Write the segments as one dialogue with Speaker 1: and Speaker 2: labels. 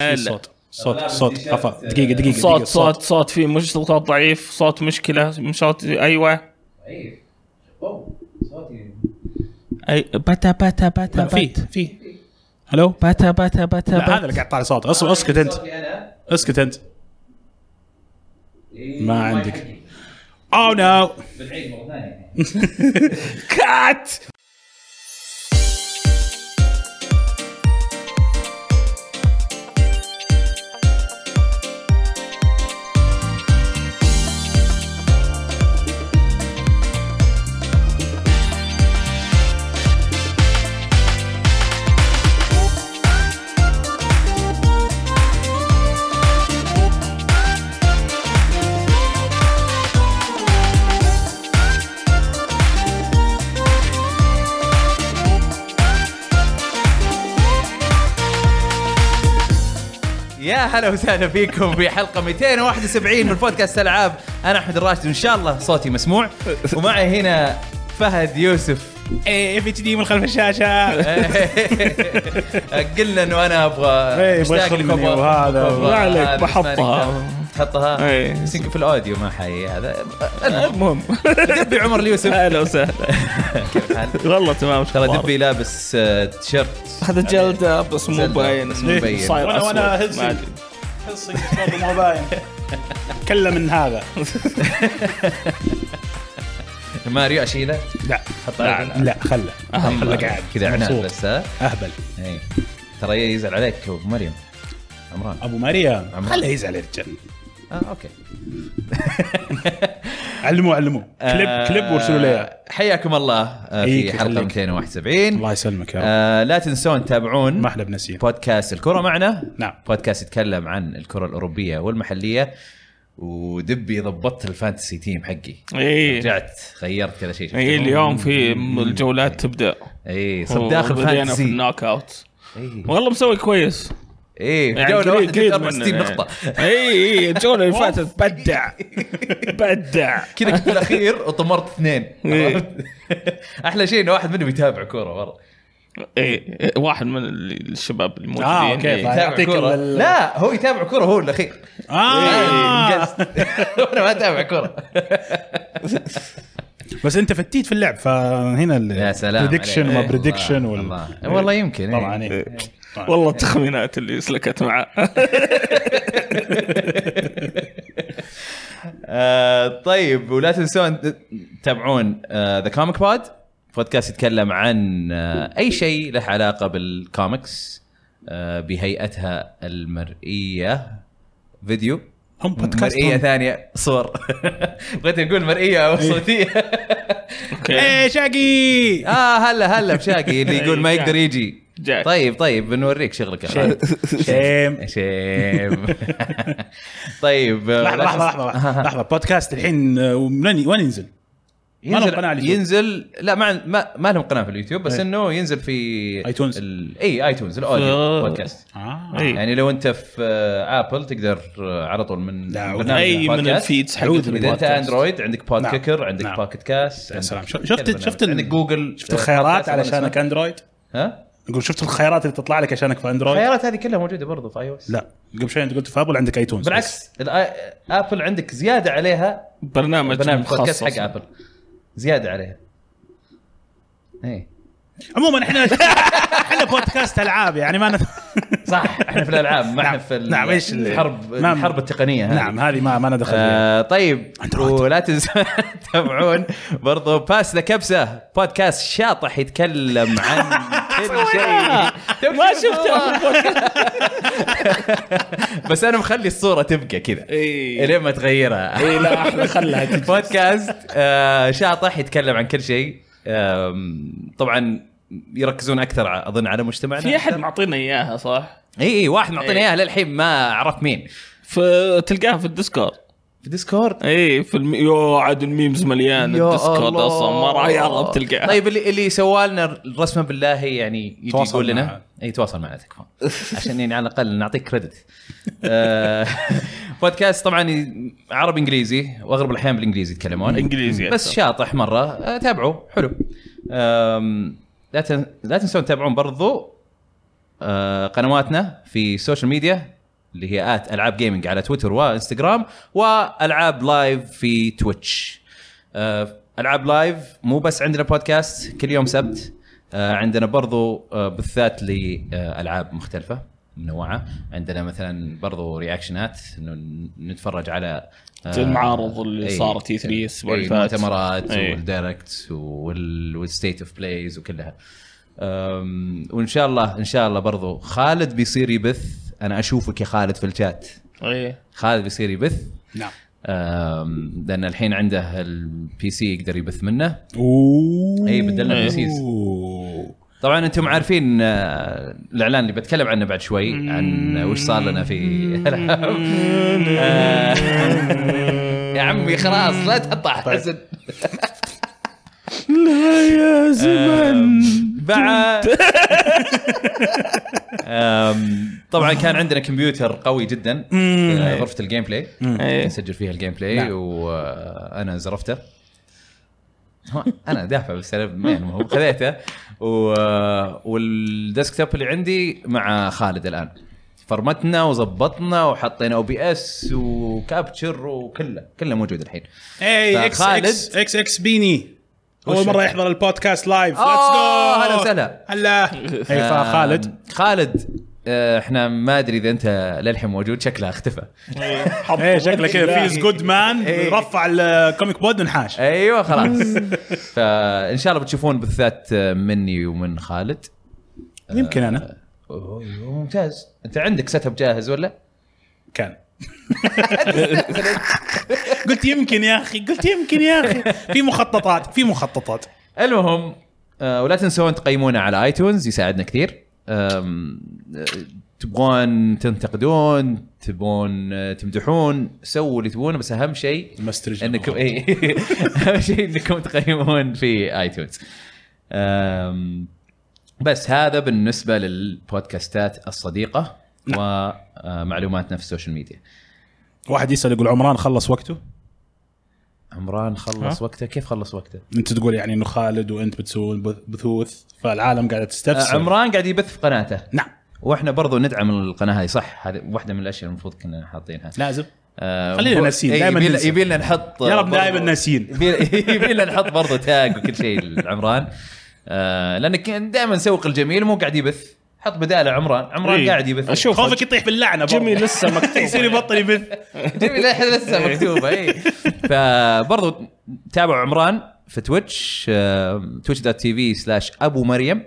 Speaker 1: لا.
Speaker 2: صوت صوت صوت خفا دقيقه دقيقه
Speaker 1: صوت
Speaker 2: دقيقة.
Speaker 1: صوت صوت في مش صوت ضعيف صوت مشكله صوت ايوه
Speaker 3: اي اوه طيب. صوتي
Speaker 1: اي بتا بتا بتا
Speaker 2: لا، في
Speaker 1: بت
Speaker 2: في الو
Speaker 1: بتا بتا بتا
Speaker 2: لا، هذا
Speaker 1: بت
Speaker 2: اللي قاعد طالع صوت اصبر اسكت انت
Speaker 3: صوتي انا
Speaker 2: اسكت انت
Speaker 3: إيه،
Speaker 2: ما
Speaker 3: ما
Speaker 2: عندك.
Speaker 3: يحكي.
Speaker 2: او نو
Speaker 3: بنعيد مره ثانيه
Speaker 1: كات
Speaker 3: يا هلا وسهلا فيكم في حلقه 271 من بودكاست العاب انا احمد الراشد وان شاء الله صوتي مسموع ومعي هنا فهد يوسف
Speaker 1: إيه،
Speaker 2: اف اتش دي من خلف الشاشه
Speaker 3: قلنا انه انا ابغى
Speaker 2: إيه، يبغى
Speaker 3: مشتاق لك،
Speaker 2: يخربني
Speaker 3: أبغى-
Speaker 2: وهذا.
Speaker 3: أبغى
Speaker 1: ما عليك،
Speaker 3: هذا، بس ما
Speaker 1: بحطها.
Speaker 3: نقدر. تحطها
Speaker 1: إيه.
Speaker 3: بس يمكن في الاوديو ما حي هذا المهم
Speaker 1: المهم
Speaker 3: دبي عمر اليوسف
Speaker 1: اهلا وسهلا
Speaker 3: كيف حالك؟
Speaker 1: والله تمام
Speaker 3: ترى دبي لابس آه، تيشيرت
Speaker 1: هذا جلده بس مو
Speaker 3: جلدة،
Speaker 1: باين
Speaker 3: بس مو باين.
Speaker 1: صاير
Speaker 2: وأنا- وأنا
Speaker 1: أسود.
Speaker 2: هلسي.
Speaker 1: ما أدري.
Speaker 2: حصي برضو مو باين تكلم من هذا
Speaker 3: ماريو اشيله
Speaker 2: لا
Speaker 3: لا، لا.
Speaker 2: لا خله خله قاعد
Speaker 3: كذا عناد
Speaker 2: مبسوط.
Speaker 3: بس ها
Speaker 2: اهبل
Speaker 3: إيه. ترى يزعل عليك ابو مريم عمران
Speaker 2: ابو مريم
Speaker 3: عمران.
Speaker 2: خله يزعل الرجال آه،
Speaker 3: اه اوكي
Speaker 2: علموه علموه كليب كليب وارسلوا لي إياه.
Speaker 3: آه، حياكم الله آه، في
Speaker 2: يحييك
Speaker 3: حلقه
Speaker 2: ويخليك.
Speaker 3: 271
Speaker 2: الله يسلمك يا رب
Speaker 3: آه، لا تنسون تتابعون
Speaker 2: ما احنا بنسيين
Speaker 3: بودكاست الكره معنا
Speaker 2: نعم.
Speaker 3: بودكاست يتكلم عن الكره الاوروبيه والمحليه ودبي ضبطت الفانتسي تيم حقي
Speaker 1: اي
Speaker 3: رجعت غيرت كذا شيء إيه، شفت؟
Speaker 2: إيه،
Speaker 1: اي إيه. اليوم في م- الجولات تبدا
Speaker 3: اي صرت داخل
Speaker 1: وبدينا في
Speaker 3: فانتسي
Speaker 1: النوك اوت
Speaker 3: اي
Speaker 1: والله مسوي كويس
Speaker 3: اي
Speaker 2: يعني
Speaker 3: في جوله واحده جبت
Speaker 1: قريب
Speaker 3: 64
Speaker 1: مننا
Speaker 3: نقطه
Speaker 1: يعني. اي اي الجوله اللي فاتت بدع بدع
Speaker 3: كذا كنت الاخير وطمرت اثنين
Speaker 1: إيه.
Speaker 3: عرفت؟ احلى شيء انه واحد منهم يتابع كوره مره
Speaker 1: اي إي، إيه، واحد من ال- الشباب الموجودين إيه.
Speaker 2: آه، أوكي،
Speaker 1: إي.
Speaker 2: طيب.
Speaker 3: يتابع
Speaker 2: يعطيك
Speaker 3: كوره
Speaker 2: ال-
Speaker 3: لا هو يتابع كوره هو الاخير إيه،
Speaker 2: اه
Speaker 3: انجزت. وانا ما اتابع كوره
Speaker 2: بس انت فتيت في اللعب فهنا ال-
Speaker 3: يا سلام
Speaker 2: prediction
Speaker 3: عليك.
Speaker 2: وما
Speaker 3: إيه.
Speaker 2: بريدكشن
Speaker 3: الله.
Speaker 2: وال...
Speaker 3: الله. والله يمكن إيه.
Speaker 2: طبعا إيه. طبعاً.
Speaker 1: والله التخمينات اللي سلكت معاه
Speaker 3: آه، طيب ولا تنسون تتابعون آه، ذا كوميك بود بودكاست يتكلم عن آه، اي شيء له علاقه بالكوميكس آه، بهيئتها المرئيه فيديو
Speaker 2: هم بودكاست
Speaker 3: مرئيه
Speaker 2: هم.
Speaker 3: ثانيه صور بغيت اقول مرئيه او صوتيه
Speaker 1: اوكي
Speaker 2: ايه شاقي
Speaker 3: اه هلا هلا بشاقي اللي
Speaker 2: إيه،
Speaker 3: يقول ما يقدر يجي
Speaker 1: جاك.
Speaker 3: طيب طيب بنوريك شغلك يا
Speaker 2: شيم. شيم.
Speaker 3: إيه. شيم طيب آه،
Speaker 2: لحظه
Speaker 3: لا
Speaker 2: لحظه
Speaker 3: تنس-
Speaker 2: لحظه لحظه بودكاست الحين آه، ومن- وين ينزل؟ ما لهم
Speaker 3: ينزل
Speaker 2: قناة على اليوتيوب.
Speaker 3: ينزل لا ما عن- ما, ما لهم قناه في اليوتيوب بس
Speaker 2: إيه.
Speaker 3: انه ينزل في
Speaker 2: iTunes.
Speaker 3: ال- اي ايتونز الاوديو
Speaker 1: آه.
Speaker 3: بودكاست
Speaker 2: اه
Speaker 1: اي
Speaker 3: يعني لو انت في آه، ابل تقدر آه، على طول من
Speaker 2: لا،
Speaker 3: من
Speaker 2: أعوذ
Speaker 3: برنامج
Speaker 1: اي من
Speaker 3: البودكاست.
Speaker 1: الفيدز حق
Speaker 2: عود
Speaker 3: اذا انت اندرويد عندك بود
Speaker 2: نعم.
Speaker 3: كيكر عندك
Speaker 2: نعم.
Speaker 3: باكت كاست
Speaker 2: يا
Speaker 3: عندك
Speaker 2: سلام. شفت-
Speaker 3: كذا
Speaker 2: شفت-
Speaker 3: برنامج.
Speaker 2: شفت ال-
Speaker 3: عندك جوجل
Speaker 2: شفت الخيارات
Speaker 3: بودكاست
Speaker 2: علشانك
Speaker 3: اسمه.
Speaker 2: اندرويد؟
Speaker 3: ها
Speaker 2: نقول شفت الخيارات اللي تطلع لك عشانك في اندرويد؟
Speaker 3: الخيارات هذه كلها موجوده برضو في اي او اس
Speaker 2: طيب. لا قبل شوي انت قلت في ابل عندك ايتونز
Speaker 3: بالعكس الآ- ابل عندك زياده عليها
Speaker 1: برنامج
Speaker 3: برنامج بودكاست
Speaker 1: مخصص.
Speaker 3: حق ابل زياده عليها إيه. اي
Speaker 2: عموما احنا احنا بودكاست العاب يعني ما نت...
Speaker 3: صح احنا في الالعاب ما احنا
Speaker 2: نعم.
Speaker 3: في ال-
Speaker 2: نعم، إيش ال-
Speaker 3: الحرب
Speaker 2: نعم.
Speaker 3: الحرب التقنيه هذه.
Speaker 2: نعم هذه ما ما ندخل فيها
Speaker 3: آه طيب
Speaker 2: أندرويد.
Speaker 3: ولا تنسوا تتابعون برضو باس ذا كبسه بودكاست شاطح يتكلم عن كل شيء
Speaker 1: ما شفته
Speaker 3: بس انا مخلي الصوره تبقى كذا
Speaker 2: إيه.
Speaker 1: اي
Speaker 3: لين ما تغيرها
Speaker 1: اي لا احنا خلها تجي
Speaker 3: بودكاست آه، شاطح يتكلم عن كل شيء آم، طبعا يركزون اكثر ع- اظن على مجتمعنا
Speaker 1: في احد
Speaker 3: أكثر.
Speaker 1: معطينا اياها صح؟
Speaker 3: اي اي واحد معطينا
Speaker 1: إي.
Speaker 3: اياها للحين ما عرفت مين
Speaker 1: فتلقاها في الديسكورد
Speaker 3: في ديسكورد
Speaker 1: اي إيه، في الم... يو عاد الميمز مليان
Speaker 3: يا
Speaker 1: الديسكورد
Speaker 3: الله.
Speaker 1: اصلا ما راح يهرب تلقاها
Speaker 3: طيب اللي اللي سوى لنا الرسمه بالله يعني يجي
Speaker 2: تواصل
Speaker 3: يقول لنا
Speaker 2: معه.
Speaker 3: اي تواصل معنا تكفى عشان يعني على الاقل نعطيك كريدت آه، بودكاست طبعا ي- عربي انجليزي واغلب الاحيان بالانجليزي يتكلمون
Speaker 1: انجليزي
Speaker 3: بس
Speaker 1: أكثر.
Speaker 3: شاطح مره آه، تابعوا حلو آم، لا تن- لا تنسون تتابعون برضو آه، قنواتنا في السوشيال ميديا اللي هي آت العاب جيمنج على تويتر وانستغرام والعاب لايف في تويتش آه، العاب لايف مو بس عندنا بودكاست كل يوم سبت آه، عندنا برضو آه، بثات لالعاب مختلفه منوعه عندنا مثلا برضو رياكشنات انه نتفرج على آه،
Speaker 1: زي المعارض اللي
Speaker 3: أي-
Speaker 1: صارت E E3 الأسبوع
Speaker 3: أي
Speaker 1: اللي فات.
Speaker 3: المؤتمرات
Speaker 1: أي.
Speaker 3: والدايركت والستيت اوف بلايز وكلها أم، وان شاء الله ان شاء الله برضو خالد بيصير يبث انا اشوفك يا خالد في الشات
Speaker 1: ايه
Speaker 3: خالد بيصير يبث
Speaker 2: نعم
Speaker 3: أم، لان الحين عنده البي سي يقدر يبث منه
Speaker 2: اوه
Speaker 3: اي بدلنا البي سيز
Speaker 2: أوه.
Speaker 3: طبعا انتم عارفين آه، الاعلان اللي بتكلم عنه بعد شوي عن وش صار لنا في الالعاب آه، يا عمي خلاص لا تقطع
Speaker 1: طيب.
Speaker 3: حزن
Speaker 1: لا يا زمن
Speaker 3: بعد أم، طبعا كان عندنا كمبيوتر قوي جدا في غرفه الجيم بلاي
Speaker 1: إيه.
Speaker 3: نسجل فيها الجيم بلاي وانا زرفته هو انا دافع بس انا ما يعني هو خذيته و... والديسكتوب اللي عندي مع خالد الان فرمتنا وظبطنا وحطينا او بي اس وكابتشر وكله كله موجود الحين
Speaker 2: اي اكس
Speaker 3: فخالد-
Speaker 2: اكس اكس اكس بيني
Speaker 3: وش-
Speaker 2: اول مره يحضر البودكاست لايف ليتس جو
Speaker 3: آه، هلا وسهلا.
Speaker 2: هلا اي فخالد
Speaker 3: آم، آه، خالد آه، احنا ما ادري اذا انت للحين موجود شكله اختفى
Speaker 2: ايه شكله كذا فيز جود مان رفع الكوميك بود انحاش
Speaker 3: ايوه خلاص فان شاء الله بتشوفون بثات مني ومن خالد
Speaker 2: يمكن انا
Speaker 3: أوه، ممتاز انت عندك سيت اب جاهز ولا؟
Speaker 2: كان قلت يمكن يا اخي قلت يمكن يا اخي في مخططات في مخططات
Speaker 3: المهم آه، ولا تنسون تقيمونا على ايتونز يساعدنا كثير آم، آه، تبغون تنتقدون تبغون آه، تمدحون سووا اللي تبونه بس اهم شيء
Speaker 2: المسترجع
Speaker 3: انكم اي اهم شيء انكم تقيمون في ايتونز أم، بس هذا بالنسبه للبودكاستات الصديقه ومعلوماتنا في السوشيال ميديا
Speaker 2: واحد يسال يقول عمران خلص وقته
Speaker 3: عمران خلص وقته كيف خلص وقته
Speaker 2: انت تقول يعني انه خالد وانت بتسوون بث- بثوث فالعالم قاعده
Speaker 3: أه،
Speaker 2: تستفسر
Speaker 3: عمران قاعد يبث في قناته
Speaker 2: نعم
Speaker 3: واحنا برضو ندعم القناه هاي صح هذه واحده من الاشياء المفروض كنا حاطينها
Speaker 2: لازم
Speaker 3: أه،
Speaker 2: خلينا
Speaker 3: هو-
Speaker 2: ناسيين،
Speaker 3: إيه،
Speaker 2: دايماً
Speaker 3: يبي-
Speaker 2: ننسى.
Speaker 3: يبي لنا نحط
Speaker 2: يا رب
Speaker 3: برضو-
Speaker 2: دايماً ناسيين.
Speaker 3: يبي يبي لنا نحط برضه تاج وكل شيء لعمران آه، لان كان دائما نسوق الجميل مو قاعد يبث حط بداله عمران عمران
Speaker 1: إيه.
Speaker 3: قاعد يبث
Speaker 1: أشوف.
Speaker 2: خوفك يطيح باللعنه برضه.
Speaker 1: جيمي لسه مكتوب.
Speaker 2: يصير يبطل يبث
Speaker 3: جميل للحين لسه مكتوبه اي فبرضه تابعوا عمران في آه، تويتش تويتش دوت تي في سلاش ابو مريم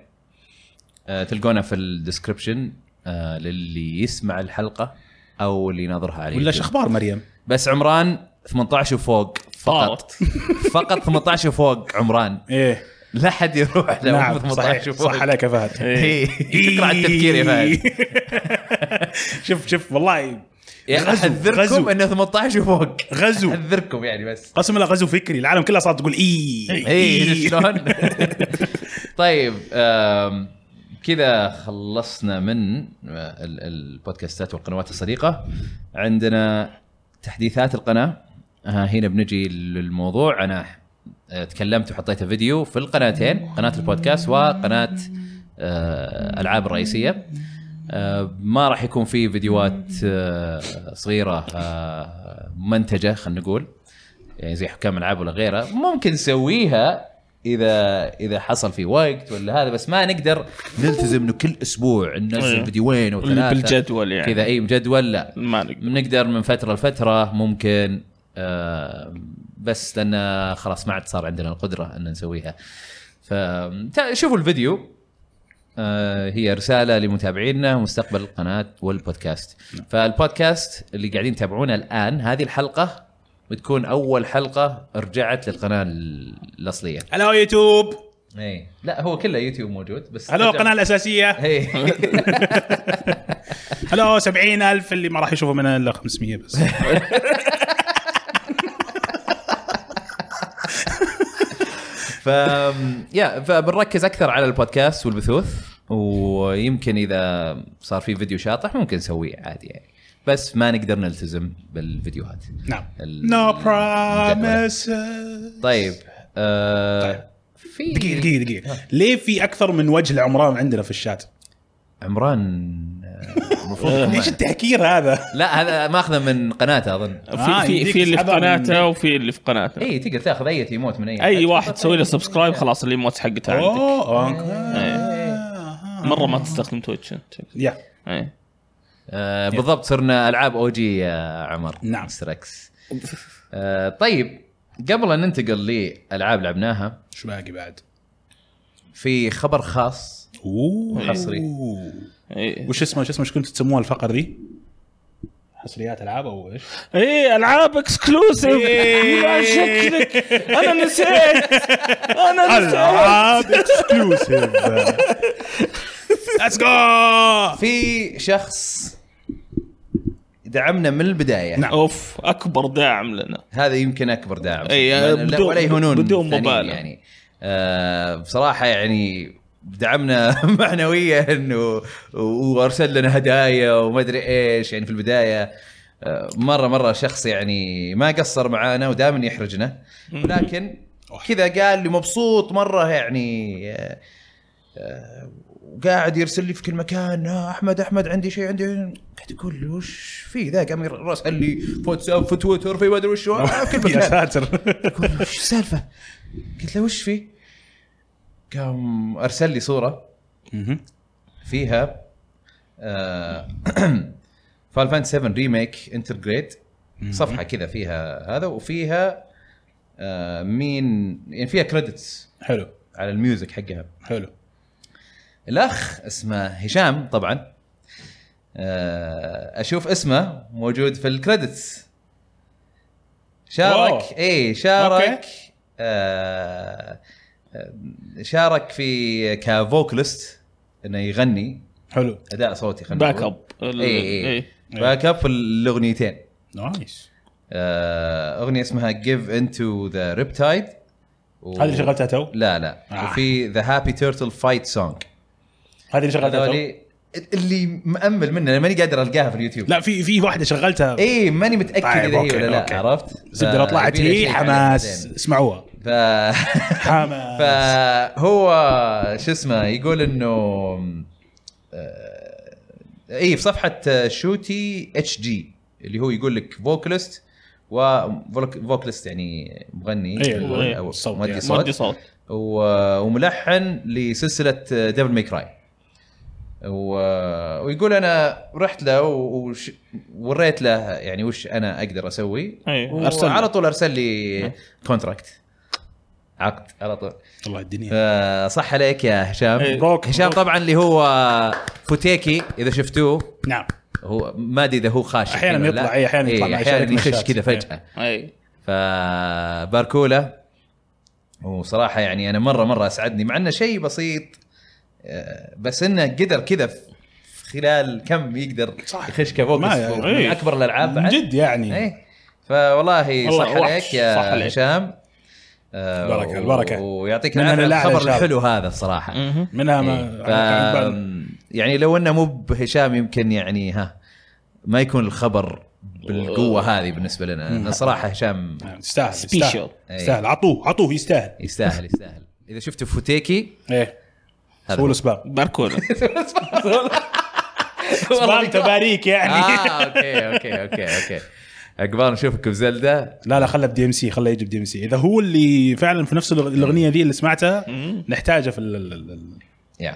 Speaker 3: آه، تلقونه في الديسكربشن آه، للي يسمع الحلقه او اللي يناظرها عليه
Speaker 2: ولا ايش اخبار مريم؟
Speaker 3: بس عمران 18 وفوق فقط
Speaker 1: طارت
Speaker 3: فقط 18 وفوق عمران
Speaker 2: ايه
Speaker 3: لا حد يروح له
Speaker 2: نعم
Speaker 3: 18
Speaker 2: صحيح
Speaker 3: وفوق
Speaker 2: صح عليك يا فهد
Speaker 3: إيه. شكرا على التفكير يا فهد
Speaker 2: شوف شوف والله
Speaker 3: يعني احذركم
Speaker 2: غزو.
Speaker 3: انه 18 وفوق
Speaker 2: غزو.
Speaker 3: احذركم يعني بس
Speaker 2: قسم بالله غزو فكري العالم كلها صارت تقول اي
Speaker 3: اي
Speaker 2: إيه،
Speaker 3: شلون إيه. طيب آم، كذا خلصنا من آه، ال- البودكاستات والقنوات الصديقه عندنا تحديثات القناه آه، هنا بنجي للموضوع انا آه، تكلمت وحطيت فيديو في القناتين قناه البودكاست وقناه آه، العاب الرئيسيه آه، ما راح يكون في فيديوهات آه، صغيره آه، منتجه خلينا نقول يعني زي حكام العاب ولا غيره ممكن نسويها اذا اذا حصل في وقت ولا هذا بس ما نقدر نلتزم انه كل اسبوع ننزل
Speaker 1: أيوه.
Speaker 3: فيديوين او
Speaker 1: اللي
Speaker 3: ثلاثه
Speaker 1: بالجدول يعني.
Speaker 3: كذا اي مجدول لا
Speaker 1: ما نقدر
Speaker 3: نقدر من فتره لفتره ممكن آه بس لان خلاص ما عاد صار عندنا القدره ان نسويها فشوفوا الفيديو آه هي رساله لمتابعينا مستقبل القناه والبودكاست فالبودكاست اللي قاعدين يتابعونه الان هذه الحلقه بتكون اول حلقه رجعت للقناه ال- الاصليه
Speaker 2: الو يوتيوب
Speaker 3: اي إيه. لا هو كله يوتيوب موجود بس إيه.
Speaker 2: الو القناه الاساسيه
Speaker 3: إي.
Speaker 2: الو 70000 اللي ما راح يشوفوا منها الا 500 بس
Speaker 3: ف يا فبنركز اكثر على البودكاست والبثوث ويمكن اذا صار في فيديو شاطح ممكن نسويه عادي يعني بس ما نقدر نلتزم بالفيديوهات
Speaker 2: نعم
Speaker 3: ال-
Speaker 2: نو
Speaker 3: الجدول.
Speaker 2: برايمس
Speaker 3: طيب آه
Speaker 2: طيب.
Speaker 3: في
Speaker 2: دقيقه دقيقه دقيقه ليه في اكثر من وجه لعمران عندنا في الشات؟
Speaker 3: عمران آه، المفروض
Speaker 2: ليش التهكير هذا؟
Speaker 3: لا هذا ماخذه من قناته اظن
Speaker 2: آه،
Speaker 1: في في,
Speaker 2: يمديك
Speaker 1: في اللي في
Speaker 2: تسحبها من-
Speaker 1: قناته وفي اللي في قناته
Speaker 3: اي إيه، تقدر تاخذ اي ايموت من اي
Speaker 1: اي يعني واحد تسوي له سبسكرايب خلاص الايموت حقته عندك
Speaker 2: اوه أوكي.
Speaker 3: إيه.
Speaker 2: آه.
Speaker 1: مره ما تستخدم تويتش انت
Speaker 2: يا
Speaker 1: إيه.
Speaker 3: آه بالضبط صرنا العاب او جي يا عمر
Speaker 2: نعم.
Speaker 3: مستر اكس آه طيب قبل ان ننتقل لالعاب لعبناها
Speaker 2: شو باقي بعد؟
Speaker 3: في خبر خاص
Speaker 2: اوه
Speaker 3: حصري.
Speaker 1: ايه
Speaker 2: وش اسمه شو اسمه شو كنتوا تسموها الفقره ذي؟ حصريات العاب او ايش؟
Speaker 1: ايه العاب اكسكلوسيف يا شكلك انا نسيت انا نسيت
Speaker 2: اكسكلوسيف ليتس جو
Speaker 3: في شخص دعمنا من البدايه
Speaker 2: نعم.
Speaker 1: اوف اكبر داعم لنا
Speaker 3: هذا يمكن اكبر داعم
Speaker 1: أي،
Speaker 3: لا- لا-
Speaker 1: آه، بدون-
Speaker 3: ولا يهونون
Speaker 1: بدون
Speaker 3: الثانيين
Speaker 1: مبالغه.
Speaker 3: يعني آه بصراحه يعني دعمنا معنويا و- وارسل لنا هدايا وما ادري ايش يعني في البدايه آه، مره مره شخص يعني ما قصر معانا ودائما يحرجنا ولكن كذا قال لي مبسوط مره يعني آه، آه، وقاعد يرسل لي في كل مكان آه، احمد احمد عندي شيء عندي قاعد اقول له وش في ذا قام يرسل لي في واتساب في تويتر في ما ادري وش هو، في كل
Speaker 2: يا
Speaker 3: مكان
Speaker 2: ساتر
Speaker 3: اقول له وش السالفه؟ قلت له وش في؟ قام ارسل لي صوره فيها آه، فال فانت 7 ريميك انترجريت صفحه كذا فيها هذا وفيها آه، مين يعني فيها كريدتس
Speaker 2: حلو
Speaker 3: على الميوزك حقها
Speaker 2: حلو
Speaker 3: الاخ اسمه هشام طبعا آه، اشوف اسمه موجود في الكريدتس شارك
Speaker 2: أوه.
Speaker 3: اي شارك
Speaker 2: أوكي.
Speaker 3: آه، آه، شارك في كفوكلست انه يغني
Speaker 2: حلو
Speaker 3: اداء صوتي خلينا
Speaker 1: باك
Speaker 3: نقول.
Speaker 1: اب ال-
Speaker 3: اي اي
Speaker 1: إيه.
Speaker 3: باك اب في الاغنيتين
Speaker 2: نايس
Speaker 3: آه، اغنيه اسمها جيف انتو ذا ريبتايد
Speaker 2: هذه اللي شغلتها تو؟
Speaker 3: لا لا
Speaker 2: آه.
Speaker 3: وفي ذا هابي تيرتل فايت سونج
Speaker 2: هذه اللي شغلتها تو؟
Speaker 3: هذولي اللي مأمل منه انا ماني قادر القاها في اليوتيوب
Speaker 2: لا في في واحده شغلتها
Speaker 3: اي ماني متاكد
Speaker 2: طيب،
Speaker 3: اذا هي
Speaker 2: أوكي،
Speaker 3: ولا لا
Speaker 2: أوكي.
Speaker 3: عرفت
Speaker 2: زبده لو طلعت هي حماس اسمعوها
Speaker 3: ف...
Speaker 2: حماس
Speaker 3: فهو شو اسمه يقول انه آه، اي في صفحه آه، شوتي اتش جي اللي هو يقول لك فوكلست وفوكلست يعني مغني
Speaker 2: إيه،
Speaker 3: أو-
Speaker 1: إيه،
Speaker 3: او
Speaker 2: صوت
Speaker 3: مؤدي
Speaker 2: يعني.
Speaker 1: مودي
Speaker 3: صوت
Speaker 1: صوت
Speaker 3: و- وملحن لسلسله ديفل ماي كراي و- ويقول انا رحت له وش- ووريت له يعني وش انا اقدر اسوي
Speaker 1: إيه،
Speaker 2: أرسل له. نعم.
Speaker 3: وعلى طول ارسل لي كونتراكت عقد على طول
Speaker 2: الله الدنيا
Speaker 3: فصح آه، عليك يا هشام
Speaker 1: إيه.
Speaker 2: مبروك،
Speaker 3: هشام
Speaker 2: مبروك.
Speaker 3: طبعا اللي هو فوتيكي اذا شفتوه
Speaker 2: نعم
Speaker 3: هو ما ادري اذا هو خاش
Speaker 2: أحيانا
Speaker 3: ولا لا.
Speaker 2: يطلع، إيه، أحيانا يطلع
Speaker 3: إيه،
Speaker 2: مع
Speaker 3: احيانا
Speaker 2: شارك
Speaker 3: يخش
Speaker 2: نشات.
Speaker 3: كذا
Speaker 2: إيه.
Speaker 3: فجاه
Speaker 1: اي
Speaker 3: فباركولا وصراحه يعني انا مره مره اسعدني مع انه شيء بسيط آه، بس انه قدر كذا في في خلال كم يقدر
Speaker 2: صح.
Speaker 3: يخش كفوكس
Speaker 2: ما-
Speaker 3: من
Speaker 1: إيه.
Speaker 3: اكبر الالعاب
Speaker 2: من
Speaker 3: بعد
Speaker 2: جد يعني
Speaker 3: ايه فوالله
Speaker 1: والله
Speaker 3: صح
Speaker 1: وحش،
Speaker 3: عليك
Speaker 1: صح عليك.
Speaker 3: يا هشام آه،
Speaker 2: البركة،
Speaker 3: و-
Speaker 2: البركة.
Speaker 3: ويعطيك
Speaker 2: منها
Speaker 3: العافيه على
Speaker 2: لله على
Speaker 3: الخبر
Speaker 2: الشاب.
Speaker 3: الحلو هذا الصراحه
Speaker 1: مهم.
Speaker 2: منها
Speaker 3: إيه.
Speaker 2: ما أنا كان بال-
Speaker 3: ف- يعني لو انه مو بهشام يمكن يعني ها ما يكون الخبر بالقوه هذه بالنسبه لنا لأن صراحه هشام
Speaker 2: نعم، يستاهل
Speaker 1: Special.
Speaker 2: يستاهل
Speaker 3: إيه.
Speaker 2: يستاهل عطوه عطوه يستاهل
Speaker 3: يستاهل يستاهل اذا شفته فوتيكي
Speaker 2: ايه
Speaker 3: هذا هو.
Speaker 2: سووا له سبام
Speaker 1: باركولا
Speaker 2: سبام تباريك يعني
Speaker 3: اه اوكي اوكي اوكي اوكي عقبال نشوفك بزلده
Speaker 2: لا لا خله بدي ام سي خله يجي بدي ام سي اذا هو اللي فعلا في نفس الأغ-
Speaker 3: إيه.
Speaker 2: الاغنيه ذي اللي سمعتها نحتاجه في ال- ال- ال- ال-
Speaker 3: يا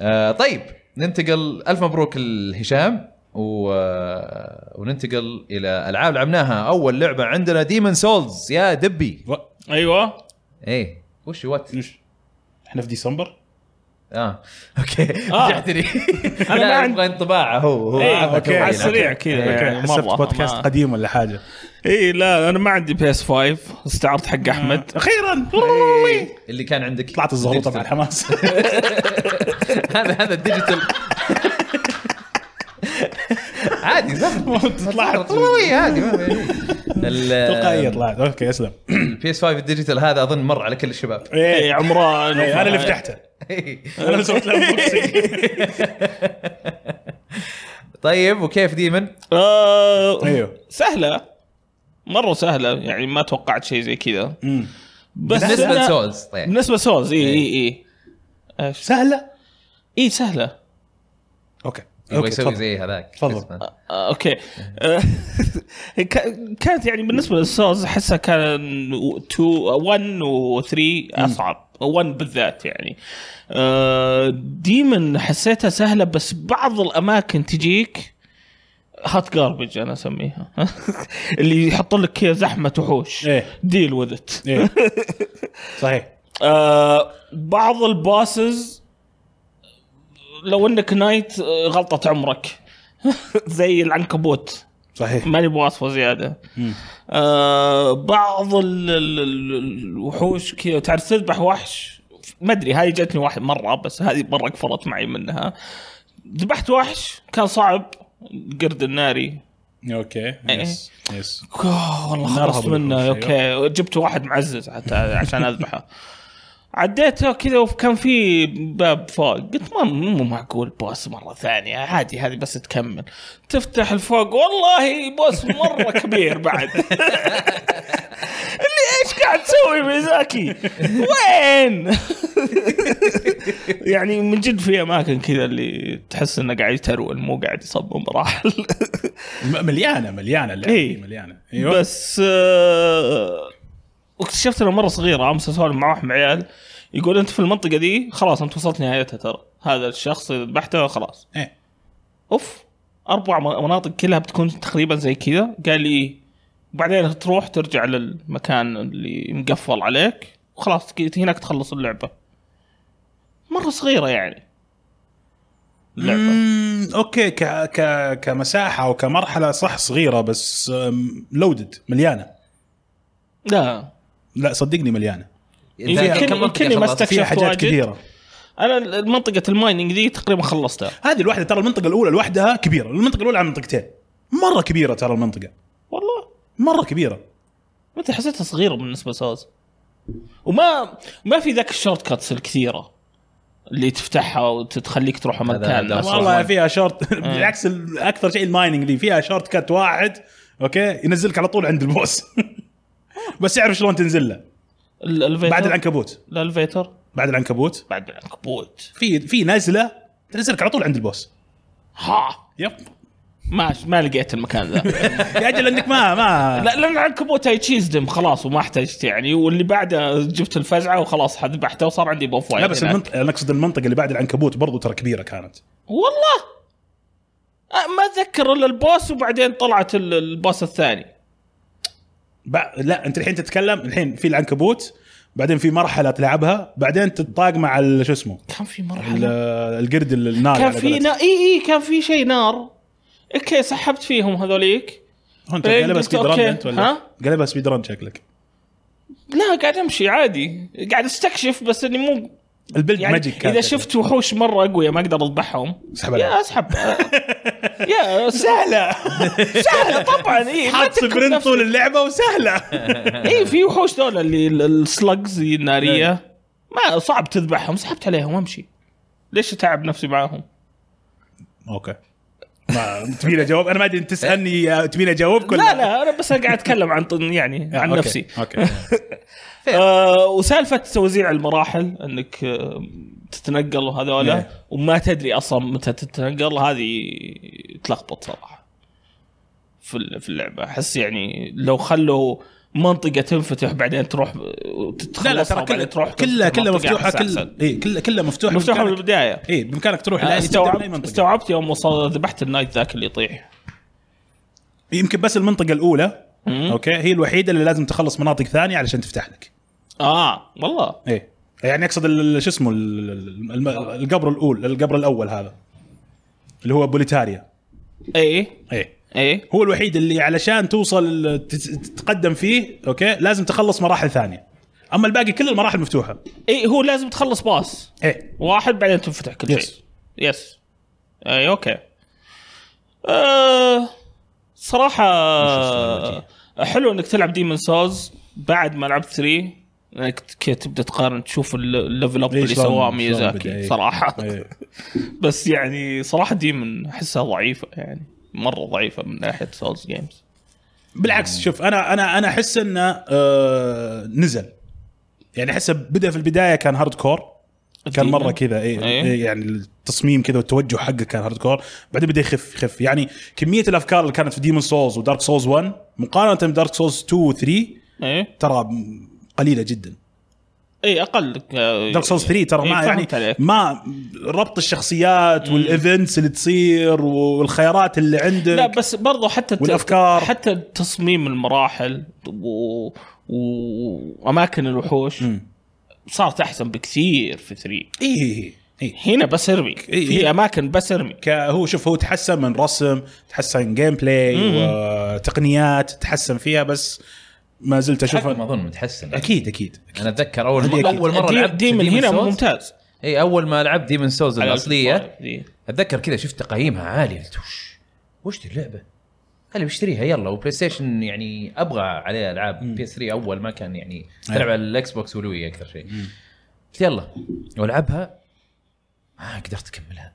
Speaker 3: آه طيب ننتقل الف مبروك لهشام و... آه، وننتقل الى العاب لعبناها اول لعبه عندنا ديمون سولز يا دبي
Speaker 2: و-
Speaker 1: ايوه
Speaker 3: ايه وش وات
Speaker 2: وش؟ احنا في ديسمبر
Speaker 3: اه اوكي
Speaker 1: آه.
Speaker 3: رجعتني
Speaker 1: أنا
Speaker 3: لا
Speaker 1: ما عندي-
Speaker 3: يبغى انطباعه هو هو
Speaker 1: إيه،
Speaker 2: آه،
Speaker 3: عرفه
Speaker 1: أوكي،
Speaker 3: كويس.
Speaker 1: على السريع كذا
Speaker 3: إيه.
Speaker 1: يعني.
Speaker 2: حسبت
Speaker 1: مرة.
Speaker 2: بودكاست
Speaker 1: ما-
Speaker 2: قديم ولا حاجه
Speaker 1: اي إيه، لا انا ما عندي بي اس 5 استعرت حق احمد
Speaker 2: اخيرا
Speaker 3: اللي كان عندك
Speaker 2: إيه. طلعت الزغروطه في
Speaker 3: ديجيتال.
Speaker 2: الحماس
Speaker 3: هذا هذا الديجيتال عادي زهر
Speaker 2: طلعت
Speaker 3: طلوي عادي ما
Speaker 2: تلقائيه
Speaker 3: ال آه،
Speaker 2: طلعت اوكي اسلم
Speaker 3: بي اس 5 الديجيتال هذا اظن مر على كل الشباب إيه.
Speaker 1: اي
Speaker 2: ايه
Speaker 1: عمران
Speaker 2: إيه، انا اللي فتحته انا اللي سويت له unboxing.
Speaker 3: طيب وكيف ديمن؟
Speaker 1: آه،
Speaker 2: ايوه
Speaker 1: سهله مره سهله يعني ما توقعت شيء زي كذا
Speaker 2: أمم.
Speaker 1: بس
Speaker 3: بالنسبه
Speaker 1: أنا-
Speaker 3: لسولز طيب
Speaker 1: بالنسبه سولز اي اي اي
Speaker 2: سهله
Speaker 1: اي سهله
Speaker 2: اوكي
Speaker 3: يبغى
Speaker 2: أوكي،
Speaker 3: يسوي
Speaker 2: تفضل.
Speaker 3: زي هذاك
Speaker 2: تفضل.
Speaker 3: اسمه.
Speaker 1: آه، اوكي آه، كا- كانت يعني بالنسبه للسولز احسها كان 2 1 و 3 اصعب 1 بالذات يعني آه، ديمن حسيتها سهله بس بعض الاماكن تجيك هات جاربج انا اسميها اللي يحط لك كذا زحمه وحوش
Speaker 2: إيه.
Speaker 1: ديل وذ ات
Speaker 2: إيه. صحيح
Speaker 1: آه، بعض الباسز لو انك نايت آه، غلطه عمرك زي العنكبوت
Speaker 2: صحيح
Speaker 1: ماني بواصفه زياده آه بعض ال- ال- ال- الوحوش كذا تعرف تذبح وحش ما ادري هذه جتني واحد مره بس هذه مره قفلت معي منها ذبحت وحش كان صعب القرد الناري
Speaker 2: اوكي
Speaker 3: إيه.
Speaker 2: يس يس
Speaker 1: أوه، والله
Speaker 2: نرهب
Speaker 1: خلصت منه
Speaker 2: الوحوش،
Speaker 1: اوكي جبت واحد معزز حتى عشان اذبحه عديته كذا وكان في باب فوق قلت ما مو معقول بوس مره ثانيه عادي هذه بس تكمل تفتح الفوق والله بوس مره كبير بعد اللي ايش قاعد تسوي ميزاكي وين يعني من جد في اماكن كذا اللي تحس انه قاعد يترول مو قاعد يصمم مراحل
Speaker 2: م- مليانه مليانه اللعبة أيوه.
Speaker 1: إيه.
Speaker 2: مليانه
Speaker 1: أيوة. بس آه، اكتشفت انه مره صغيره امس اسولف مع واحد من العيال يقول انت في المنطقه دي خلاص انت وصلت نهايتها ترى هذا الشخص اللي ذبحته خلاص
Speaker 2: إيه.
Speaker 1: اوف اربع م- مناطق كلها بتكون تقريبا زي كذا قال لي بعدين تروح ترجع للمكان اللي مقفل عليك وخلاص ك- هناك تخلص اللعبه مره صغيره يعني اللعبه
Speaker 2: مم، اوكي ك... ك... كمساحه وكمرحله صح صغيره بس لودد مليانه
Speaker 1: لا
Speaker 2: لا صدقني مليانه
Speaker 3: إذا
Speaker 1: يمكن-
Speaker 3: كم منطقة
Speaker 1: يمكن ما
Speaker 3: خلصت؟
Speaker 1: استكشف-
Speaker 2: فيها حاجات
Speaker 1: واجد.
Speaker 2: كثيره
Speaker 1: انا منطقه المايننج دي تقريبا خلصتها
Speaker 2: هذه الواحده ترى المنطقه الاولى لوحدها كبيره المنطقه الاولى على منطقتين مره كبيره ترى المنطقه
Speaker 1: والله
Speaker 2: مره كبيره
Speaker 1: متى حسيتها صغيره بالنسبه لسوز وما ما في ذاك الشورت كاتس الكثيره اللي تفتحها وتخليك تروح مكان
Speaker 3: هذا
Speaker 1: أسرع. إيه.
Speaker 3: أصلاً.
Speaker 2: والله فيها شورت بالعكس ال- اكثر شيء المايننج دي فيها شورت كات واحد اوكي ينزلك على طول عند البوس بس اعرف شلون تنزل له
Speaker 1: ال- الفيتر
Speaker 2: بعد العنكبوت
Speaker 1: الالفيتر
Speaker 2: بعد العنكبوت
Speaker 1: بعد العنكبوت
Speaker 2: في في نزله تنزلك على طول عند البوس
Speaker 1: ها
Speaker 2: يب
Speaker 1: ما ما لقيت المكان ذا
Speaker 2: يا اجل انك ما ما
Speaker 1: لا لان العنكبوت هاي تشيز دم خلاص وما احتجت يعني واللي بعده جبت الفزعه وخلاص ذبحته وصار عندي بوف
Speaker 2: لا
Speaker 1: وايد
Speaker 2: بس
Speaker 1: هناك.
Speaker 2: المنطقه انا اقصد المنطقه اللي بعد العنكبوت برضو ترى كبيره كانت
Speaker 1: والله أه، ما اتذكر الا البوس وبعدين طلعت ال- البوس الثاني
Speaker 2: ب- لا انت الحين تتكلم الحين في العنكبوت بعدين في مرحله تلعبها بعدين تطاق مع ال- شو اسمه
Speaker 1: كان في مرحله
Speaker 2: ال- القرد النار
Speaker 1: كان في نار اي اي كان في شيء نار اوكي سحبت فيهم هذوليك
Speaker 2: انت قلبها
Speaker 1: قلت
Speaker 2: سبيد رن
Speaker 1: إيه، أوكي.
Speaker 2: انت ولا
Speaker 1: ها؟
Speaker 2: قلبها سبيد رن شكلك
Speaker 1: لا قاعد امشي عادي قاعد استكشف بس اني مو
Speaker 2: البلد
Speaker 1: يعني
Speaker 2: ماجيك كان
Speaker 1: اذا
Speaker 2: شكله.
Speaker 1: شفت وحوش مره اقوياء ما اقدر اذبحهم
Speaker 2: اسحب عليها.
Speaker 1: يا اسحب يا سهله سهله طبعا اي ما
Speaker 2: حاط
Speaker 1: تكون
Speaker 2: سبرنت
Speaker 1: نفس-
Speaker 2: طول اللعبه وسهله
Speaker 1: اي في وحوش دول اللي ال- السلجز
Speaker 2: نعم.
Speaker 1: الناريه ما صعب تذبحهم سحبت عليهم وامشي ليش اتعب نفسي معاهم؟
Speaker 2: اوكي ما تبيني اجاوب انا ما ادري انت تسالني تبيني اجاوبك ولا
Speaker 1: لا لا انا بس قاعد اتكلم عن يعني
Speaker 2: آه،
Speaker 1: عن
Speaker 2: أوكي.
Speaker 1: نفسي
Speaker 2: اوكي
Speaker 1: آه وسالفه توزيع المراحل انك آه، تتنقل هذولا
Speaker 2: إيه.
Speaker 1: وما تدري اصلا متى تتنقل هذه تلخبط صراحه في ال- في اللعبه احس يعني لو خلوا منطقه تنفتح بعدين تروح آه،
Speaker 2: لا لا
Speaker 1: تتخلصها
Speaker 2: ترى
Speaker 1: وبعدين
Speaker 2: كل-
Speaker 1: تروح
Speaker 2: كلها
Speaker 1: تنفتح
Speaker 2: كلها
Speaker 1: منطقة
Speaker 2: مفتوحه
Speaker 1: أحس
Speaker 2: كل
Speaker 1: أحسن.
Speaker 2: اي كلها كلها مفتوحه
Speaker 1: مفتوحه من
Speaker 2: بإمكانك-
Speaker 1: البدايه
Speaker 2: اي بامكانك تروح
Speaker 1: أنا
Speaker 2: لأي
Speaker 1: استوعبت
Speaker 2: أي منطقة.
Speaker 1: استوعبت يوم وصل ذبحت النايت ذاك اللي يطيح
Speaker 2: يمكن بس المنطقه الاولى
Speaker 1: مم.
Speaker 2: اوكي هي الوحيده اللي لازم تخلص مناطق ثانيه علشان تفتح لك
Speaker 1: اه والله
Speaker 2: اي يعني اقصد ال- شو اسمه ال- ال- الم- القبر الاول القبر الاول هذا اللي هو بوليتاريا
Speaker 1: ايه
Speaker 2: اي
Speaker 1: ايه
Speaker 2: هو الوحيد اللي علشان توصل تت- تتقدم فيه اوكي لازم تخلص مراحل ثانيه اما الباقي كل المراحل مفتوحه
Speaker 1: ايه هو لازم تخلص باص
Speaker 2: ايه
Speaker 1: واحد بعدين تنفتح كل
Speaker 2: Yes.
Speaker 1: شيء يس اي اوكي آه صراحه حلو انك تلعب ديمون سوز بعد ما لعبت 3 انك كي تبدا تقارن تشوف ال- الليفل اب
Speaker 2: إيه،
Speaker 1: اللي
Speaker 2: شلون- شلون
Speaker 1: سواه
Speaker 2: بدأ،
Speaker 1: ميازاكي
Speaker 2: إيه.
Speaker 1: صراحه
Speaker 2: إيه.
Speaker 1: بس يعني صراحه ديمون احسها ضعيفه يعني مره ضعيفه من ناحيه سولز جيمز
Speaker 2: بالعكس شوف انا انا انا احس انه آه نزل يعني احسه بدا في البدايه كان هارد كور كان مره
Speaker 1: الديمن.
Speaker 2: كذا إيه
Speaker 1: إيه.
Speaker 2: إيه يعني التصميم كذا والتوجه حقه كان هارد كور بعدين بدا يخف يخف يعني كميه الافكار اللي كانت في ديمون سولز ودارك سولز 1 مقارنه بدارك سولز 2 و 3
Speaker 1: ايه
Speaker 2: ترى م- قليله جدا
Speaker 1: اي اقل
Speaker 2: دارك سولز 3 ترى ما يعني
Speaker 1: إيه، فهمت عليك.
Speaker 2: ما ربط الشخصيات والايفنتس اللي تصير والخيارات اللي عندك
Speaker 1: لا بس برضو حتى الت-
Speaker 2: والأفكار.
Speaker 1: حتى تصميم المراحل و... و- واماكن الوحوش
Speaker 2: مم.
Speaker 1: صارت احسن بكثير في 3
Speaker 2: اي اي
Speaker 1: هنا بس ارمي
Speaker 2: إيه.
Speaker 1: في اماكن بس ارمي
Speaker 2: ك- هو شوف هو تحسن من رسم تحسن جيم بلاي وتقنيات تحسن فيها بس ما زلت اشوفها
Speaker 3: التحكم اظن متحسن
Speaker 2: اكيد اكيد
Speaker 3: انا اتذكر اول
Speaker 2: هذه
Speaker 3: مره
Speaker 2: أكيد.
Speaker 3: اول مره
Speaker 1: دي-
Speaker 3: لعبت
Speaker 1: دي من
Speaker 3: Demon's
Speaker 1: هنا
Speaker 3: Souls.
Speaker 1: ممتاز
Speaker 3: اي اول ما لعبت ديمن سولز
Speaker 1: على
Speaker 3: الاصليه
Speaker 1: الفضاء دي.
Speaker 3: اتذكر كذا شفت تقييمها عاليه قلت وش وش دي اللعبه؟ انا بشتريها يلا وبلاي ستيشن يعني ابغى عليه العاب بي اس 3 اول ما كان يعني تلعب على الاكس بوكس والوي اكثر شيء قلت يلا والعبها ما قدرت اكملها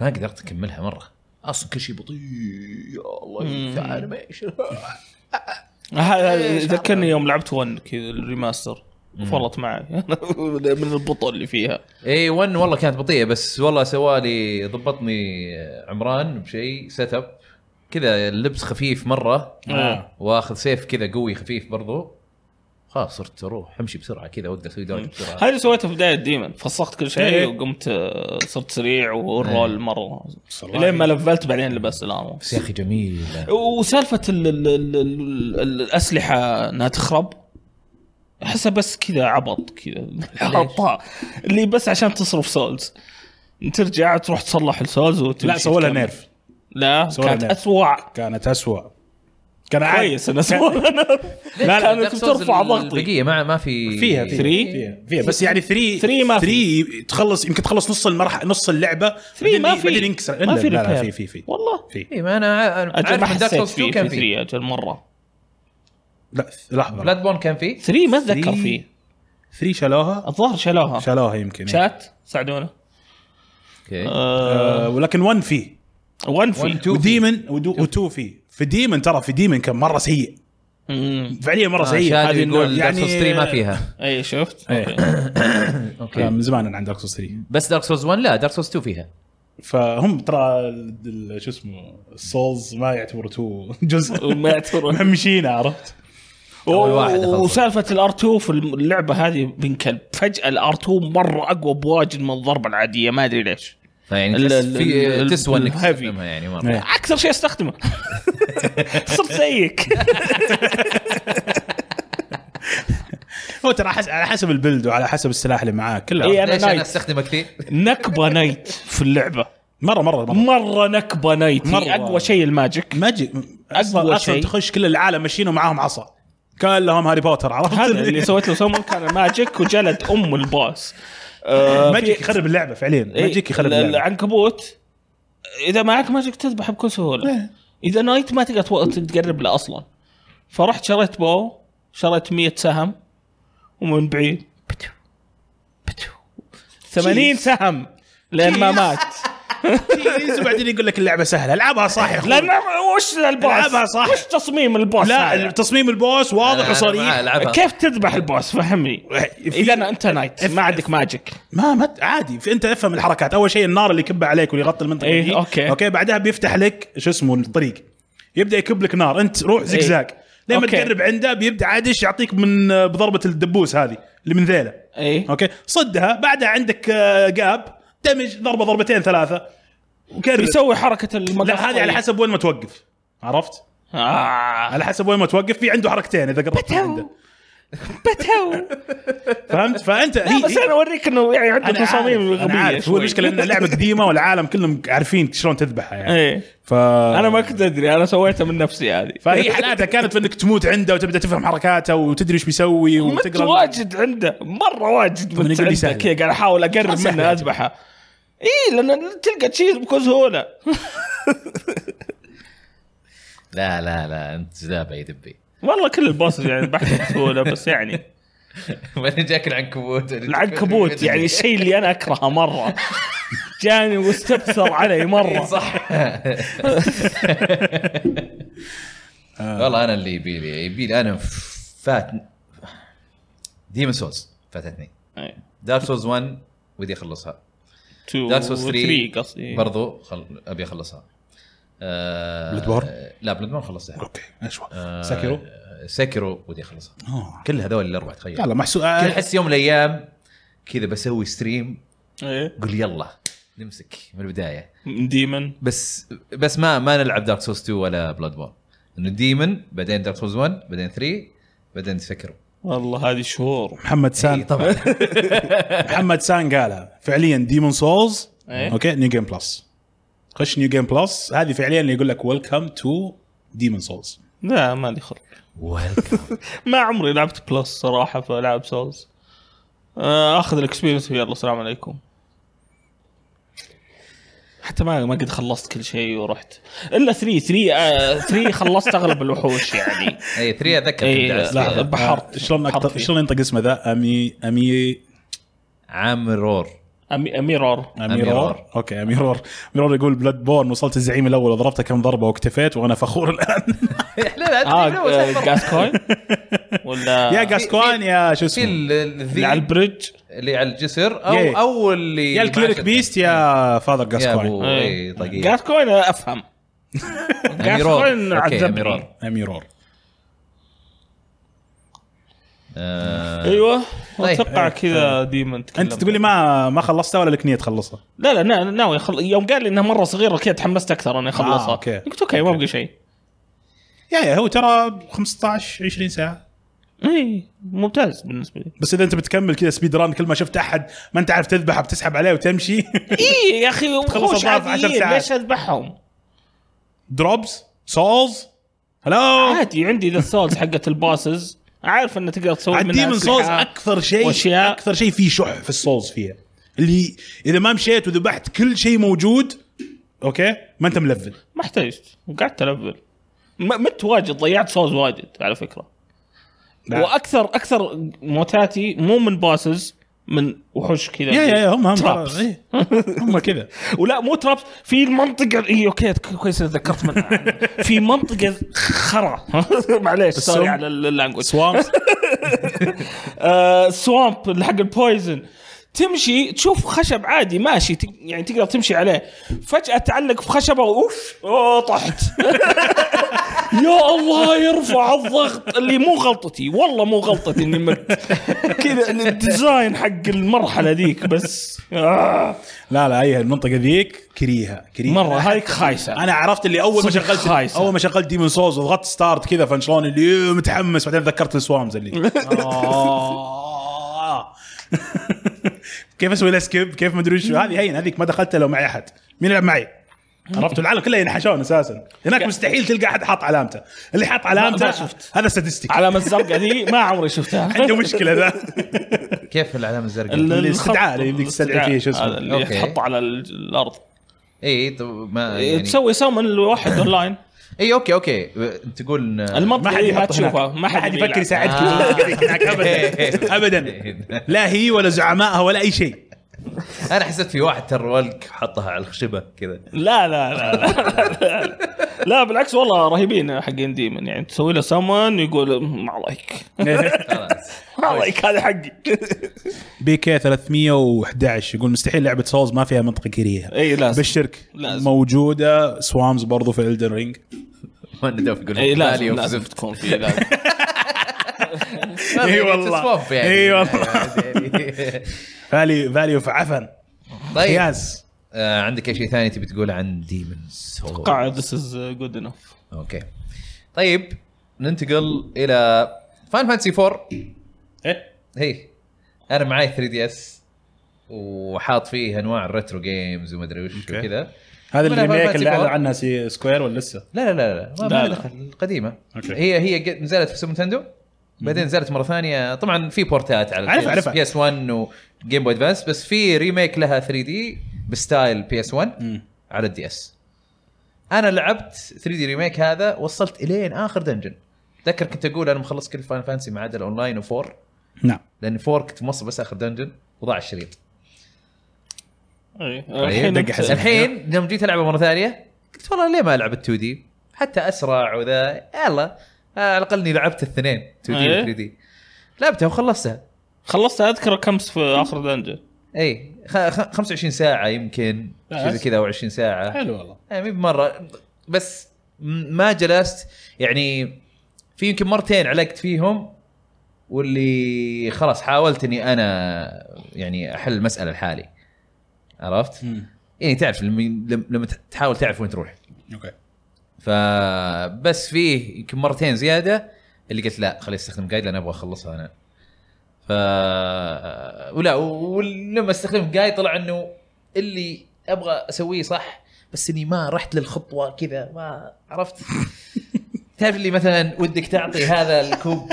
Speaker 3: ما قدرت اكملها مره اصلا كل شيء بطيء يا الله ينفع انيميشن
Speaker 1: إيه، هذا ذكرني يوم لعبت 1 كذا الريماستر فرط معي من البطء اللي فيها
Speaker 3: اي 1 إيه، والله كانت بطيئه بس والله سوالي ضبطني عمران بشيء سيت اب كذا اللبس خفيف مره
Speaker 1: آه.
Speaker 3: واخذ سيف كذا قوي خفيف برضو خلاص صرت اروح امشي بسرعه كذا وقت اسوي دوج
Speaker 1: هذا
Speaker 3: بسرعه
Speaker 1: اللي سويته في بدايه ديمن فسخت كل
Speaker 2: إيه.
Speaker 1: شيء وقمت آه، صرت سريع والرول مره
Speaker 2: صراحة.
Speaker 1: لين ما لفلت بعدين لبست الامو
Speaker 3: بس يا اخي جميل
Speaker 1: وسالفه ال ال ال ال ال الاسلحه انها تخرب احسها بس كذا عبط كذا عبط اللي بس عشان تصرف سولز ترجع تروح تصلح السولز وتمشي
Speaker 2: لا سوى لها
Speaker 1: تكمل.
Speaker 2: نيرف
Speaker 1: لا
Speaker 2: سوى لها
Speaker 1: كانت
Speaker 2: نيرف.
Speaker 1: اسوء
Speaker 2: كانت اسوء كان عادي.
Speaker 1: كويس انا سوى لها نيرف
Speaker 2: لا،
Speaker 1: كانت
Speaker 3: Dark Souls
Speaker 1: بترفع ضغطي
Speaker 3: البقيه ما ما في
Speaker 2: فيها فيها
Speaker 1: Three؟
Speaker 2: إيه. فيها, فيها بس يعني 3
Speaker 1: Three ما في.
Speaker 2: 3 تخلص يمكن تخلص نص المرحله نص اللعبه
Speaker 1: 3 ما
Speaker 2: بعدين-
Speaker 1: في
Speaker 2: بعدين ينكسر
Speaker 1: ما
Speaker 2: إلا-
Speaker 1: في
Speaker 2: لا لا
Speaker 1: repair.
Speaker 2: في في في
Speaker 1: والله
Speaker 2: في
Speaker 3: اي إيه، ما انا أنا
Speaker 1: اجل ما
Speaker 3: عارف ان دارك
Speaker 1: حسيت
Speaker 3: سولز 2
Speaker 1: فيه
Speaker 3: كان
Speaker 1: في
Speaker 3: فيه
Speaker 1: 3 اجل مره
Speaker 2: لا لحظه
Speaker 3: بلاد بون كان فيه
Speaker 1: 3 ما اتذكر
Speaker 2: Three.
Speaker 1: فيه
Speaker 2: 3 شالوها
Speaker 1: الظاهر شالوها
Speaker 2: شالوها يمكن إيه.
Speaker 1: شات ساعدونا
Speaker 3: اوكي
Speaker 2: آه، ولكن 1 فيه
Speaker 1: 1
Speaker 3: One،
Speaker 1: في
Speaker 3: two.
Speaker 2: وديمن و2 فيه في ديمن ترى في ديمن كان مره سيء فعليا مره
Speaker 1: آه،
Speaker 2: سيء
Speaker 3: شادي
Speaker 2: هذه يعني
Speaker 3: يقول
Speaker 2: النوع.
Speaker 3: دارك سولز 3
Speaker 1: يعني
Speaker 3: ما فيها
Speaker 1: اي شفت
Speaker 2: إيه.
Speaker 1: أوكي.
Speaker 2: آه،
Speaker 3: اوكي
Speaker 2: من زمان أنا عن دارك سولز 3
Speaker 3: بس دارك سولز 1 لا دارك سولز 2 فيها
Speaker 2: فهم ترى ال- ال- شو اسمه السولز ما يعتبروا تو جزء
Speaker 1: ما يعتبروا
Speaker 2: مهمشين عرفت
Speaker 3: أول واحد أخلصه.
Speaker 1: وسالفه الار 2 في اللعبه هذه بن كلب فجاه الار 2 مره اقوى بواجد من الضربه العاديه ما ادري ليش
Speaker 3: فيعني
Speaker 1: ال-
Speaker 3: يعني
Speaker 1: ال-
Speaker 3: تحس في
Speaker 1: ال-
Speaker 3: تسوى انك
Speaker 1: الهيفي.
Speaker 3: تستخدمها يعني
Speaker 2: إيه.
Speaker 3: مره
Speaker 1: اكثر شيء استخدمه صرت زيك
Speaker 2: هو ترى حس... على حسب البلد وعلى حسب السلاح اللي معاك كلها
Speaker 1: إيه. أنا
Speaker 3: ليش انا
Speaker 1: نايت.
Speaker 3: استخدمه كثير؟
Speaker 1: نكبه نايت في اللعبه
Speaker 2: مره مره مره
Speaker 1: مره نكبه نايت
Speaker 2: مرة.
Speaker 1: هي اقوى شيء الماجيك
Speaker 2: ماجيك اصلا
Speaker 1: أقوى
Speaker 2: اصلا
Speaker 1: شيء.
Speaker 2: تخش كل العالم ماشيين ومعاهم عصا كلهم هاري بوتر عرفت
Speaker 1: هذا اللي سويت له سومن كان ماجيك وجلد ام الباص آه،
Speaker 2: ماجيك
Speaker 1: في-
Speaker 2: يخرب اللعبه فعليا
Speaker 1: إيه،
Speaker 2: ماجيك يخرب
Speaker 1: ال-
Speaker 2: اللعبه
Speaker 1: العنكبوت اذا معك ماجيك تذبحه بكل سهوله اذا نايت ما تقدر تو- تقرب له اصلا فرحت شريت بو شريت 100 سهم ومن بعيد بتو بتو 80 سهم لين ما مات
Speaker 2: تيز، وبعدين يقول لك اللعبه سهله العبها صح يا
Speaker 1: لان
Speaker 2: اخوي
Speaker 1: وش الباص
Speaker 2: العبها صح.
Speaker 1: وش تصميم الباص
Speaker 2: لا
Speaker 1: هذا؟
Speaker 2: تصميم البوس واضح
Speaker 3: معاه،
Speaker 2: وصريح
Speaker 3: العبها
Speaker 1: كيف تذبح الباس فهمني اذا أنا- انت نايت ما عندك ماجيك
Speaker 2: ما ما عادي في انت افهم الحركات اول شيء النار اللي يكبها عليك واللي يغطي المنطقه
Speaker 1: إيه،
Speaker 2: دي
Speaker 1: أوكي.
Speaker 2: اوكي بعدها بيفتح لك شو اسمه الطريق يبدا يكب لك نار انت روح زقزاق لما
Speaker 1: إيه. أوكي.
Speaker 2: تقرب عنده بيبدا عادش يعطيك من بضربه الدبوس هذه اللي من ذيله
Speaker 1: اي
Speaker 2: اوكي صدها بعدها عندك آه، جاب دمج ضربه ضربتين ثلاثه وكرر
Speaker 1: يسوي حركه المقص
Speaker 2: لا هذه على
Speaker 1: طيب.
Speaker 2: حسب وين ما توقف عرفت؟
Speaker 1: آه.
Speaker 2: على حسب وين ما توقف في عنده حركتين اذا قربت من عنده
Speaker 1: بتو
Speaker 2: فهمت؟ فانت هي-
Speaker 1: لا بس انا اوريك انه يعني عنده
Speaker 2: أنا
Speaker 1: تصاميم
Speaker 2: عارف-
Speaker 1: غبيه
Speaker 2: انا عارف هو
Speaker 1: شوي.
Speaker 2: المشكله ان اللعبه قديمه والعالم كلهم عارفين شلون تذبحها يعني
Speaker 1: ايه
Speaker 2: ف
Speaker 1: انا ما إيه. كنت ادري انا سويتها من نفسي هذه
Speaker 2: فهي حالاتها كانت في انك تموت عنده وتبدا تفهم حركاته وتدري ايش بيسوي
Speaker 1: مت
Speaker 2: وتقرا
Speaker 1: واجد عنده مره واجد
Speaker 2: يقول
Speaker 1: مت
Speaker 2: لي
Speaker 1: عنده
Speaker 2: سهلة.
Speaker 1: كذا قاعد احاول اقرب
Speaker 2: سهلة.
Speaker 1: منه اذبحه اي لان تلقى تشيز بكل سهوله
Speaker 3: لا لا لا انت زلابه يا دبي
Speaker 1: والله كل الباص يعني بحث بسهوله بس يعني
Speaker 3: وين جاك العنكبوت
Speaker 1: العنكبوت يعني الشيء اللي انا اكرهه مره جاني واستبثر علي
Speaker 2: إيه،
Speaker 1: مره
Speaker 3: صح آه. والله انا اللي يبي لي يبي لي انا فات ديمن سولز فاتتني
Speaker 1: إيه.
Speaker 3: دارك سولز 1 ودي اخلصها
Speaker 1: 2
Speaker 3: دارك سولز 3
Speaker 1: قصدي
Speaker 3: برضو خل... ابي اخلصها آه...
Speaker 2: Bloodborne؟
Speaker 3: لا بلاد بورن خلصتها
Speaker 2: اوكي اشوى
Speaker 3: آه،
Speaker 2: ساكيرو
Speaker 3: ساكيرو ودي اخلصها
Speaker 2: آه.
Speaker 3: كل هذول الاربع تخيل
Speaker 2: يلا آه، محسوب
Speaker 3: كل احس يوم من الايام كذا بسوي ستريم
Speaker 1: ايه
Speaker 3: قول يلا نمسك من البدايه
Speaker 1: ديمن
Speaker 3: بس بس ما ما نلعب دارك سولز 2 ولا بلاد بورن انه ديمن بعدين دارك سولز 1 بعدين 3 بعدين إيه، سكروا
Speaker 1: والله هذه شهور
Speaker 2: محمد
Speaker 1: إيه.
Speaker 2: سان
Speaker 3: طبعا
Speaker 2: محمد سان قالها فعليا ديمون سولز
Speaker 1: طيب. إيه.
Speaker 2: اوكي نيو جيم بلس خش نيو جيم بلس هذه فعليا اللي يقول لك ويلكم تو ديمون سولز
Speaker 1: لا ما لي خلق
Speaker 3: ويلكم
Speaker 1: ما عمري لعبت بلس صراحه فلعب سولز آه، اخذ الاكسبيرينس ويلا السلام عليكم حتى ما ما قد خلصت كل شيء ورحت الا 3 3 آه، 3 خلصت اغلب الوحوش يعني
Speaker 3: اي 3 اتذكر
Speaker 1: إيه،
Speaker 3: كنت دعست
Speaker 1: لا.
Speaker 3: فيها.
Speaker 1: بحرت.
Speaker 2: آه، شلون
Speaker 1: بحرت
Speaker 2: أكتر-
Speaker 1: فيه.
Speaker 2: شلون ينطق اسمه ذا امي امي
Speaker 3: عامرور
Speaker 1: أمي اميرور
Speaker 2: اميرور
Speaker 3: أميرور.
Speaker 2: اوكي اميرور اميرور يقول بلاد بورن وصلت الزعيم الاول وضربته كم ضربه واكتفيت وانا فخور الان
Speaker 3: لا لا
Speaker 1: اه
Speaker 3: أدري، لا،
Speaker 1: آه، جاسكوين ولا
Speaker 2: يا جاسكوان يا شو
Speaker 3: في
Speaker 2: اسمه
Speaker 3: ال-
Speaker 1: اللي على
Speaker 3: الذيب
Speaker 1: البريدج
Speaker 3: اللي على الجسر او
Speaker 2: يا-
Speaker 3: او اللي
Speaker 2: يا الكليريك
Speaker 3: معشر.
Speaker 2: بيست يا فاذر
Speaker 3: يا
Speaker 2: جاسكوين
Speaker 3: ابو
Speaker 1: آه.
Speaker 3: إي، طقيق
Speaker 1: جاسكوين افهم
Speaker 3: أميرور.
Speaker 1: جاسكوين
Speaker 3: أوكي،
Speaker 1: عذبني
Speaker 3: أميرور.
Speaker 2: اميرور
Speaker 3: آه،
Speaker 1: ايوه
Speaker 3: طيب.
Speaker 1: اتوقع كذا ديما
Speaker 2: انت آه، تقول لي ما ما خلصتها ولا لك نيه تخلصها
Speaker 1: لا لا نا- ناوي أخل... يوم قال لي انها مره صغيره كذا تحمست اكثر اني اخلصها
Speaker 2: آه، أوكي.
Speaker 1: قلت اوكي ما بقى شيء
Speaker 2: يا يا هو ترى 15 20 ساعه
Speaker 1: اي إيه، ممتاز بالنسبه لي
Speaker 2: بس اذا انت بتكمل كذا سبيد ران كل ما شفت احد ما انت عارف تذبحه بتسحب عليه وتمشي
Speaker 1: اي إيه يا اخي وحوش
Speaker 2: الضعف عشر
Speaker 1: عاديين
Speaker 2: ساعات.
Speaker 1: ليش اذبحهم؟
Speaker 2: دروبز سولز
Speaker 3: آه،
Speaker 2: هلو
Speaker 1: عادي عندي ذا سولز حقت الباسز عارف انه تقدر تسوي منها
Speaker 2: الديمون
Speaker 1: أسلحة.
Speaker 2: سولز اكثر شيء
Speaker 1: وأشياء.
Speaker 2: اكثر شيء فيه شح في السولز فيها اللي اذا ما مشيت وذبحت كل شيء موجود اوكي ما انت ملفل
Speaker 1: ما احتجت وقعدت الفل م- مت واجد ضيعت سولز واجد على فكره
Speaker 2: نعم.
Speaker 1: واكثر اكثر موتاتي مو من باسز من وحوش كذا
Speaker 2: يا يا يا هم هم
Speaker 1: Traps.
Speaker 2: ترى- إيه، هم كذا
Speaker 1: ولا مو ترابس في المنطقه اي اوكي ك- كويس إني تذكرت من في منطقه خرا معليش سوري على اللانجوج
Speaker 2: سوام
Speaker 1: سوامب آه، اللي حق البويزن تمشي تشوف خشب عادي ماشي تق- يعني تقدر تمشي عليه فجاه تعلق في خشبه اوف أوه، طحت يا الله يرفع الضغط اللي مو غلطتي والله مو غلطتي اني مت كذا الديزاين حق المرحله ذيك بس آه
Speaker 2: لا لا هي المنطقه ذيك كريهه كريهه
Speaker 1: مره هذيك خايسه
Speaker 2: انا عرفت اللي اول ما
Speaker 1: صدق
Speaker 2: شغلت
Speaker 1: خايسة.
Speaker 2: اول ما شغلت ديمون سولز وضغطت ستارت كذا فنشلون اللي متحمس بعدين ذكرت السوامز اللي آه. كيف اسوي الاسكيب كيف ما ادري شو هذه هين هذيك ما دخلتها لو معي احد مين يلعب معي عرفت العالم كله ينحشون اساسا هناك مستحيل تلقى احد حاط علامته اللي حاط
Speaker 1: ما
Speaker 2: علامته
Speaker 1: شفت.
Speaker 2: هذا ستاتستيك
Speaker 1: علامة الزرقاء ذي ما عمري شفتها
Speaker 2: عنده مشكله ذا
Speaker 3: كيف العلامه الزرقاء؟
Speaker 1: ال-
Speaker 2: الاستدعاء
Speaker 1: الخط-
Speaker 2: اللي بدك تستدعي
Speaker 1: الاستدعاء
Speaker 2: فيه شو اسمه.
Speaker 1: هذا اللي
Speaker 3: أوكي.
Speaker 1: تحطه على ال- الارض
Speaker 3: اي إيه، طب ما
Speaker 1: يعني
Speaker 3: يعني
Speaker 1: تسوي سامن لواحد اونلاين
Speaker 3: اي اوكي اوكي تقول
Speaker 1: المنطقة
Speaker 2: ما حد
Speaker 1: اللي إيه،
Speaker 2: يحط
Speaker 1: ما
Speaker 2: هناك.
Speaker 1: تشوفها ما
Speaker 2: ما حد
Speaker 1: حد آه.
Speaker 2: يفكر
Speaker 1: يساعد
Speaker 2: يساعدك هناك ابدا ابدا لا هي ولا زعمائها ولا اي شيء
Speaker 3: انا حسيت في واحد ترولك حطها على الخشبه كذا
Speaker 1: لا لا لا لا, لا, لا بالعكس والله رهيبين حقين ديمن يعني تسوي له سامن يقول ما عليك
Speaker 3: خلاص
Speaker 1: ما عليك هذا حقي
Speaker 2: بي كي 311 يقول مستحيل لعبه سولز ما فيها منطقه كريهه
Speaker 1: اي لازم
Speaker 2: بالشرك
Speaker 1: لازم.
Speaker 2: موجوده سوامز برضو في الدن رينج
Speaker 3: ما ندوف يقول
Speaker 2: إيه،
Speaker 1: اي
Speaker 3: بالي
Speaker 1: لازم
Speaker 3: وفي
Speaker 1: لازم
Speaker 3: زفت.
Speaker 1: تكون في لازم
Speaker 2: إي والله.
Speaker 3: تسوف يعني.
Speaker 2: إي والله. فالي فاليو في عفن
Speaker 3: طيب
Speaker 2: ياس
Speaker 3: آه، عندك اي شيء ثاني تبي تقوله عن ديمونز
Speaker 1: اتوقع ذس از جود انف
Speaker 3: اوكي طيب ننتقل الى فان فانسي 4
Speaker 2: إيه؟
Speaker 3: هي انا معي 3 دي اس وحاط فيه انواع الريترو جيمز وما ادري وش
Speaker 2: أوكي.
Speaker 3: وكذا
Speaker 2: هذا
Speaker 3: ولا
Speaker 2: الريميك
Speaker 3: فانتسي
Speaker 2: اللي اعلن
Speaker 3: فور.
Speaker 2: عنها سي سكوير ولا لسه؟
Speaker 3: لا لا لا لا ما-
Speaker 1: لا، لا.
Speaker 3: ما لا دخل القديمه
Speaker 2: أوكي.
Speaker 3: هي هي قد- نزلت في سوبر نتندو بعدين نزلت مره ثانيه طبعا في بورتات على
Speaker 2: أعرف- أعرفها.
Speaker 3: بي اس 1 وجيم بوي ادفانس بس في ريميك لها 3 دي بستايل بي اس 1 على الدي اس انا لعبت 3 دي ريميك هذا وصلت الين اخر دنجن تذكر كنت اقول انا مخلص كل فان فانسي ما عدا الاونلاين و4
Speaker 2: نعم
Speaker 3: لان 4 كنت موصل بس اخر دنجن وضاع الشريط طيب،
Speaker 1: الحين
Speaker 2: دق حزام.
Speaker 1: أنت-
Speaker 3: الحين يوم جيت العبه مره ثانيه قلت والله ليه ما العب 2 دي حتى اسرع وذا يلا آه، على الاقل اني لعبت الاثنين 2 دي و
Speaker 1: إيه.
Speaker 3: 3 دي لعبتها وخلصتها
Speaker 1: خلصت اذكر كم في اخر دنجن
Speaker 3: اي إيه، خ- خ- 25 ساعه يمكن شيء زي كذا او 20 ساعه
Speaker 2: حلو والله
Speaker 3: يعني مي بمره بس م- ما جلست يعني في يمكن مرتين علقت فيهم واللي خلاص حاولت اني انا يعني احل المساله لحالي عرفت؟ يعني تعرف لما لما- لما تحاول تعرف وين تروح
Speaker 2: اوكي
Speaker 3: فبس فيه يمكن مرتين زياده اللي قلت لا خليني استخدم جايد لان ابغى اخلصها انا ف ولا ولما استخدمت جايد طلع انه اللي ابغى اسويه صح بس اني ما رحت للخطوه كذا ما عرفت تعرف اللي مثلا ودك تعطي هذا الكوب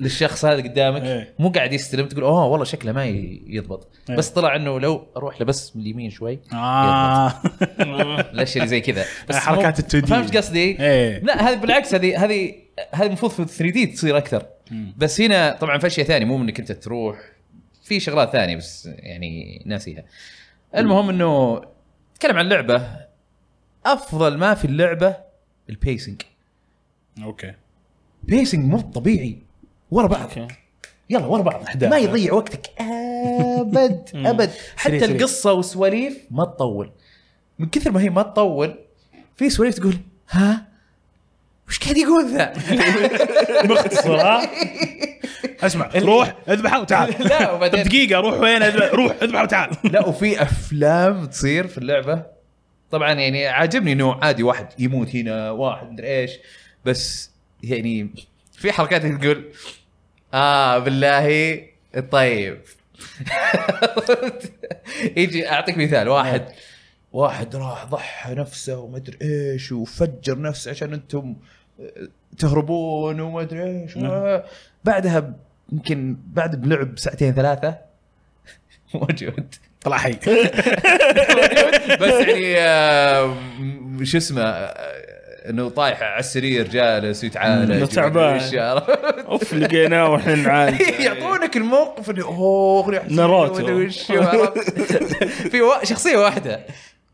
Speaker 3: للشخص هذا قدامك
Speaker 2: إيه.
Speaker 3: مو قاعد يستلم تقول اوه والله شكله ما ي- يضبط
Speaker 2: إيه.
Speaker 3: بس طلع انه لو اروح له بس من اليمين شوي
Speaker 2: اه
Speaker 3: الاشياء اللي زي كذا
Speaker 2: حركات
Speaker 3: مو-
Speaker 2: ال 2D.
Speaker 3: فهمت قصدي؟
Speaker 2: إيه.
Speaker 3: لا هذه بالعكس هذه هذه هذه المفروض في 3 دي تصير اكثر بس هنا طبعا في اشياء ثانيه مو انك انت تروح في شغلات ثانيه بس يعني ناسيها المهم انه تكلم عن اللعبه افضل ما في اللعبه البيسنج
Speaker 2: اوكي
Speaker 3: بيسنج مو طبيعي ورا بعض
Speaker 1: اوكي
Speaker 3: يلا ورا بعض ما يضيع وقتك ابد ابد
Speaker 2: سريع،
Speaker 3: حتى
Speaker 2: سريع.
Speaker 3: القصه والسواليف ما تطول من كثر ما هي ما تطول في سواليف تقول ها وش قاعد يقول ذا؟
Speaker 2: مختصر ها اسمع روح اذبحه وتعال
Speaker 3: لا
Speaker 2: طب
Speaker 3: وبعدين
Speaker 2: دقيقه روح وين اذبح روح اذبحه وتعال
Speaker 3: لا وفي افلام تصير في اللعبه طبعا يعني عاجبني انه عادي واحد يموت هنا واحد مدري ايش بس يعني في حركات تقول اه بالله طيب يجي اعطيك مثال واحد واحد راح ضحى نفسه ومدري ايش وفجر نفسه عشان انتم تهربون ومدري ايش و- آه، بعدها ب- يمكن بعد بلعب ساعتين ثلاثه موجود
Speaker 2: طلع حي
Speaker 3: بس يعني آه، م- شو اسمه آه، انه طايح على السرير جالس يتعالج
Speaker 1: إنه تعبان.
Speaker 3: وش-
Speaker 1: اوف لقيناه واحنا نعالج
Speaker 3: يعطونك الموقف انه اوه خلي أحسن
Speaker 1: ناروتو.
Speaker 3: مدري وش، عرفت؟ في وا- شخصيه واحده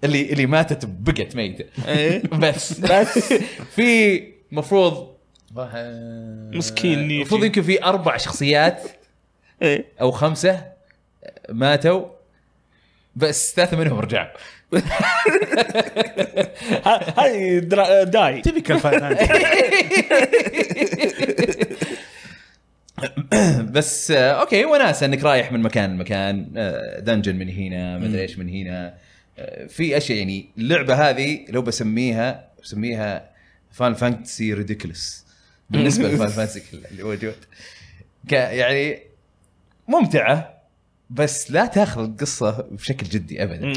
Speaker 3: اللي اللي ماتت بقت ميته
Speaker 1: إيه.
Speaker 3: بس
Speaker 1: بس.
Speaker 3: في مفروض
Speaker 1: مسكين نيجي.
Speaker 3: آه، المفروض يمكن في اربع شخصيات
Speaker 1: إيه.
Speaker 3: او خمسه ماتوا بس ثلاثه منهم رجعوا
Speaker 1: ه- هاي درا- داي
Speaker 2: تبيكال فاينانس
Speaker 3: بس آه، اوكي وناسه انك رايح من مكان لمكان آه، دنجن من هنا مدري ايش من هنا آه، في اشياء يعني اللعبه هذه لو بسميها بسميها فان فانتسي ريديكلس بالنسبه لفان فانتسي كلها اللي موجود ك- يعني ممتعه بس لا تاخذ القصه بشكل جدي ابدا
Speaker 1: مم.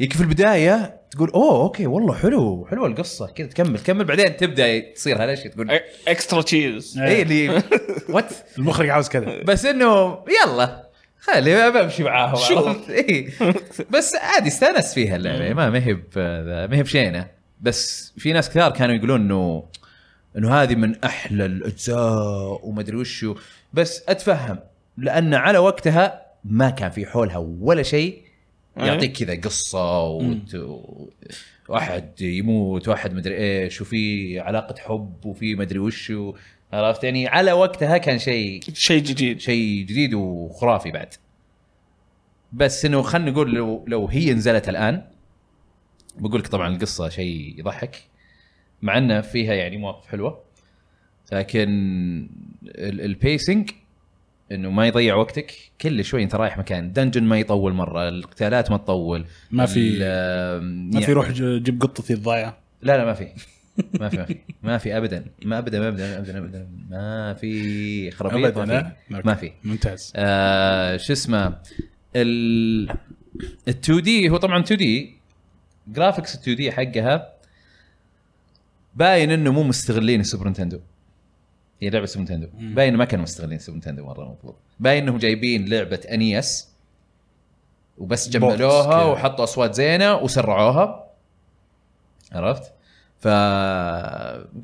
Speaker 3: يمكن في البدايه تقول اوه اوكي والله حلو حلوه القصه كذا تكمل تكمل بعدين تبدا تصير هالاشياء تقول اي
Speaker 1: إك- اكسترا تشيز
Speaker 2: إيه.
Speaker 3: اللي وات
Speaker 2: المخرج عاوز كذا
Speaker 3: بس انه يلا خلي بمشي معاهم
Speaker 1: شوف.
Speaker 3: عرفت؟ إيه. بس عادي استانست فيها اللعبه ما ما هي ب- ما هي بشينه بس في ناس كثار كانوا يقولون انه انه هذه من احلى الاجزاء وما ادري وشو بس اتفهم لان على وقتها ما كان في حولها ولا شيء يعطيك كذا قصه وت... و- واحد يموت واحد مدري ايش وفي علاقه حب وفي مدري وشو عرفت يعني على وقتها كان شيء
Speaker 1: شيء جديد
Speaker 3: شيء جديد وخرافي بعد بس انه خلينا نقول لو لو هي نزلت الان بقول لك طبعا القصه شيء يضحك مع انه فيها يعني مواقف حلوه لكن ال- البيسنج انه ما يضيع وقتك كل شوي انت رايح مكان دنجن ما يطول مره القتالات ما تطول
Speaker 2: ما في-
Speaker 3: ما
Speaker 2: ما في روح ج- جيب قطتي الضايعه
Speaker 3: لا لا ما في ما في ما في ما في ابدا ما ابدا ما ابدا ما ابدا, ما أبداً. ما في خرابيط ما في ما في
Speaker 2: ممتاز
Speaker 3: آه، شو اسمه ال 2 دي هو طبعا 2 دي جرافيكس 2 دي حقها باين انه مو مستغلين السوبر نتندو هي لعبه سوبر نتندو باين إنه ما كانوا مستغلين السوبر نتندو مره المفروض باين انهم جايبين لعبه انيس وبس جملوها
Speaker 2: كده.
Speaker 3: وحطوا اصوات زينه وسرعوها عرفت؟ ف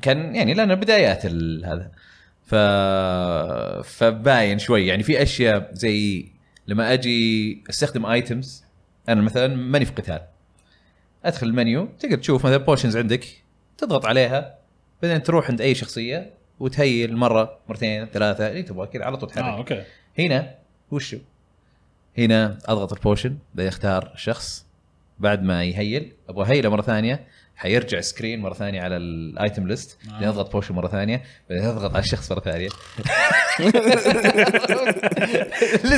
Speaker 3: كان يعني لان بدايات ال- هذا ف فباين شوي يعني في اشياء زي لما اجي استخدم ايتمز انا مثلا ماني في قتال ادخل المنيو تقدر تشوف مثلا بوشنز عندك تضغط عليها بعدين تروح عند
Speaker 2: آه،
Speaker 3: اي شخصيه وتهيل مره مرتين ثلاثه اللي تبغى كذا على طول تحرك
Speaker 2: اه اوكي
Speaker 3: هنا
Speaker 2: وشو؟
Speaker 3: هنا اضغط البوشن بعدين اختار شخص بعد ما يهيل ابغى هيله مره ثانيه حيرجع سكرين مره ثانيه على الايتم ليست بعدين اضغط بوشن مره ثانيه بعدين اضغط على الشخص مره ثانيه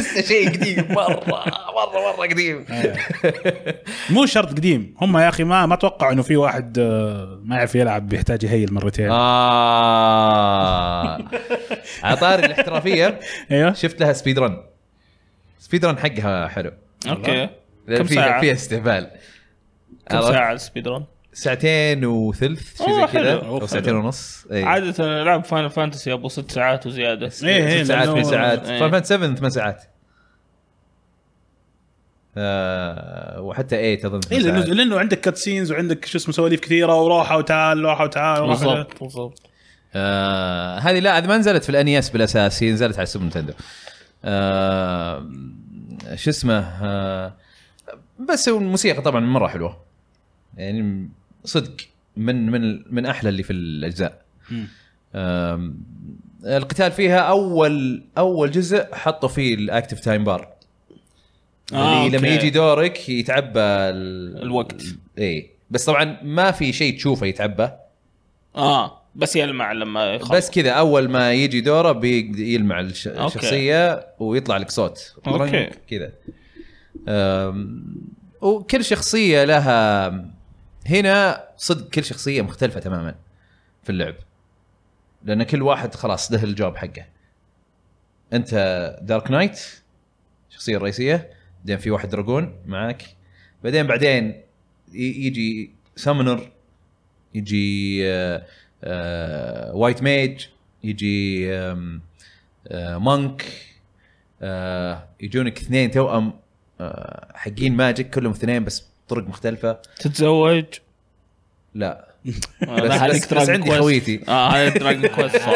Speaker 3: لسه شيء قديم مره مره مره قديم
Speaker 2: آه، مو شرط قديم هم يا اخي ما ما اتوقع انه في واحد آه، ما يعرف يلعب بيحتاج يهيل مرتين
Speaker 3: اه على طاري الاحترافيه
Speaker 2: ايوه
Speaker 3: شفت لها سبيد رن سبيد رن حقها حلو
Speaker 1: اوكي
Speaker 3: لأن
Speaker 1: كم
Speaker 3: فيها
Speaker 1: ساعة؟
Speaker 3: فيها استهبال
Speaker 1: كم
Speaker 3: عرفت؟
Speaker 1: ساعة السبيد رون؟
Speaker 3: ساعتين وثلث شيء
Speaker 1: أوه،
Speaker 3: زي كذا
Speaker 1: حلو.
Speaker 2: أوه،
Speaker 3: او
Speaker 2: حلو.
Speaker 3: ساعتين ونص اي
Speaker 1: عادة العاب فاينل فانتسي ابو ست ساعات وزيادة
Speaker 2: إيه، إيه،
Speaker 3: ست ساعات
Speaker 2: لأنه-
Speaker 3: ثمان ساعات
Speaker 1: إيه.
Speaker 3: فاين فانت 7 ثمان ساعات آه وحتى 8 اظن
Speaker 2: إيه
Speaker 3: ثمان
Speaker 2: لانه
Speaker 3: ساعات.
Speaker 2: لانه عندك كات سينز وعندك شو اسمه سواليف كثيره وروحه وتعال روحه وتعال روحه وتعال.
Speaker 1: بالضبط بالضبط
Speaker 3: آه هذه لا هذه ما نزلت في الانيس بالاساس هي نزلت على السوبر نتندو آه شو اسمه آه بس الموسيقى طبعا مره حلوه يعني صدق من من من احلى اللي في الاجزاء
Speaker 2: مم.
Speaker 3: آم، القتال فيها اول اول جزء حطوا فيه الاكتف تايم بار
Speaker 1: آه،
Speaker 3: اللي لما
Speaker 1: أوكي.
Speaker 3: يجي دورك يتعبى ال...
Speaker 1: الوقت.
Speaker 3: اي بس طبعا ما في شيء تشوفه يتعبى
Speaker 1: اه بس يلمع لما يخلص
Speaker 3: بس كذا اول ما يجي دوره بيقد- يلمع الش...
Speaker 1: أوكي.
Speaker 3: الشخصيه ويطلع لك صوت
Speaker 1: أوكي.
Speaker 3: كذا آم، وكل شخصيه لها هنا صدق كل شخصيه مختلفه تماما في اللعب لان كل واحد خلاص له الجوب حقه انت دارك نايت الشخصيه الرئيسيه بعدين في واحد دراجون معاك بعدين بعدين ي- يجي سامنر يجي آه، آه، وايت ميج يجي آم، آه، مونك آه، يجونك اثنين توأم آه، حقين ماجيك كلهم اثنين بس بطرق مختلفة
Speaker 1: تتزوج آه،
Speaker 3: لا
Speaker 1: لا،
Speaker 3: بس-
Speaker 1: هذيك
Speaker 3: بس-
Speaker 1: دراجون
Speaker 3: بس عندي
Speaker 1: كويست.
Speaker 3: خويتي.
Speaker 1: اه هذه دراجون كويست صح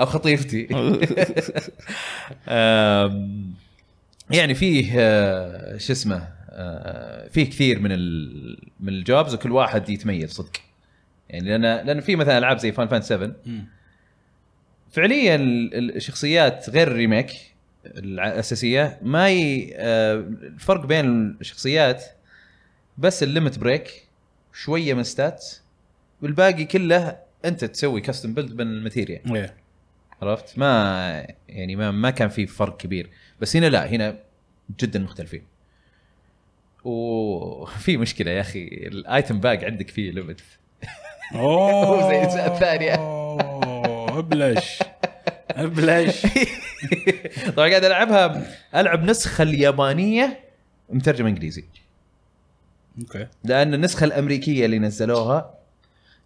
Speaker 3: أو خطيفتي آم، يعني فيه آه، شو اسمه آه، فيه كثير من ال من الجوبز وكل واحد يتميز صدق يعني لان لان في مثلا العاب زي فان فان 7
Speaker 2: مم.
Speaker 3: فعليا ال- ال- الشخصيات غير الريميك الاساسيه ما ي... آه، الفرق بين الشخصيات بس الليمت بريك شويه من ستات والباقي كله انت تسوي كاستم بيلد من الماتيريال
Speaker 2: إيه.
Speaker 3: عرفت ما يعني ما ما كان في فرق كبير بس هنا لا هنا جدا مختلفين وفي مشكله يا اخي الايتم باق عندك فيه ليمت
Speaker 2: اوه
Speaker 3: زي الأجزاء الثانية.
Speaker 2: اوه ابلش ابلش
Speaker 3: طبعا قاعد العبها العب نسخه اليابانيه مترجمه انجليزي
Speaker 2: اوكي
Speaker 3: لان النسخه الامريكيه اللي نزلوها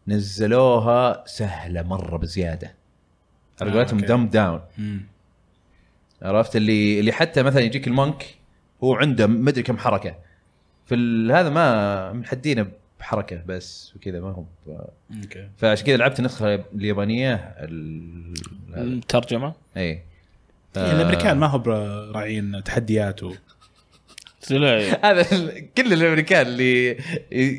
Speaker 3: نزلوها سهله مره بزياده على
Speaker 2: آه،
Speaker 3: قولتهم
Speaker 2: أوكي.
Speaker 3: دم داون
Speaker 2: مم.
Speaker 3: عرفت اللي اللي حتى مثلا يجيك المونك هو عنده مدري كم حركه في ال- هذا ما محدينه بحركه بس وكذا ما هو ب-
Speaker 2: اوكي
Speaker 3: فعشان كذا لعبت النسخه اليابانيه ال... إيه. آه. هذا.
Speaker 1: ترجمة
Speaker 3: اي
Speaker 2: يعني الامريكان ما هم راعيين تحديات و...
Speaker 1: لا
Speaker 3: هذا ال- كل الامريكان اللي ي-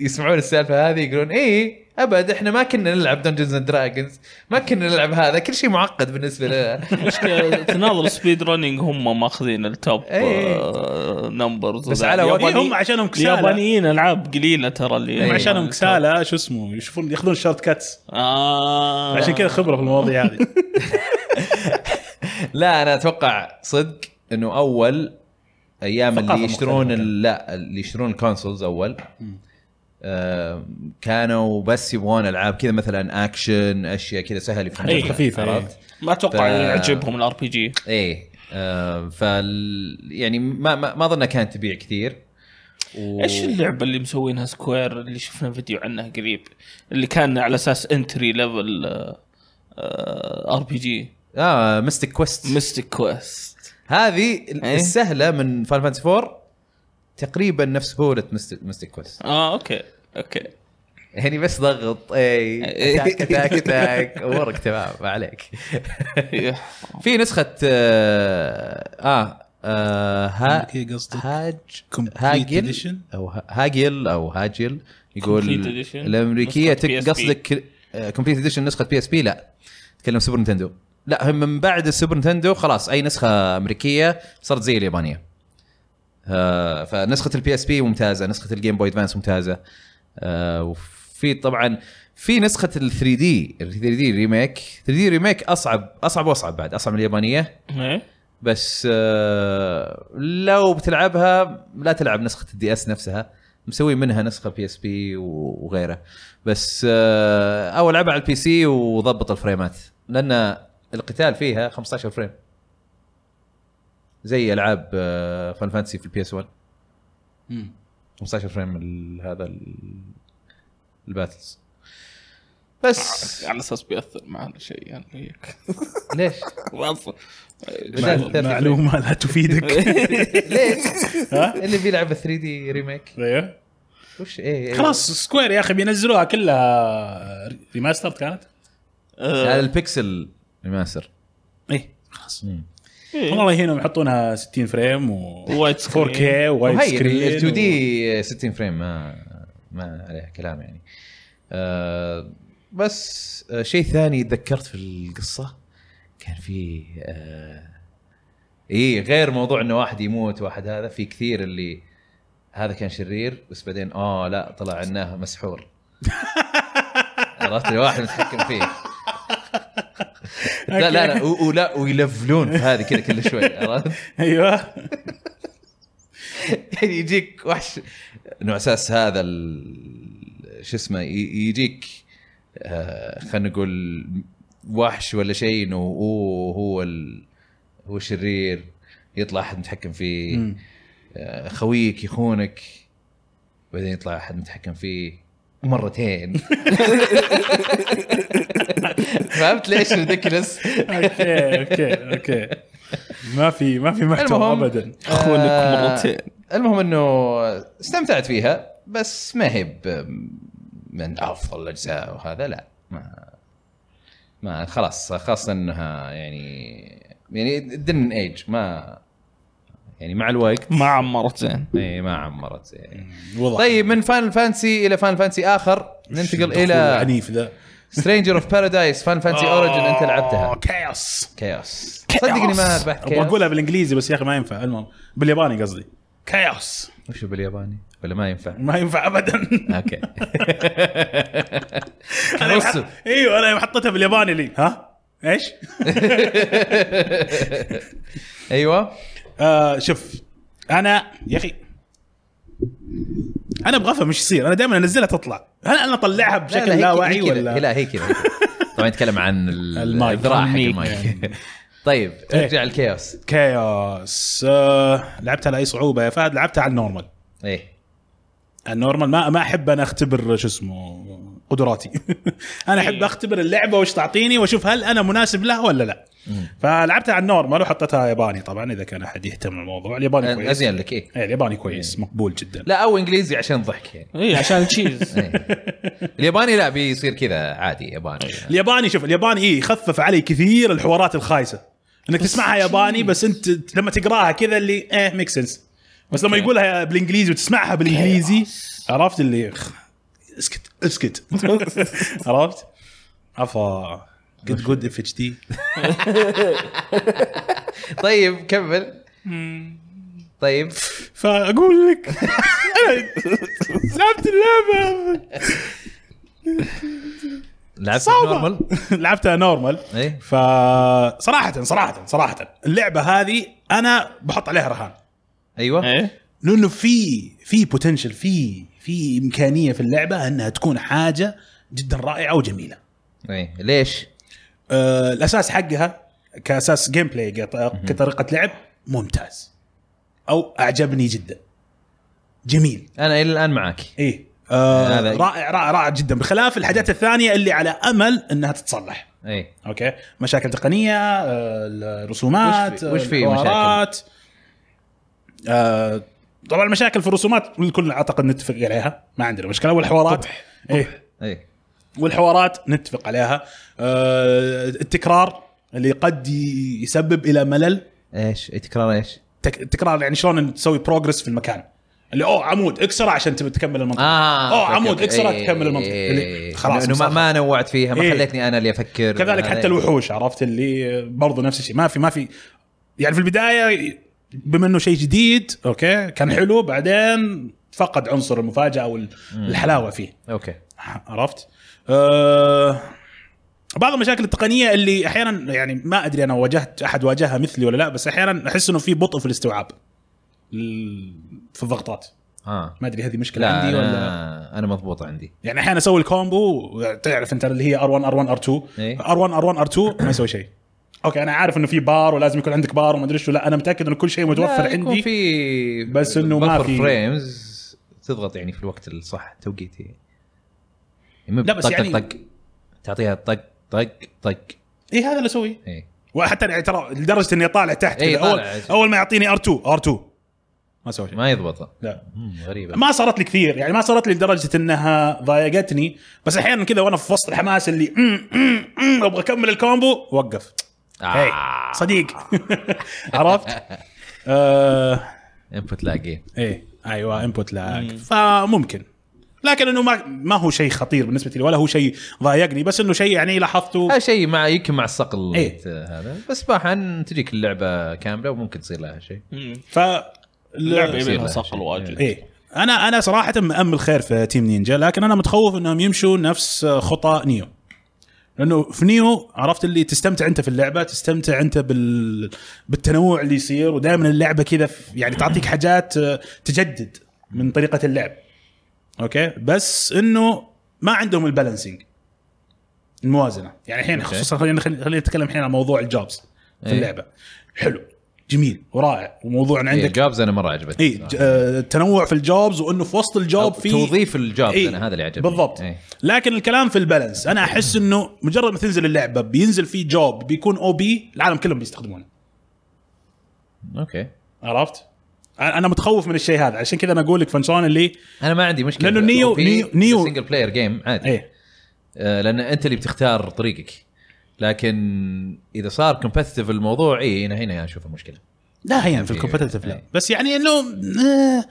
Speaker 3: يسمعون السالفه هذه يقولون اي ابد احنا ما كنا نلعب دنجنز اند دراجونز ما كنا نلعب هذا كل شيء معقد بالنسبه لنا
Speaker 1: مشكلة تناظر سبيد رننج هم ماخذين التوب
Speaker 3: إيه.
Speaker 1: آه، نمبرز
Speaker 3: بس
Speaker 1: وذا.
Speaker 3: على وقت-
Speaker 1: الياباني-
Speaker 2: هم عشانهم كسالى
Speaker 1: اليابانيين العاب قليلة ترى اللي
Speaker 3: إيه.
Speaker 2: هم
Speaker 3: أيوة.
Speaker 1: هم
Speaker 2: عشانهم
Speaker 1: التوب.
Speaker 2: كسالى شو اسمه يشوفون ياخذون شورت كاتس
Speaker 3: آه.
Speaker 1: اه
Speaker 2: عشان كذا خبره في المواضيع هذه
Speaker 3: لا انا اتوقع صدق انه اول ايام
Speaker 2: ثقافة
Speaker 3: اللي يشترون
Speaker 2: مختلفة.
Speaker 3: ال- لا اللي يشترون الكونسولز اول
Speaker 2: مم.
Speaker 3: آه، كانوا بس يبغون العاب كذا مثلا اكشن اشياء كذا سهل
Speaker 1: إيه.
Speaker 3: يفهمونها
Speaker 2: خفيفه إيه.
Speaker 3: عرفت؟
Speaker 1: ما اتوقع
Speaker 3: ف-
Speaker 1: يعجبهم الار بي جي
Speaker 3: ايه آه، فال يعني ما ما ما اظنها كانت تبيع كثير و...
Speaker 1: ايش اللعبه اللي مسوينها سكوير اللي شفنا فيديو عنها قريب اللي كان على اساس انتري ليفل ار بي جي
Speaker 3: اه ميستيك كويست
Speaker 1: ميستيك كويست
Speaker 3: هذه ال-
Speaker 1: إيه.
Speaker 3: السهله من فان فانتسي 4 تقريبا نفس سهوله ميستيك كويست
Speaker 1: اه اوكي اوكي
Speaker 3: يعني بس ضغط اي
Speaker 1: إيه.
Speaker 3: تاك تاك تاك امورك تمام ما عليك
Speaker 1: إيه.
Speaker 3: في نسخه اه, آه ها
Speaker 1: إيه.
Speaker 2: أمريكية قصدك؟
Speaker 3: هاج
Speaker 2: Complete
Speaker 3: هاجل
Speaker 2: Edition؟
Speaker 3: او ه- هاجل او هاجل يقول
Speaker 1: Complete Edition؟
Speaker 3: الامريكيه
Speaker 1: نسخة
Speaker 3: تك- آه،
Speaker 1: PSP.
Speaker 3: قصدك كومبليت اديشن نسخه بي اس بي لا تكلم سوبر نتندو لا هم من بعد السوبر نتندو خلاص اي نسخه امريكيه صارت زي اليابانيه آه، فنسخه البي اس بي ممتازه نسخه الجيم بوي ادفانس ممتازه آه، وفي طبعا في نسخه ال 3 دي ال 3 دي ريميك 3 دي ريميك اصعب اصعب واصعب بعد اصعب من اليابانيه
Speaker 1: إيه؟
Speaker 3: بس آه، لو بتلعبها لا تلعب نسخه الدي اس نفسها مسوي منها نسخه بي اس بي وغيره بس آه، او العبها على البي سي وضبط الفريمات لان القتال فيها 15 فريم زي العاب فان فانتسي في البي اس 1 15 فريم ال- هذا ال- الباتلز بس
Speaker 1: على اساس بياثر معنا شيء يعني وياك
Speaker 3: ليش؟
Speaker 1: خلاص.
Speaker 3: بدأت
Speaker 2: معلومة- معلومه لا تفيدك
Speaker 3: ليش؟
Speaker 2: ها؟
Speaker 3: اللي بيلعب 3 دي ريميك
Speaker 2: ايوه
Speaker 3: وش ايه إيه.
Speaker 2: خلاص سكوير يا اخي بينزلوها كلها ريماسترد كانت
Speaker 3: على
Speaker 1: آه،
Speaker 3: البكسل يعني ريماستر
Speaker 2: ايه خلاص
Speaker 1: إيه.
Speaker 2: والله هنا يحطونها 60 فريم و
Speaker 1: وايد
Speaker 2: 4K
Speaker 1: سكرين.
Speaker 2: وايد
Speaker 3: وهي
Speaker 2: سكرين
Speaker 3: ال 2 دي 60 فريم ما ما عليها كلام يعني آه بس آه شيء ثاني تذكرت في القصه كان في آه اي غير موضوع انه واحد يموت واحد هذا في كثير اللي هذا كان شرير بس بعدين اه لا طلع انه مسحور عرفت الواحد متحكم فيه لا لا لا و- ولا ويلفلون في هذه كذا كل شوي عرفت
Speaker 2: ايوه
Speaker 3: يعني يجيك وحش انه اساس هذا ال- شو اسمه ي- يجيك آه خلينا نقول وحش ولا شيء انه هو هو ال- هو شرير يطلع احد متحكم فيه
Speaker 2: مم.
Speaker 3: آه خويك يخونك بعدين يطلع احد متحكم فيه مرتين فهمت ليش ريديكلس
Speaker 2: اوكي اوكي اوكي ما في ما في محتوى
Speaker 3: المهم.
Speaker 2: ابدا
Speaker 1: اخوانك
Speaker 3: آه،
Speaker 1: مرتين
Speaker 3: المهم انه استمتعت فيها بس ما هي ب- من افضل الاجزاء وهذا لا ما ما خلاص خاصه انها يعني يعني دن ايج ما يعني مع الوقت
Speaker 1: ما عمرت زين
Speaker 3: إي، ما عمرت يعني.
Speaker 2: وضع
Speaker 3: طيب من فان فانسي الى فان فانسي اخر ننتقل الى
Speaker 2: عنيف ذا
Speaker 3: سترينجر اوف بارادايس فان فانسي اوريجن انت
Speaker 2: آه.
Speaker 3: لعبتها
Speaker 2: كايوس
Speaker 3: كيوس
Speaker 1: Chaos.
Speaker 3: صدقني ما ربحت
Speaker 2: ابغى اقولها
Speaker 3: كيوس
Speaker 2: بالانجليزي بس يا اخي ما ينفع المهم بالياباني قصدي كايوس
Speaker 3: وشو بالياباني ولا ما ينفع
Speaker 2: ما ينفع ابدا
Speaker 3: اوكي
Speaker 2: أنا
Speaker 3: نص.
Speaker 2: يوم حط- ايوه انا يوم حطيتها بالياباني لي ها ايش؟
Speaker 3: ايوه
Speaker 2: آه شوف انا يا اخي انا ابغى افهم ايش يصير انا دائما انزلها تطلع هل انا اطلعها بشكل لا,
Speaker 3: هي كذا-
Speaker 2: واعي
Speaker 3: هي كذا-
Speaker 2: ولا
Speaker 3: هي لا هي كذا طبعا نتكلم عن ال-
Speaker 2: المايك. إيه.
Speaker 3: الذراع حق
Speaker 1: الميك.
Speaker 3: المايك طيب ارجع الكيوس
Speaker 2: كايوس آه لعبتها على اي صعوبه يا فهد لعبتها على النورمال
Speaker 3: ايه
Speaker 2: النورمال يعني ما ما احب انا اختبر شو اسمه قدراتي انا احب اختبر اللعبه وش تعطيني واشوف هل انا مناسب لها ولا لا فلعبتها على النورمال وحطيتها ياباني طبعا اذا كان احد يهتم بالموضوع الياباني كويس
Speaker 3: ازين لك ايه
Speaker 2: ايه الياباني كويس مقبول جدا
Speaker 3: لا او انجليزي عشان ضحك يعني
Speaker 1: اي عشان التشيز
Speaker 3: إيه. الياباني لا بيصير كذا عادي ياباني
Speaker 2: الياباني شوف الياباني ايه يخفف علي كثير الحوارات الخايسه انك تسمعها ياباني بس انت لما تقراها كذا اللي ايه ميك سنس بس لما يقولها بالانجليزي وتسمعها بالانجليزي عرفت اللي خ- اسكت اسكت عرفت؟ افا جود جود اف اتش دي
Speaker 3: طيب كمل طيب
Speaker 2: فاقول لك أنا لعبت اللعبه
Speaker 3: لعبت
Speaker 2: صعبه
Speaker 3: نورمال
Speaker 2: لعبتها نورمال
Speaker 3: ايه
Speaker 2: فصراحة صراحة صراحة اللعبة هذه أنا بحط عليها رهان إيه.
Speaker 3: ايوه
Speaker 1: ايه
Speaker 2: لأنه في في بوتنشل في في إمكانية في اللعبة أنها تكون حاجة جدا رائعة وجميلة
Speaker 3: ايه ليش؟
Speaker 2: أه الأساس حقها كأساس جيم بلاي كط- كطريقة لعب ممتاز أو أعجبني جدا جميل
Speaker 3: انا الى الان معك
Speaker 2: إيه آه
Speaker 3: هذا-
Speaker 2: رائع رائع رائع جدا بخلاف الحاجات الثانية اللي على أمل أنها تتصلح
Speaker 3: ايه
Speaker 2: اوكي مشاكل تقنيه آه، الرسومات
Speaker 3: وش في- وش في
Speaker 2: الحوارات. آه، طبعا المشاكل في الرسومات الكل اعتقد نتفق عليها ما عندنا مشكله والحوارات ايه
Speaker 3: ايه
Speaker 2: والحوارات نتفق عليها آه، التكرار اللي قد ي- يسبب الى ملل
Speaker 3: ايش؟ إيه، تكرار ايش؟
Speaker 2: تك- تكرار يعني شلون تسوي بروجرس في المكان اللي اوه عمود اكسره عشان تبي تكمل المنطقه
Speaker 3: اه
Speaker 2: اوه
Speaker 3: أوكي،
Speaker 2: آه، عمود
Speaker 3: أوكي.
Speaker 2: اكسره
Speaker 3: إيه،
Speaker 2: تكمل المنطقه
Speaker 3: إيه،
Speaker 2: اللي
Speaker 3: إيه.
Speaker 2: خلاص
Speaker 3: انه ما,
Speaker 2: مسافة.
Speaker 3: ما نوعت فيها ما
Speaker 2: إيه.
Speaker 3: خليتني انا اللي افكر
Speaker 2: كذلك
Speaker 3: آه،
Speaker 2: حتى
Speaker 3: إيه.
Speaker 2: الوحوش عرفت اللي برضو نفس الشيء ما في ما في يعني في البدايه بما انه شيء جديد اوكي كان حلو بعدين فقد عنصر المفاجاه والحلاوه فيه
Speaker 3: اوكي
Speaker 2: عرفت؟ أه بعض المشاكل التقنيه اللي احيانا يعني ما ادري انا واجهت احد واجهها مثلي ولا لا بس احيانا احس انه في بطء في الاستوعاب ال- في الضغطات
Speaker 3: اه
Speaker 2: ما ادري هذه مشكله
Speaker 3: لا
Speaker 2: عندي
Speaker 3: انا
Speaker 2: ولا
Speaker 3: انا مضبوط عندي
Speaker 2: يعني احيانا اسوي الكومبو تعرف انت اللي هي ار1 ار1 ار2
Speaker 3: إيه.
Speaker 2: ار1 ار1 ار2 ما يسوي شيء اوكي انا عارف انه في بار ولازم يكون عندك بار وما ادري شو لا انا متاكد انه كل شيء متوفر
Speaker 3: لا، يكون
Speaker 2: عندي
Speaker 3: في
Speaker 2: بس إنه ما
Speaker 3: buffer
Speaker 2: في-
Speaker 3: فريمز تضغط يعني في الوقت الصح توقيتي يعني مو
Speaker 2: لا، بس
Speaker 3: طق-
Speaker 2: يعني-
Speaker 3: طق تعطيها طق طق طق
Speaker 2: اي هذا اللي اسويه
Speaker 3: ايه
Speaker 2: وحتى يعني ترى لدرجه اني طالع تحت
Speaker 3: إيه،
Speaker 2: كذا اول
Speaker 3: طالع.
Speaker 2: اول ما يعطيني ار2 ار2 ما سوى شيء
Speaker 3: ما يضبط
Speaker 2: لا
Speaker 3: مم، غريبه
Speaker 2: ما صارت لي كثير يعني ما صارت لي لدرجه انها ضايقتني بس احيانا كذا وانا في وسط الحماس اللي أم أم أم ابغى اكمل الكومبو وقف
Speaker 3: آه،
Speaker 2: هي صديق عرفت؟ آه
Speaker 3: انبوت لاقي
Speaker 2: ايه ايوه انبوت لاج فممكن لكن انه ما ما هو شيء خطير بالنسبه لي ولا هو شيء ضايقني بس انه شيء يعني لاحظته
Speaker 3: هذا آه، شيء مع يمكن مع الصقل
Speaker 2: إيه.
Speaker 3: ت- هذا بس باحا تجيك اللعبه كامله وممكن تصير لها شيء
Speaker 2: ف
Speaker 1: اللعبه
Speaker 3: يصير
Speaker 1: يبيلها
Speaker 3: لها
Speaker 1: صقل
Speaker 3: شيء.
Speaker 1: واجد
Speaker 2: ايه انا انا صراحه مامل خير في تيم نينجا لكن انا متخوف انهم يمشوا نفس خطى نيو لانه في نيو عرفت اللي تستمتع انت في اللعبه تستمتع انت بال... بالتنوع اللي يصير ودائما اللعبه كذا في- يعني تعطيك حاجات آه، تجدد من طريقه اللعب اوكي بس انه ما عندهم البالانسنج الموازنه يعني الحين
Speaker 3: أوكي.
Speaker 2: خصوصا خلينا خلينا خلينا نتكلم الحين عن موضوع الجوبز في
Speaker 3: إيه.
Speaker 2: اللعبه حلو جميل ورائع وموضوع إن
Speaker 3: عندك
Speaker 2: عندك
Speaker 3: جابز انا مره عجبتني
Speaker 2: اي ج- آه، تنوع في الجوبز وانه في وسط الجوب في
Speaker 3: توظيف الجوبز
Speaker 2: إيه،
Speaker 3: انا هذا اللي عجبني
Speaker 2: بالضبط
Speaker 3: إيه.
Speaker 2: لكن الكلام في البالانس انا احس انه مجرد ما تنزل اللعبه بينزل في جوب بيكون او بي العالم كلهم بيستخدمونه
Speaker 3: اوكي
Speaker 2: عرفت؟ انا أنا متخوف من الشيء هذا عشان كذا انا اقول لك فنشان اللي
Speaker 3: انا ما عندي مشكله
Speaker 2: لأنه نيو- نيو- نيو-
Speaker 3: سنجل بلاير جيم عادي
Speaker 2: ايه
Speaker 3: آه، لان انت اللي بتختار طريقك لكن اذا صار كومبتتف الموضوع اي هنا هنا اشوف المشكله
Speaker 2: لا هي في
Speaker 3: إيه.
Speaker 2: الكومبتتف لا
Speaker 3: إيه.
Speaker 2: بس يعني انه آه،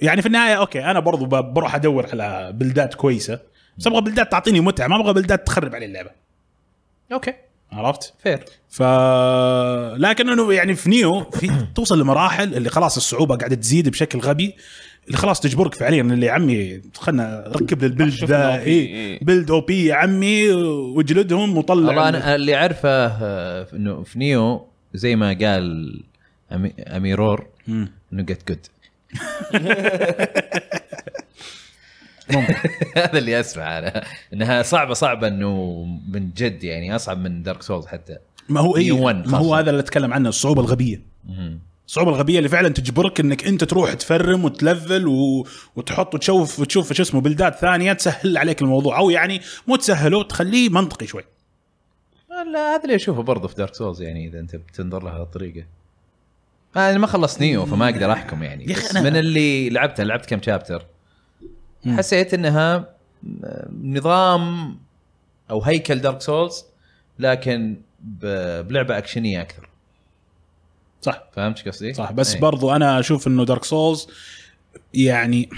Speaker 2: يعني في النهايه اوكي انا برضو ب- بروح ادور على بلدات كويسه بس ابغى بلدات تعطيني متعه ما ابغى بلدات تخرب علي اللعبه
Speaker 3: اوكي
Speaker 2: عرفت؟
Speaker 3: فير
Speaker 2: ف لكن انه يعني في نيو في توصل لمراحل اللي خلاص الصعوبه قاعده تزيد بشكل غبي اللي خلاص تجبرك فعليا اللي يا عمي خلنا ركب لي البلد
Speaker 1: شوف
Speaker 2: ذا
Speaker 1: ال OP،
Speaker 2: اي
Speaker 1: إيه.
Speaker 2: بلد او بي يا عمي واجلدهم وطلع
Speaker 3: والله انا اللي اعرفه آه، انه في نيو زي ما قال أمي- اميرور
Speaker 2: مم.
Speaker 3: انه جت جود
Speaker 2: ممكن.
Speaker 3: هذا اللي اسمع انا انها صعبه صعبه انه من جد يعني اصعب من دارك سولز حتى
Speaker 2: ما هو اي
Speaker 3: Neo One
Speaker 2: ما هو
Speaker 3: خاصة.
Speaker 2: هذا اللي اتكلم عنه الصعوبه الغبيه
Speaker 3: مهم.
Speaker 2: الصعوبه الغبيه اللي فعلا تجبرك انك انت تروح تفرم وتلفل و... وتحط وتشوف وتشوف شو اسمه بلدات ثانيه تسهل عليك الموضوع او يعني مو تسهله تخليه منطقي شوي
Speaker 3: لا هذا اللي اشوفه برضه في دارك سولز يعني اذا انت بتنظر لها الطريقه انا آه، ما خلصت نيو فما اقدر احكم يعني
Speaker 2: يا أخي
Speaker 3: بس
Speaker 2: أنا-
Speaker 3: من اللي لعبتها لعبت كم شابتر
Speaker 2: مم.
Speaker 3: حسيت انها نظام او هيكل دارك سولز لكن ب- بلعبه اكشنيه اكثر
Speaker 2: صح
Speaker 3: فهمت شو قصدي؟
Speaker 2: صح بس
Speaker 3: إيه.
Speaker 2: برضو انا اشوف انه دارك سولز يعني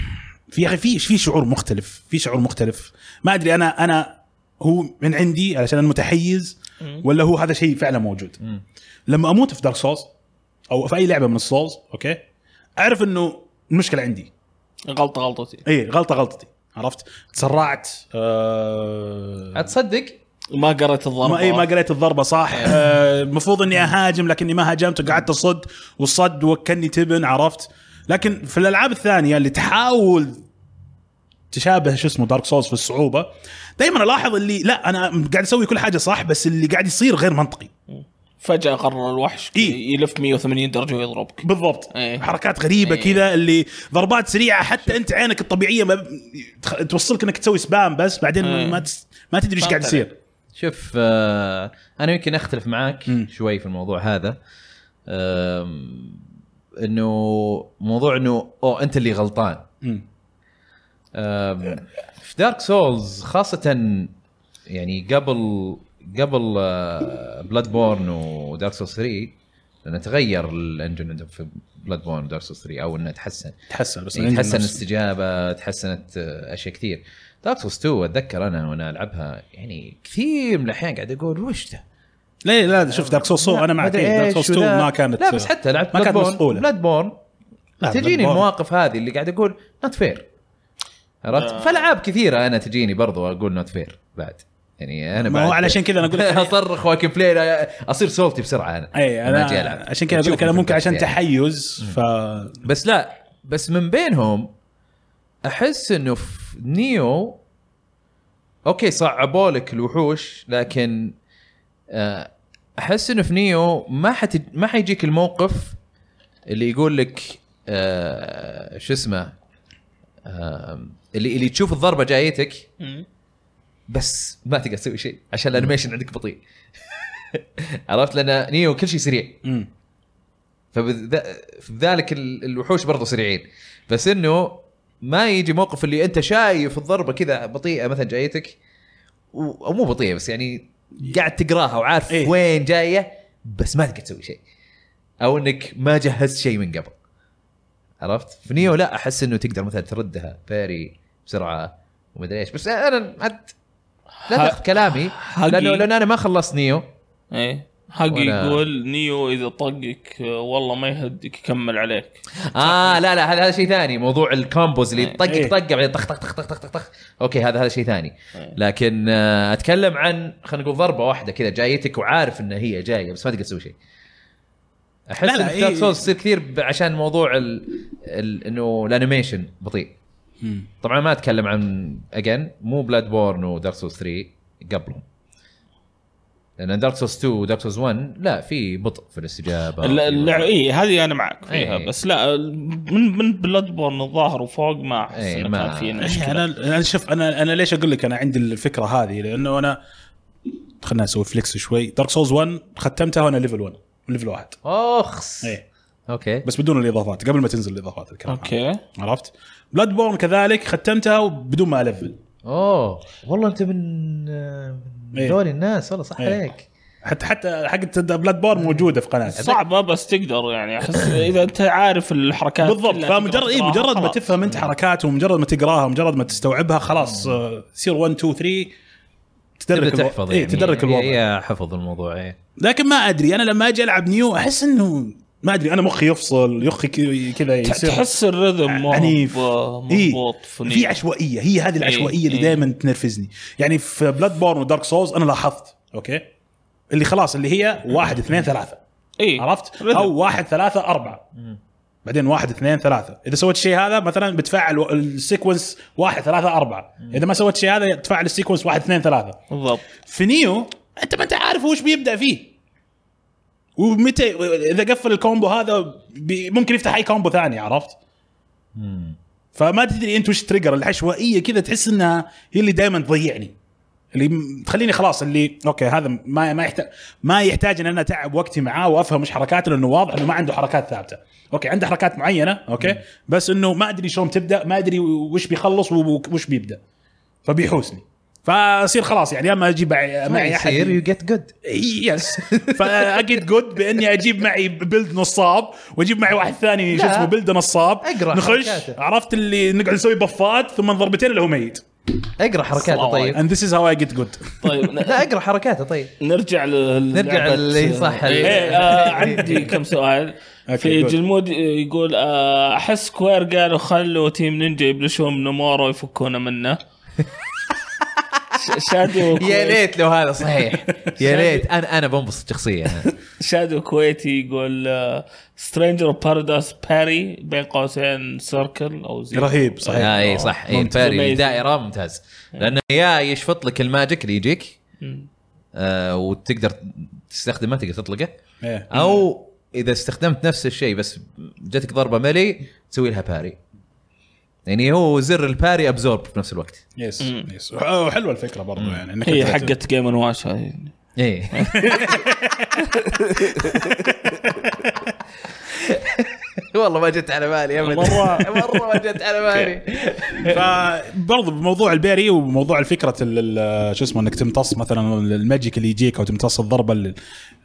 Speaker 2: في يا اخي في في شعور مختلف في شعور مختلف ما ادري انا انا هو من عندي علشان انا متحيز ولا هو هذا شيء فعلا موجود
Speaker 3: مم.
Speaker 2: لما اموت في دارك سولز او في اي لعبه من السولز اوكي اعرف انه المشكله عندي
Speaker 1: غلطه غلطتي
Speaker 2: اي غلطه غلطتي عرفت تسرعت آه
Speaker 3: اتصدق
Speaker 1: ما قريت
Speaker 2: ما
Speaker 1: الضربه
Speaker 2: اي ما قريت الضربه صح
Speaker 1: إيه.
Speaker 2: آه، المفروض اني اهاجم لكني ما هاجمت وقعدت اصد والصد وكلني تبن عرفت لكن في الالعاب الثانيه اللي تحاول تشابه شو اسمه دارك سولز في الصعوبه دائما الاحظ اللي لا انا قاعد اسوي كل حاجه صح بس اللي قاعد يصير غير منطقي
Speaker 1: فجاه قرر الوحش
Speaker 2: إي.
Speaker 1: يلف 180 درجه ويضربك
Speaker 2: بالضبط
Speaker 1: إيه.
Speaker 2: حركات غريبه
Speaker 1: إيه.
Speaker 2: كذا اللي ضربات سريعه حتى انت عينك الطبيعيه ما تخ- توصلك انك تسوي سبام بس بعدين
Speaker 1: إيه.
Speaker 2: ما تس... ما تدري ايش قاعد
Speaker 1: فهمت
Speaker 2: يصير
Speaker 3: شوف آه، انا يمكن اختلف معاك
Speaker 2: مم.
Speaker 3: شوي في الموضوع هذا آم، انه موضوع انه اوه انت اللي غلطان
Speaker 2: مم.
Speaker 3: آم، في دارك سولز خاصة آه، يعني قبل قبل بلاد بورن ودارك سولز 3 لانه تغير الانجن في بلاد بون دارك 3 او انه تحسن
Speaker 2: تحسن
Speaker 1: إيه،
Speaker 2: بس
Speaker 3: يعني تحسن الاستجابه تحسنت آه، اشياء كثير دارك 2 اتذكر انا وانا العبها يعني كثير من الاحيان قاعد اقول وش ذا
Speaker 2: لا لا شوف دارك سوس انا معك إيه،
Speaker 3: مدري
Speaker 2: دارك
Speaker 3: إيش
Speaker 2: سوس
Speaker 3: وذا.
Speaker 2: 2 ما كانت
Speaker 3: لا بس حتى لعبت
Speaker 2: ما
Speaker 3: بلاد
Speaker 2: كانت
Speaker 3: بورن
Speaker 2: مصقولة.
Speaker 3: بلاد بورن
Speaker 2: لا،
Speaker 3: تجيني
Speaker 2: Bloodborne.
Speaker 3: المواقف هذه اللي قاعد اقول نوت فير عرفت فالعاب كثيره انا تجيني برضو اقول نوت فير بعد يعني انا
Speaker 2: ما
Speaker 3: بعد
Speaker 2: هو علشان كذا أنا أقول لك-
Speaker 3: اصرخ واكن بلاي اصير سولتي بسرعه انا
Speaker 2: اي
Speaker 3: لما
Speaker 2: انا
Speaker 3: أجي ألعب.
Speaker 2: عشان كذا اقول لك انا
Speaker 3: أشوفهم
Speaker 2: ممكن
Speaker 3: في
Speaker 2: عشان
Speaker 3: البث يعني.
Speaker 2: تحيز ف
Speaker 3: بس لا بس من بينهم احس انه في نيو اوكي صعبوا لك الوحوش لكن آه، احس انه في نيو ما حت ما حيجيك الموقف اللي يقول لك آه، شو اسمه آه، اللي اللي تشوف الضربه جايتك بس ما تقدر تسوي شيء عشان الانيميشن عندك بطيء عرفت لان نيو كل شيء سريع
Speaker 2: مم.
Speaker 3: فبذلك ال- الوحوش برضو سريعين بس انه ما يجي موقف اللي انت شايف الضربه كذا بطيئه مثلا جايتك و- او مو بطيئه بس يعني قاعد تقراها وعارف
Speaker 2: إيه.
Speaker 3: إيه؟ وين جايه بس ما تقدر تسوي شيء او انك ما جهزت شيء من قبل عرفت في نيو لا احس انه تقدر مثلا تردها فيري بسرعه ومدري ايش بس انا عاد لا
Speaker 1: ه-
Speaker 3: تاخذ كلامي
Speaker 1: حقي.
Speaker 3: لانه لان انا ما خلصت نيو
Speaker 1: ايه حقي
Speaker 3: ولا-
Speaker 1: يقول نيو اذا طقك آه، والله ما يهدك يكمل عليك
Speaker 3: اه لا لا هذا هذا شيء ثاني موضوع الكومبوز اللي
Speaker 1: إيه.
Speaker 3: طقك
Speaker 2: إيه.
Speaker 3: طقه بعدين طخ طخ طخ طخ طخ طخ اوكي هذا هذا شيء ثاني
Speaker 1: إيه.
Speaker 3: لكن آه، اتكلم عن خلينا نقول ضربه واحده كذا جايتك وعارف انها هي جايه بس ما تقدر تسوي شيء احس
Speaker 2: لا، لا،
Speaker 3: لا
Speaker 2: إيه.
Speaker 3: لا سولز تصير كثير ب- عشان موضوع ال... ال... انه الانيميشن بطيء
Speaker 2: مم.
Speaker 3: طبعا ما اتكلم عن اجين مو بلاد بورن ودارك سولز 3 قبلهم لان دارك سولز 2 ودارك سولز 1 لا في بطء في الاستجابه
Speaker 1: اللعب اي هذه انا معك فيها
Speaker 3: إيه.
Speaker 1: بس لا من من بلاد بورن الظاهر وفوق ما احس
Speaker 3: إيه،
Speaker 1: انه
Speaker 3: ما-
Speaker 1: كان في
Speaker 2: إيه،
Speaker 1: مشكله
Speaker 2: انا انا شوف انا انا ليش اقول لك انا عندي الفكره هذه لانه انا خلينا نسوي فليكس شوي دارك سولز 1 ختمتها وانا ليفل 1 ليفل واحد
Speaker 3: اخس
Speaker 2: ايه
Speaker 3: اوكي
Speaker 2: بس بدون الاضافات قبل ما تنزل الاضافات الكلام هذا.
Speaker 1: اوكي
Speaker 2: عرفت بلاد بورن كذلك ختمتها بدون ما الفل
Speaker 3: اوه والله انت من من
Speaker 2: إيه.
Speaker 3: دول الناس والله صح
Speaker 2: إيه.
Speaker 3: عليك
Speaker 2: حتى حتى حقت بلاد بورن موجوده في قناتي
Speaker 1: صعبه بس تقدر يعني احس اذا انت عارف الحركات
Speaker 2: بالضبط
Speaker 1: كلها
Speaker 2: فمجرد
Speaker 1: تقدر
Speaker 2: إيه
Speaker 1: تقراها،
Speaker 2: مجرد ما
Speaker 1: خلاص.
Speaker 2: تفهم انت حركاته ومجرد ما تقراها مجرد ما تستوعبها خلاص آه، يصير 1 2 3 تدرك
Speaker 3: تبدأ
Speaker 2: الوضع.
Speaker 3: تحفظ يعني.
Speaker 2: إيه تدرك الوضع
Speaker 3: هي حفظ الموضوع ايه
Speaker 2: لكن ما ادري انا لما اجي العب نيو احس انه ما ادري انا مخي يفصل يخي ك- كذا
Speaker 1: ت-
Speaker 2: يصير
Speaker 1: تحس الرذم ما هو
Speaker 2: عنيف
Speaker 1: ب-
Speaker 2: إيه.
Speaker 1: مضبوط في
Speaker 2: في
Speaker 1: نيو.
Speaker 2: عشوائيه هي هذه العشوائيه اللي
Speaker 1: إيه.
Speaker 2: دائما تنرفزني يعني في بلاد بورن ودارك سولز انا لاحظت اوكي اللي خلاص اللي هي واحد اثنين ثلاثه
Speaker 1: إيه.
Speaker 2: عرفت؟
Speaker 1: رذم.
Speaker 2: او واحد ثلاثة أربعة بعدين واحد اثنين ثلاثة، إذا سويت شيء هذا مثلا بتفعل و- السيكونس واحد ثلاثة أربعة، إذا ما سويت شيء هذا تفعل السيكونس واحد اثنين ثلاثة.
Speaker 1: بالضبط
Speaker 2: في نيو أنت ما أنت عارف وش بيبدأ فيه. ومتى إذا قفل الكومبو هذا بي ممكن يفتح أي كومبو ثاني عرفت؟ فما تدري أنت وش تريجر العشوائية كذا تحس إنها هي اللي دائما تضيعني. اللي م- تخليني خلاص اللي اوكي هذا ما ما يحتاج ما يحتاج ان انا اتعب وقتي معاه وافهم ايش حركاته لانه واضح انه ما عنده حركات ثابته اوكي عنده حركات معينه اوكي بس انه ما ادري شلون تبدا ما ادري وش بيخلص وش بيبدا فبيحوسني فاصير خلاص يعني اما اجيب مع-
Speaker 3: ما
Speaker 2: معي
Speaker 3: يصير يو
Speaker 2: احد
Speaker 3: جيت جود
Speaker 2: يس فاجد جود باني اجيب معي بلد نصاب واجيب معي واحد ثاني شو
Speaker 3: لا.
Speaker 2: اسمه بلد نصاب
Speaker 3: اقرأ
Speaker 2: نخش
Speaker 3: حركاته.
Speaker 2: عرفت اللي نقعد نسوي بفات ثم ضربتين اللي هو ميت
Speaker 3: اقرا حركاته
Speaker 1: الله
Speaker 3: طيب
Speaker 2: and this is how I get good
Speaker 1: طيب ن-
Speaker 3: لا اقرا حركاته طيب
Speaker 1: نرجع لل
Speaker 3: نرجع
Speaker 1: لعبة-
Speaker 3: للي صح.
Speaker 1: إيه، آه، عندي كم سؤال
Speaker 2: أوكي،
Speaker 1: في
Speaker 2: good.
Speaker 1: جلمود يقول آه، احس سكوير قالوا خلوا تيم نينجا يبلشون نومورو يفكونا منه ش- شادو
Speaker 3: يا
Speaker 1: كويت-
Speaker 3: ليت لو هذا صحيح يا ليت انا انا بنبسط شخصيا أنا.
Speaker 1: شادو كويتي يقول آه، سترينجر بارادايس باري بين قوسين سيركل او زي
Speaker 2: رهيب صحيح
Speaker 3: آه، اي صح اي
Speaker 1: ممتاز.
Speaker 3: الفاري
Speaker 1: Amazing.
Speaker 3: الدائره ممتاز لانه يا يشفط لك الماجيك اللي يجيك
Speaker 1: مم.
Speaker 3: آه وتقدر تستخدمه تقدر تطلقه
Speaker 2: إيه.
Speaker 3: او اذا استخدمت نفس الشيء بس جاتك ضربه ملي تسوي لها باري يعني هو زر الباري ابزورب في نفس الوقت
Speaker 2: يس يس وحلوه الفكره برضو يعني انك
Speaker 1: هي
Speaker 2: أنت-
Speaker 1: حقت جيم ان واش هذه
Speaker 2: إيه.
Speaker 3: ايه والله ما جت على بالي ابدا
Speaker 1: مرة-
Speaker 3: مره ما جت على بالي
Speaker 2: فبرضو بموضوع البيري وموضوع الفكره ال- ال- شو اسمه انك تمتص مثلا الماجيك اللي يجيك او تمتص الضربه ال-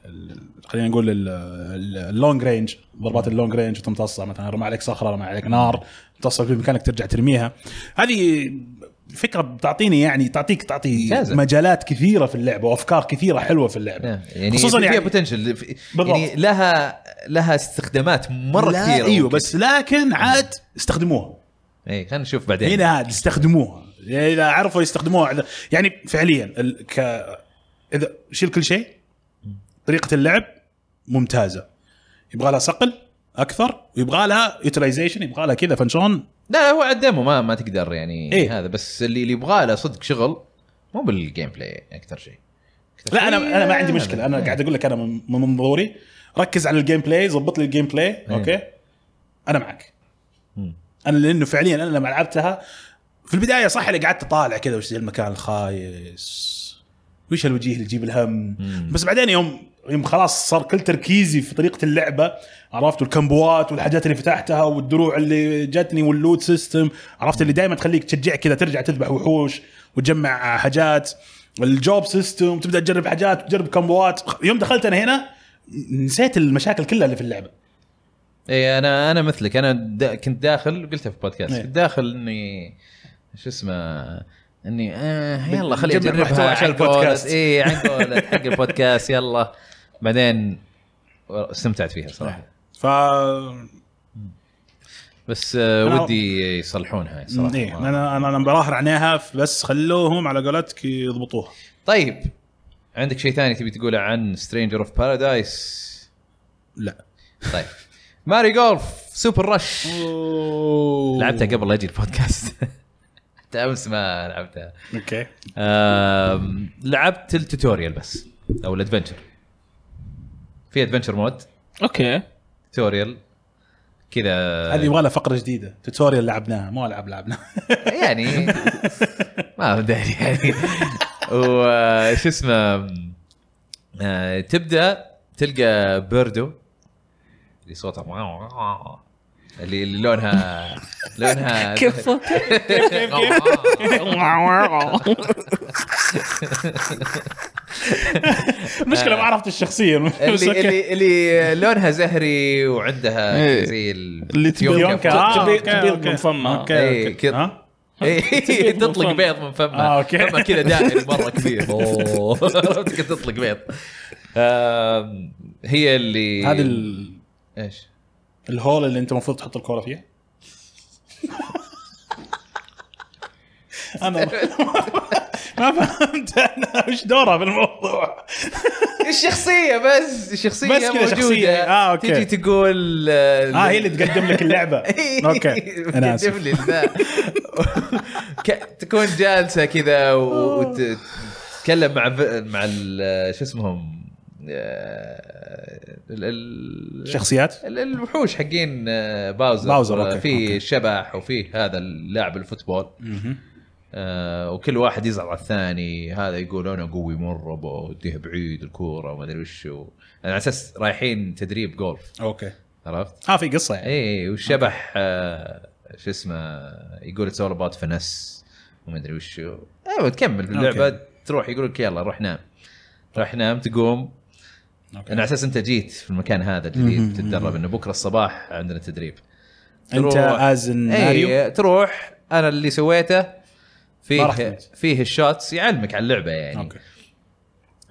Speaker 2: ال- خلينا نقول ال- ال- اللونج رينج ضربات اللونج رينج وتمتصها مثلا رمى عليك صخره رمى عليك نار تمتصها في مكانك ترجع ترميها هذه فكره بتعطيني يعني تعطيك تعطي
Speaker 3: ممتازة.
Speaker 2: مجالات كثيره في اللعبه وافكار كثيره حلوه في اللعبه
Speaker 3: يعني
Speaker 2: خصوصا
Speaker 3: فيها
Speaker 2: يعني
Speaker 3: بوتنشل
Speaker 2: بالضبط.
Speaker 3: يعني لها لها استخدامات مره
Speaker 2: لا،
Speaker 3: كثيره
Speaker 2: ايوه
Speaker 3: ممكن.
Speaker 2: بس لكن عاد استخدموها
Speaker 3: اي خلينا نشوف بعدين
Speaker 2: هنا هاد استخدموها اذا عرفوا يستخدموها إذا- يعني فعليا ال... ك... اذا شيل كل شيء طريقه اللعب ممتازه يبغى لها صقل اكثر ويبغى لها يوتلايزيشن يبغى لها كذا فنشون
Speaker 3: لا لا هو على الديمو ما ما تقدر يعني
Speaker 2: إيه.
Speaker 3: إيه؟ هذا بس اللي اللي يبغى له صدق شغل مو بالجيم بلاي اكثر شيء
Speaker 2: لا انا انا ما عندي مشكله انا قاعد اقول لك انا من من منظوري ركز على الجيم بلاي ظبط لي الجيم بلاي اوكي انا معك
Speaker 3: مم.
Speaker 2: انا لانه فعليا انا لما لعبتها في البدايه صح اللي قعدت اطالع كذا وش ذا المكان الخايس وش الوجيه اللي يجيب الهم
Speaker 3: مم.
Speaker 2: بس بعدين يوم يوم خلاص صار كل تركيزي في طريقه اللعبه عرفت والكمبوات والحاجات اللي فتحتها والدروع اللي جتني واللوت سيستم عرفت اللي دائما تخليك تشجعك كذا ترجع تذبح وحوش وتجمع حاجات الجوب سيستم تبدا تجرب حاجات تجرب كمبوات يوم دخلت انا هنا نسيت المشاكل كلها اللي في اللعبه
Speaker 3: اي انا انا إيه، مثلك انا دا كنت داخل قلتها في بودكاست
Speaker 2: إيه.
Speaker 3: كنت داخل اني شو اسمه اني آه يلا خليني
Speaker 2: بنجمع
Speaker 3: اجربها
Speaker 2: محتوى عشان
Speaker 3: عن قولة-
Speaker 2: البودكاست.
Speaker 3: اي عن قولة حق البودكاست يلا بعدين استمتعت فيها صراحه
Speaker 2: ف
Speaker 3: بس آه
Speaker 2: أنا-
Speaker 3: ودي يصلحونها صراحه
Speaker 2: إيه.
Speaker 3: ما-
Speaker 2: انا انا انا براهن عليها بس خلوهم على قولتك يضبطوها
Speaker 3: طيب عندك شيء ثاني تبي تقوله عن سترينجر اوف بارادايس
Speaker 2: لا
Speaker 3: طيب ماري جولف سوبر رش لعبتها
Speaker 2: لعبتها
Speaker 3: قبل لا اجي البودكاست حتى امس ما لعبتها
Speaker 2: اوكي
Speaker 3: آم، لعبت التوتوريال بس او الادفنشر في ادفنشر مود
Speaker 1: اوكي
Speaker 3: توتوريال كذا
Speaker 2: هذه يبغى لها فقره جديده توتوريال لعبناها مو العاب لعبناها
Speaker 3: يعني ما داري يعني وش اسمه آه، تبدا تلقى بيردو اللي صوتها واو واو، اللي اللي لونها لونها
Speaker 1: كيف صوتك؟
Speaker 2: مشكله ما عرفت الشخصيه بس
Speaker 3: اللي
Speaker 2: اوكي
Speaker 3: اللي اللي لونها زهري وعندها
Speaker 1: إيه.
Speaker 3: زي ال-
Speaker 1: اللي تبي-
Speaker 3: فيونكة.
Speaker 2: فيونكا.
Speaker 1: تبي-
Speaker 2: آه، أوكي،
Speaker 1: تبيض
Speaker 2: أوكي.
Speaker 1: من فمها.
Speaker 2: اوكي
Speaker 3: إيه،
Speaker 2: أوكي. آه.
Speaker 3: كده.
Speaker 2: ها؟
Speaker 3: ايه تطلق بيض من فمها
Speaker 2: آه، أوكي.
Speaker 3: فمها كذا دائري مره كبير أوه. عرفت كيف تطلق بيض آم، هي اللي
Speaker 2: هذه ال-
Speaker 3: ايش؟
Speaker 2: الهول اللي انت المفروض تحط الكوره فيها انا ما فهمت انا وش دورها في الموضوع
Speaker 3: الشخصية بس الشخصية
Speaker 2: بس كذا
Speaker 3: موجودة
Speaker 2: شخصية. آه، أوكي.
Speaker 3: تجي تقول آه،
Speaker 2: اه هي اللي تقدم لك اللعبه اوكي انا
Speaker 3: تجيب
Speaker 2: اسف
Speaker 3: لي ذا. ك- تكون جالسة كذا وتتكلم مع ب- مع ال- شو اسمهم آه، ال- ال-
Speaker 2: شخصيات
Speaker 3: ال- الوحوش حقين آه، باوزر
Speaker 2: باوزر، أوكي،
Speaker 3: في
Speaker 2: أوكي.
Speaker 3: شبح وفي هذا اللاعب الفوتبول آه وكل واحد يزعل على الثاني هذا يقول انا قوي مره بوديها بعيد الكوره وما ادري وش و- على اساس رايحين تدريب جولف
Speaker 2: اوكي
Speaker 3: عرفت؟
Speaker 2: اه في قصه يعني
Speaker 3: اي والشبح إيه، آه شو اسمه يقول اتس اول اباوت فنس وما ادري وش و- ايوه تكمل في اللعبه
Speaker 2: أوكي.
Speaker 3: تروح يقول لك يلا روح نام روح نام تقوم
Speaker 2: أوكي.
Speaker 3: على اساس انت جيت في المكان هذا الجديد تتدرب انه بكره الصباح عندنا تدريب
Speaker 2: انت
Speaker 3: تروح-
Speaker 2: از
Speaker 3: إيه.
Speaker 2: ماريو
Speaker 3: اي تروح انا اللي سويته
Speaker 2: ما
Speaker 3: فيه
Speaker 2: راح تموت.
Speaker 3: فيه الشوتس يعلمك على اللعبه يعني
Speaker 2: اوكي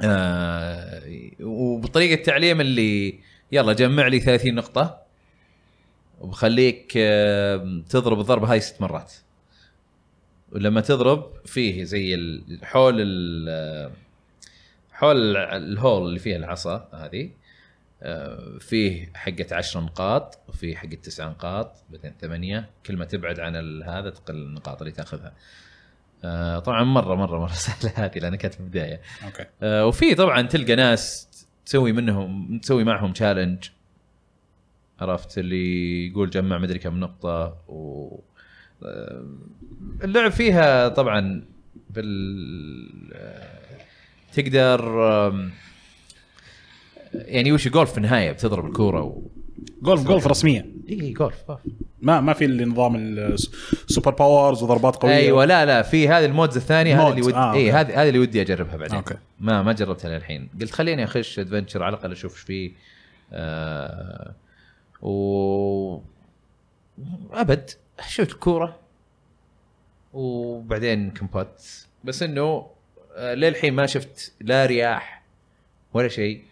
Speaker 3: آه وبطريقه تعليم اللي يلا جمع لي 30 نقطه وبخليك آه تضرب الضربه هاي ست مرات ولما تضرب فيه زي ال- حول ال آه، حول ال- الهول اللي فيها العصا هذه آه، فيه حقة 10 نقاط وفيه حقة 9 نقاط بعدين 8 كل ما تبعد عن ال- هذا تقل النقاط اللي تاخذها آه، طبعا مره مره مره سهله هذه لانها كانت في البدايه
Speaker 2: اوكي
Speaker 3: آه، وفي طبعا تلقى ناس تسوي منهم تسوي معهم تشالنج عرفت اللي يقول جمع مدري كم نقطة و آه، اللعب فيها طبعا بال آه، تقدر آم، يعني وش جولف في النهاية بتضرب الكورة و...
Speaker 2: إيه، جولف جولف رسميه
Speaker 3: اي جولف آه.
Speaker 2: ما ما في النظام السوبر باورز وضربات قويه
Speaker 3: ايوه لا لا في هذه المودز الثانيه هذه
Speaker 2: مودز،
Speaker 3: اللي ودي
Speaker 2: آه،
Speaker 3: آه اي
Speaker 2: أوكي.
Speaker 3: هذه هذه اللي ودي اجربها بعدين
Speaker 2: أوكي.
Speaker 3: ما ما جربتها للحين قلت خليني اخش ادفنتشر على الاقل اشوف ايش فيه آه و ابد شفت كوره وبعدين كمبات بس انه آه، للحين ما شفت لا رياح ولا شيء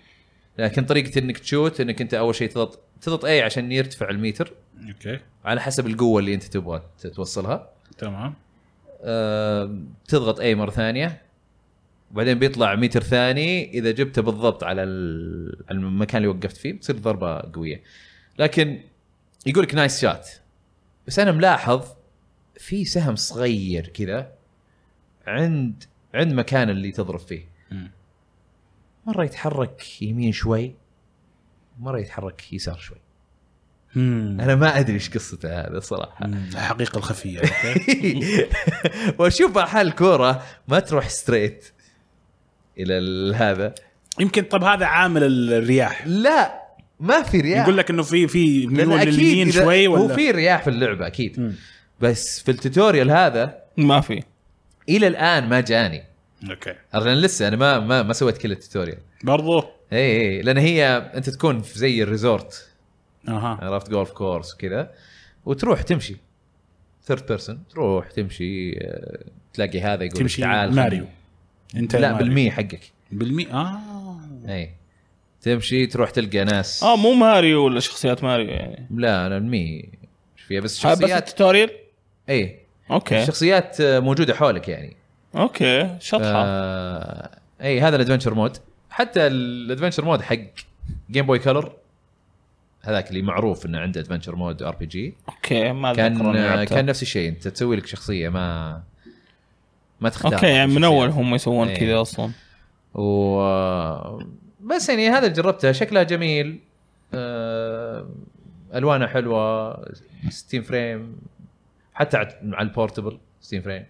Speaker 3: لكن طريقه انك تشوت انك انت اول شيء تضغط تضغط اي عشان يرتفع الميتر
Speaker 2: اوكي
Speaker 3: على حسب القوه اللي انت تبغى توصلها
Speaker 2: تمام
Speaker 3: آه، تضغط اي مره ثانيه وبعدين بيطلع متر ثاني اذا جبته بالضبط على ال- على المكان اللي وقفت فيه بتصير ضربه قويه لكن يقول لك نايس شات بس انا ملاحظ في سهم صغير كذا عند عند مكان اللي تضرب فيه
Speaker 2: مم.
Speaker 3: مره يتحرك يمين شوي مره يتحرك يسار شوي
Speaker 2: مم.
Speaker 3: انا ما ادري ايش قصته هذا صراحه
Speaker 2: الحقيقه الخفيه اوكي
Speaker 3: واشوف احال الكوره ما تروح ستريت الى ال- هذا
Speaker 2: يمكن طب هذا عامل الرياح
Speaker 3: لا ما في رياح
Speaker 2: يقول لك انه في في
Speaker 3: لأن
Speaker 2: ميول
Speaker 3: أكيد
Speaker 2: لليمين
Speaker 3: إذا-
Speaker 2: شوي
Speaker 3: هو
Speaker 2: ولا
Speaker 3: في رياح في اللعبه اكيد
Speaker 2: مم.
Speaker 3: بس في التوتوريال هذا
Speaker 1: ما في
Speaker 3: الى الان ما جاني
Speaker 2: اوكي
Speaker 3: انا لسه انا ما ما, ما سويت كل التوتوريال إيه،
Speaker 2: برضو
Speaker 3: اي اي لان هي انت تكون في زي الريزورت
Speaker 2: اها
Speaker 3: عرفت جولف كورس وكذا وتروح تمشي ثيرد بيرسون تروح تمشي آه، تلاقي هذا يقول
Speaker 2: تمشي
Speaker 3: تعال
Speaker 2: ماريو انت
Speaker 3: لا
Speaker 2: ماريو.
Speaker 3: بالمية حقك
Speaker 2: بالمي اه
Speaker 3: اي إيه. تمشي تروح تلقى ناس
Speaker 1: اه مو ماريو ولا شخصيات ماريو يعني
Speaker 3: لا انا مي ايش فيها بس
Speaker 1: آه، بس إيه.
Speaker 3: شخصيات
Speaker 1: التوتوريال
Speaker 3: اي
Speaker 1: اوكي
Speaker 3: شخصيات آه، موجوده حولك يعني
Speaker 1: اوكي شطحه
Speaker 3: آه اي هذا الادفنشر مود حتى الادفنشر مود حق جيم بوي كلر هذاك اللي معروف انه عنده ادفنشر مود ار بي جي
Speaker 1: اوكي ما
Speaker 3: كان آه،
Speaker 1: كان
Speaker 3: كان نفس الشيء انت تسوي لك شخصيه ما ما تختار
Speaker 1: اوكي يعني من اول
Speaker 3: شخصيات.
Speaker 1: هم يسوون
Speaker 3: إيه.
Speaker 1: كذا اصلا
Speaker 3: و بس يعني هذا اللي جربته شكلها جميل آه، الوانه حلوه 60 فريم حتى على على البورتبل 60 فريم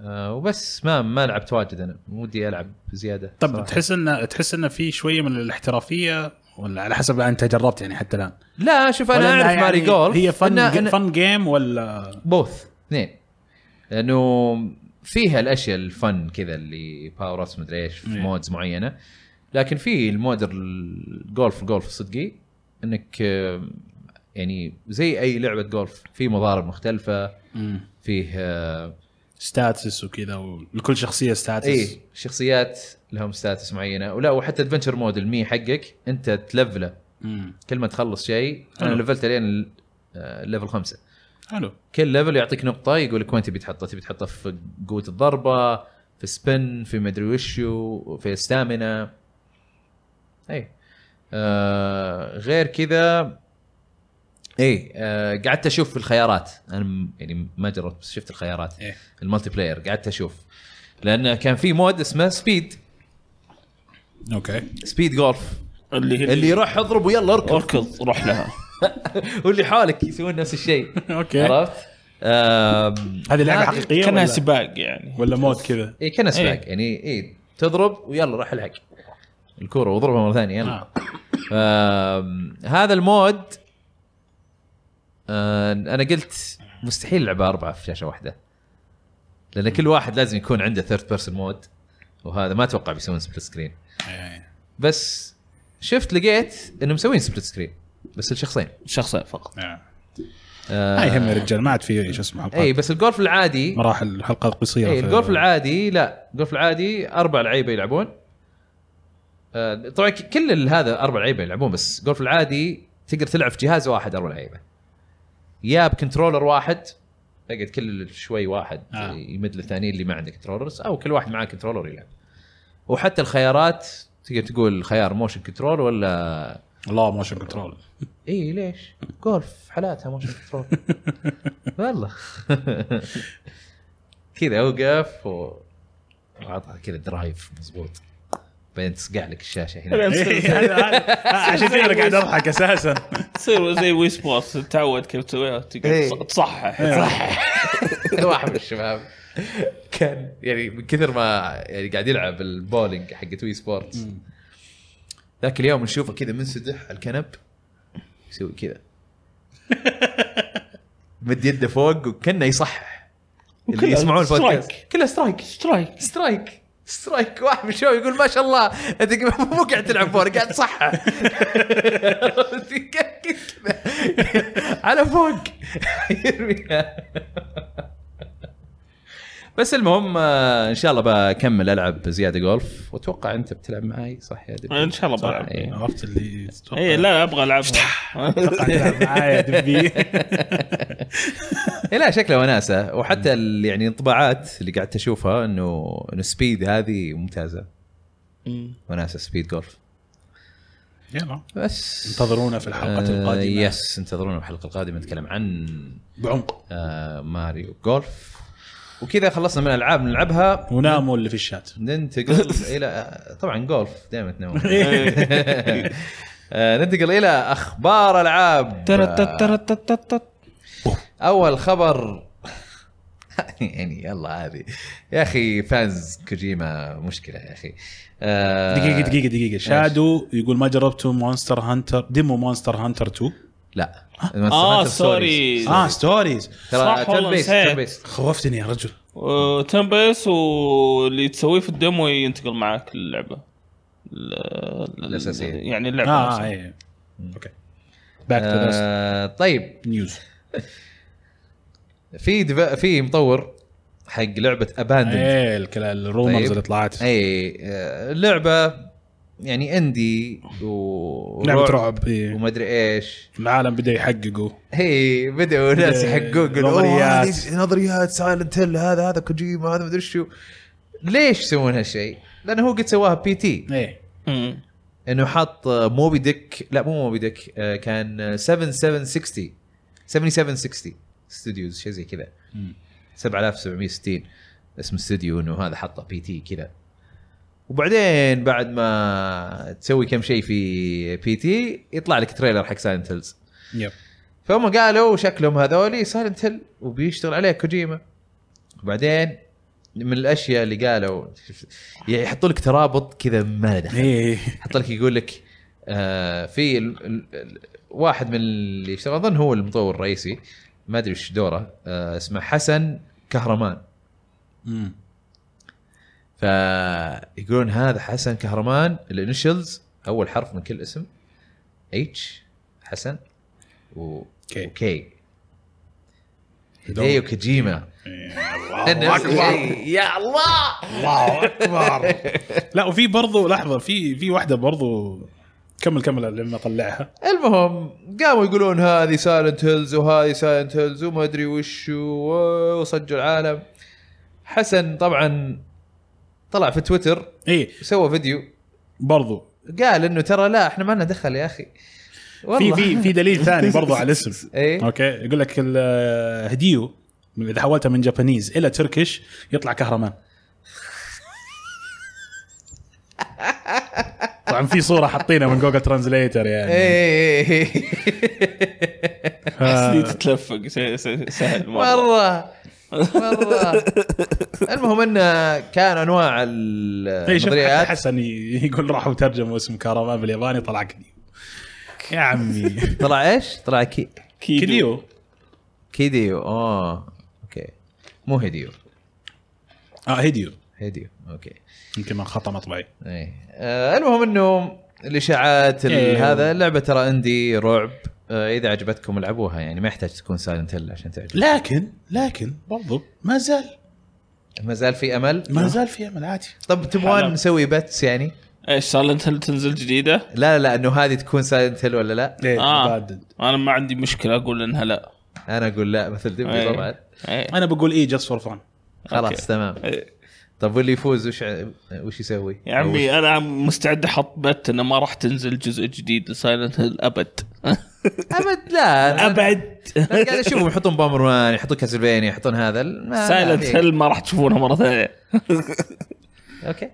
Speaker 3: آه، وبس ما ما لعبت واجد انا ودي العب زياده
Speaker 2: طب
Speaker 3: صراحة.
Speaker 2: طيب، تحس انه تحس انه في شويه من الاحترافيه ولا على حسب انت جربت يعني حتى الان
Speaker 3: لا شوف
Speaker 2: ولا
Speaker 3: انا
Speaker 2: إنها
Speaker 3: اعرف
Speaker 2: يعني
Speaker 3: ماري جولف
Speaker 2: هي فن
Speaker 3: أنا-
Speaker 2: أنا
Speaker 3: أنا-
Speaker 2: فن جيم ولا
Speaker 3: بوث اثنين لانه فيها الاشياء الفن كذا اللي باور ابس مدري ايش في
Speaker 2: إيه.
Speaker 3: مودز معينه لكن في المود الجولف الجولف الصدقي انك آم، إيه؟ آه، يعني زي اي لعبه جولف في مضارب مختلفه فيه آه،
Speaker 2: ستاتس وكذا ولكل شخصيه ستاتس
Speaker 3: اي شخصيات لهم ستاتس معينه ولا وحتى ادفنشر مود المي حقك انت تلفله
Speaker 2: مم.
Speaker 3: كل ما تخلص شيء انا
Speaker 2: حلو.
Speaker 3: لفلت لين آه، ليفل خمسه
Speaker 2: حلو
Speaker 3: كل ليفل يعطيك نقطه يقول لك وين تبي تحطها تبي تحطها في قوه الضربه في سبن في مدري وشو في ستامنا اي إيه. آه غير كذا اي آه قعدت اشوف في الخيارات انا م- يعني ما جربت بس شفت الخيارات
Speaker 2: إيه.
Speaker 3: الملتي بلاير قعدت اشوف لان كان في مود اسمه سبيد
Speaker 2: اوكي
Speaker 3: سبيد جولف
Speaker 1: اللي هي
Speaker 3: اللي يروح اضرب ويلا اركض
Speaker 1: اركض روح لها
Speaker 3: واللي حولك يسوون نفس الشيء
Speaker 2: اوكي
Speaker 3: عرفت؟ آم،
Speaker 2: هذه لعبه
Speaker 3: هذه-
Speaker 2: حقيقيه
Speaker 1: كانها
Speaker 2: ولا,
Speaker 1: سباق يعني
Speaker 2: ولا مود كذا
Speaker 3: اي كان سباق
Speaker 1: إيه.
Speaker 3: يعني اي تضرب ويلا راح الحق الكوره واضربها مره ثانيه يلا
Speaker 2: آه.
Speaker 3: آم، هذا المود آه، انا قلت مستحيل لعبه اربعه في شاشه واحده لان كل واحد لازم يكون عنده ثيرد بيرسون مود وهذا ما اتوقع بيسوون سبليت سكرين
Speaker 2: إيه.
Speaker 3: بس شفت لقيت انه مسوين سبليت سكرين بس الشخصين
Speaker 1: شخصين فقط
Speaker 2: آه.
Speaker 3: آه،
Speaker 2: ما يهم يا رجال ما عاد في eh, شو اسمه
Speaker 3: اي
Speaker 2: حلقات
Speaker 3: إيه، بس الجولف العادي
Speaker 2: مراحل الحلقه القصيره
Speaker 3: اي
Speaker 2: في-
Speaker 3: إيه، الجولف العادي لا الجولف العادي اربع لعيبه يلعبون آه، طبعا ك- كل ال- هذا اربع لعيبه يلعبون بس الجولف العادي تقدر تلعب في جهاز واحد اربع لعيبه يا بكنترولر واحد تقعد كل شوي واحد
Speaker 2: آه.
Speaker 3: آه. يمد للثانيين اللي ما عنده كنترولرز او كل واحد معاه كنترولر يلعب وحتى الخيارات تقدر تقول خيار موشن كنترول ولا
Speaker 2: الله موشن كنترول
Speaker 3: اي إيه، ليش؟ جولف حالاتها موشن كنترول والله كذا اوقف و واعطها كذا درايف مضبوط بعدين تصقع لك الشاشه هنا
Speaker 2: عشان كذا انا قاعد اضحك اساسا
Speaker 1: تصير زي وي سبورتس تتعود كيف تسويها
Speaker 3: إيه.
Speaker 1: تقعد تصحح تصحح
Speaker 3: واحد من الشباب كان يعني من كثر ما يعني قاعد يلعب البولينج حقت وي سبورتس ذاك اليوم نشوفه كذا منسدح على الكنب يسوي كذا مد يده فوق وكانه يصحح اللي
Speaker 1: وكلها
Speaker 3: يسمعون البودكاست
Speaker 1: سترايك.
Speaker 3: كلها سترايك
Speaker 1: سترايك
Speaker 3: سترايك سترايك واحد من الشباب يقول ما شاء الله انت مو قاعد تلعب فور قاعد تصحى على فوق يرميها. بس المهم آه، ان شاء الله بكمل العب زياده جولف واتوقع انت بتلعب معي صح يا دبي
Speaker 1: ان شاء الله
Speaker 3: صح؟
Speaker 1: بلعب.
Speaker 3: إيه.
Speaker 2: عرفت اللي تتوقع.
Speaker 1: اي إيه، لا ابغى العبها
Speaker 2: قاعد يلعب معايا دبي
Speaker 3: إيه لا شكله وناسه وحتى ال- يعني الانطباعات اللي قعدت اشوفها انه انه السبيد هذه ممتازه وناسه سبيد جولف
Speaker 2: يلا
Speaker 3: بس
Speaker 2: انتظرونا في الحلقة
Speaker 3: آه،
Speaker 2: القادمة.
Speaker 3: يس انتظرونا في الحلقه القادمه نتكلم عن
Speaker 2: بعمق
Speaker 3: آه ماريو جولف وكذا خلصنا من الالعاب نلعبها
Speaker 2: وناموا اللي في الشات
Speaker 3: آه. ننتقل الى طبعا جولف دائما تنوم
Speaker 1: إيه.
Speaker 3: آه، ننتقل الى اخبار العاب
Speaker 1: ترتت ترتت ترتت.
Speaker 3: اول خبر يعني يلا هذه يا اخي فانز كوجيما مشكله يا اخي آه،
Speaker 2: دقيقة دقيقة دقيقة شادو يقول ما جربتوا مونستر هانتر ديمو مونستر هانتر 2
Speaker 3: لا
Speaker 1: آه، سوري.
Speaker 3: إيه.
Speaker 2: اه ستوريز
Speaker 3: ترى
Speaker 1: صح، والله
Speaker 3: turn based-
Speaker 1: نسيت.
Speaker 3: turn based.
Speaker 2: خوفتني يا رجل
Speaker 1: آه، تنبس واللي تسويه في الديمو ينتقل معاك اللعبه
Speaker 3: الأساسية.
Speaker 1: يعني اللعبه
Speaker 2: اه
Speaker 1: آه
Speaker 2: اي اوكي باك تو
Speaker 3: آه، طيب
Speaker 2: نيوز
Speaker 3: في دف... في مطور حق لعبه اباندن
Speaker 2: ايه الكلام الرومرز
Speaker 3: طيب.
Speaker 2: اللي طلعت
Speaker 3: اي آه، لعبه يعني اندي و
Speaker 2: لعبة رعب إيه.
Speaker 3: ومدري ايش
Speaker 2: العالم بدا يحققوا
Speaker 3: هي بدأوا ناس
Speaker 2: إيه،
Speaker 3: يحققون يقولوا
Speaker 2: نظريات.
Speaker 3: "أوه، هذه نظريات سايلنت هيل هذا هذا كوجيما هذا مدري شو ليش يسوون هالشيء؟ لانه هو قد سواها بي تي
Speaker 2: ايه
Speaker 1: إيه.
Speaker 3: انه حاط آه، موبي ديك لا مو موبي ديك آه، كان آه، 7760 7760 استوديوز شيء زي كذا 7760 اسم استوديو انه هذا حطه بي تي كذا وبعدين بعد ما تسوي كم شيء في بي تي يطلع لك تريلر حق سايلنت هيلز
Speaker 2: يب
Speaker 3: فهم قالوا شكلهم هذولي سايلنت هيل وبيشتغل عليه كوجيما وبعدين من الاشياء اللي قالوا يعني يحطوا لك ترابط كذا ما له دخل
Speaker 2: ايه
Speaker 3: حط لك يقول لك آه في ال ال ال واحد من اللي يشتغل اظن هو المطور الرئيسي ما ادري وش دوره آه اسمه حسن كهرمان
Speaker 2: مم.
Speaker 3: فيقولون هذا حسن كهرمان الانيشلز اول حرف من كل اسم اتش حسن و
Speaker 2: كي.
Speaker 3: وكي هيديو كوجيما
Speaker 2: الله اكبر
Speaker 3: يا الله
Speaker 2: الله اكبر لا وفي برضو لحظه في في واحده برضو كمل كمل لما اطلعها
Speaker 3: المهم قاموا يقولون هذه سايلنت هيلز وهذه سايلنت هيلز وما ادري وش و- وصجوا العالم حسن طبعا طلع في تويتر
Speaker 2: ايه
Speaker 3: سوى فيديو
Speaker 2: برضو
Speaker 3: قال انه ترى لا احنا ما لنا دخل يا اخي
Speaker 2: في في في دليل ثاني برضو على الاسم
Speaker 3: إيه.
Speaker 2: اوكي يقول لك ال- هديو اذا حولتها من جابانيز الى تركش يطلع كهرمان طبعا في صوره حاطينها من جوجل ترانزليتر يعني
Speaker 3: ايه
Speaker 1: احس لي تتلفق س- س- سهل مره
Speaker 3: مره مره المهم انه كان انواع ال-
Speaker 2: إيه، شوف حتى
Speaker 3: النظريات
Speaker 2: حسن ي- يقول راحوا ترجموا اسم كهرمان بالياباني طلع كديو يا عمي
Speaker 3: طلع ايش؟ طلع كي
Speaker 2: كديو
Speaker 3: كيديو اه اوكي مو هيديو
Speaker 2: اه هديو
Speaker 3: هيديو اوكي
Speaker 2: يمكن من خطا مطبعي
Speaker 3: ايه آه، المهم انه الاشاعات ال-
Speaker 2: إيه.
Speaker 3: هذا اللعبه ترى اندي رعب آه، اذا عجبتكم العبوها يعني ما يحتاج تكون سايلنت هيل عشان تعجب
Speaker 2: لكن لكن برضو ما زال
Speaker 3: ما زال في امل
Speaker 2: ما زال في امل عادي
Speaker 3: طب تبغون
Speaker 1: حلو.
Speaker 3: نسوي بتس يعني
Speaker 1: ايش سايلنت هيل تنزل جديده؟
Speaker 3: لا لا انه هذه تكون سايلنت هيل ولا لا
Speaker 2: ايه
Speaker 1: آه.
Speaker 2: متعدد.
Speaker 1: انا ما عندي مشكله اقول انها لا
Speaker 3: انا اقول لا مثل دبي
Speaker 1: إيه.
Speaker 3: طبعا
Speaker 1: إيه.
Speaker 2: انا بقول ايه جاست فور فان
Speaker 1: أوكي.
Speaker 3: خلاص تمام
Speaker 1: إيه.
Speaker 3: طب واللي يفوز وش ع- وش يسوي؟
Speaker 1: يا عمي انا مستعد احط بت انه ما راح تنزل جزء جديد لسايلنت هيل ابد
Speaker 3: ابد لا أنا-
Speaker 1: ابد
Speaker 3: أنا قاعد اشوفهم يحطون بامر مان يحطون كاسلفينيا يحطون هذا ما- ما
Speaker 1: سايلنت
Speaker 3: فيك.
Speaker 1: هيل ما راح تشوفونها مره ثانيه
Speaker 3: اوكي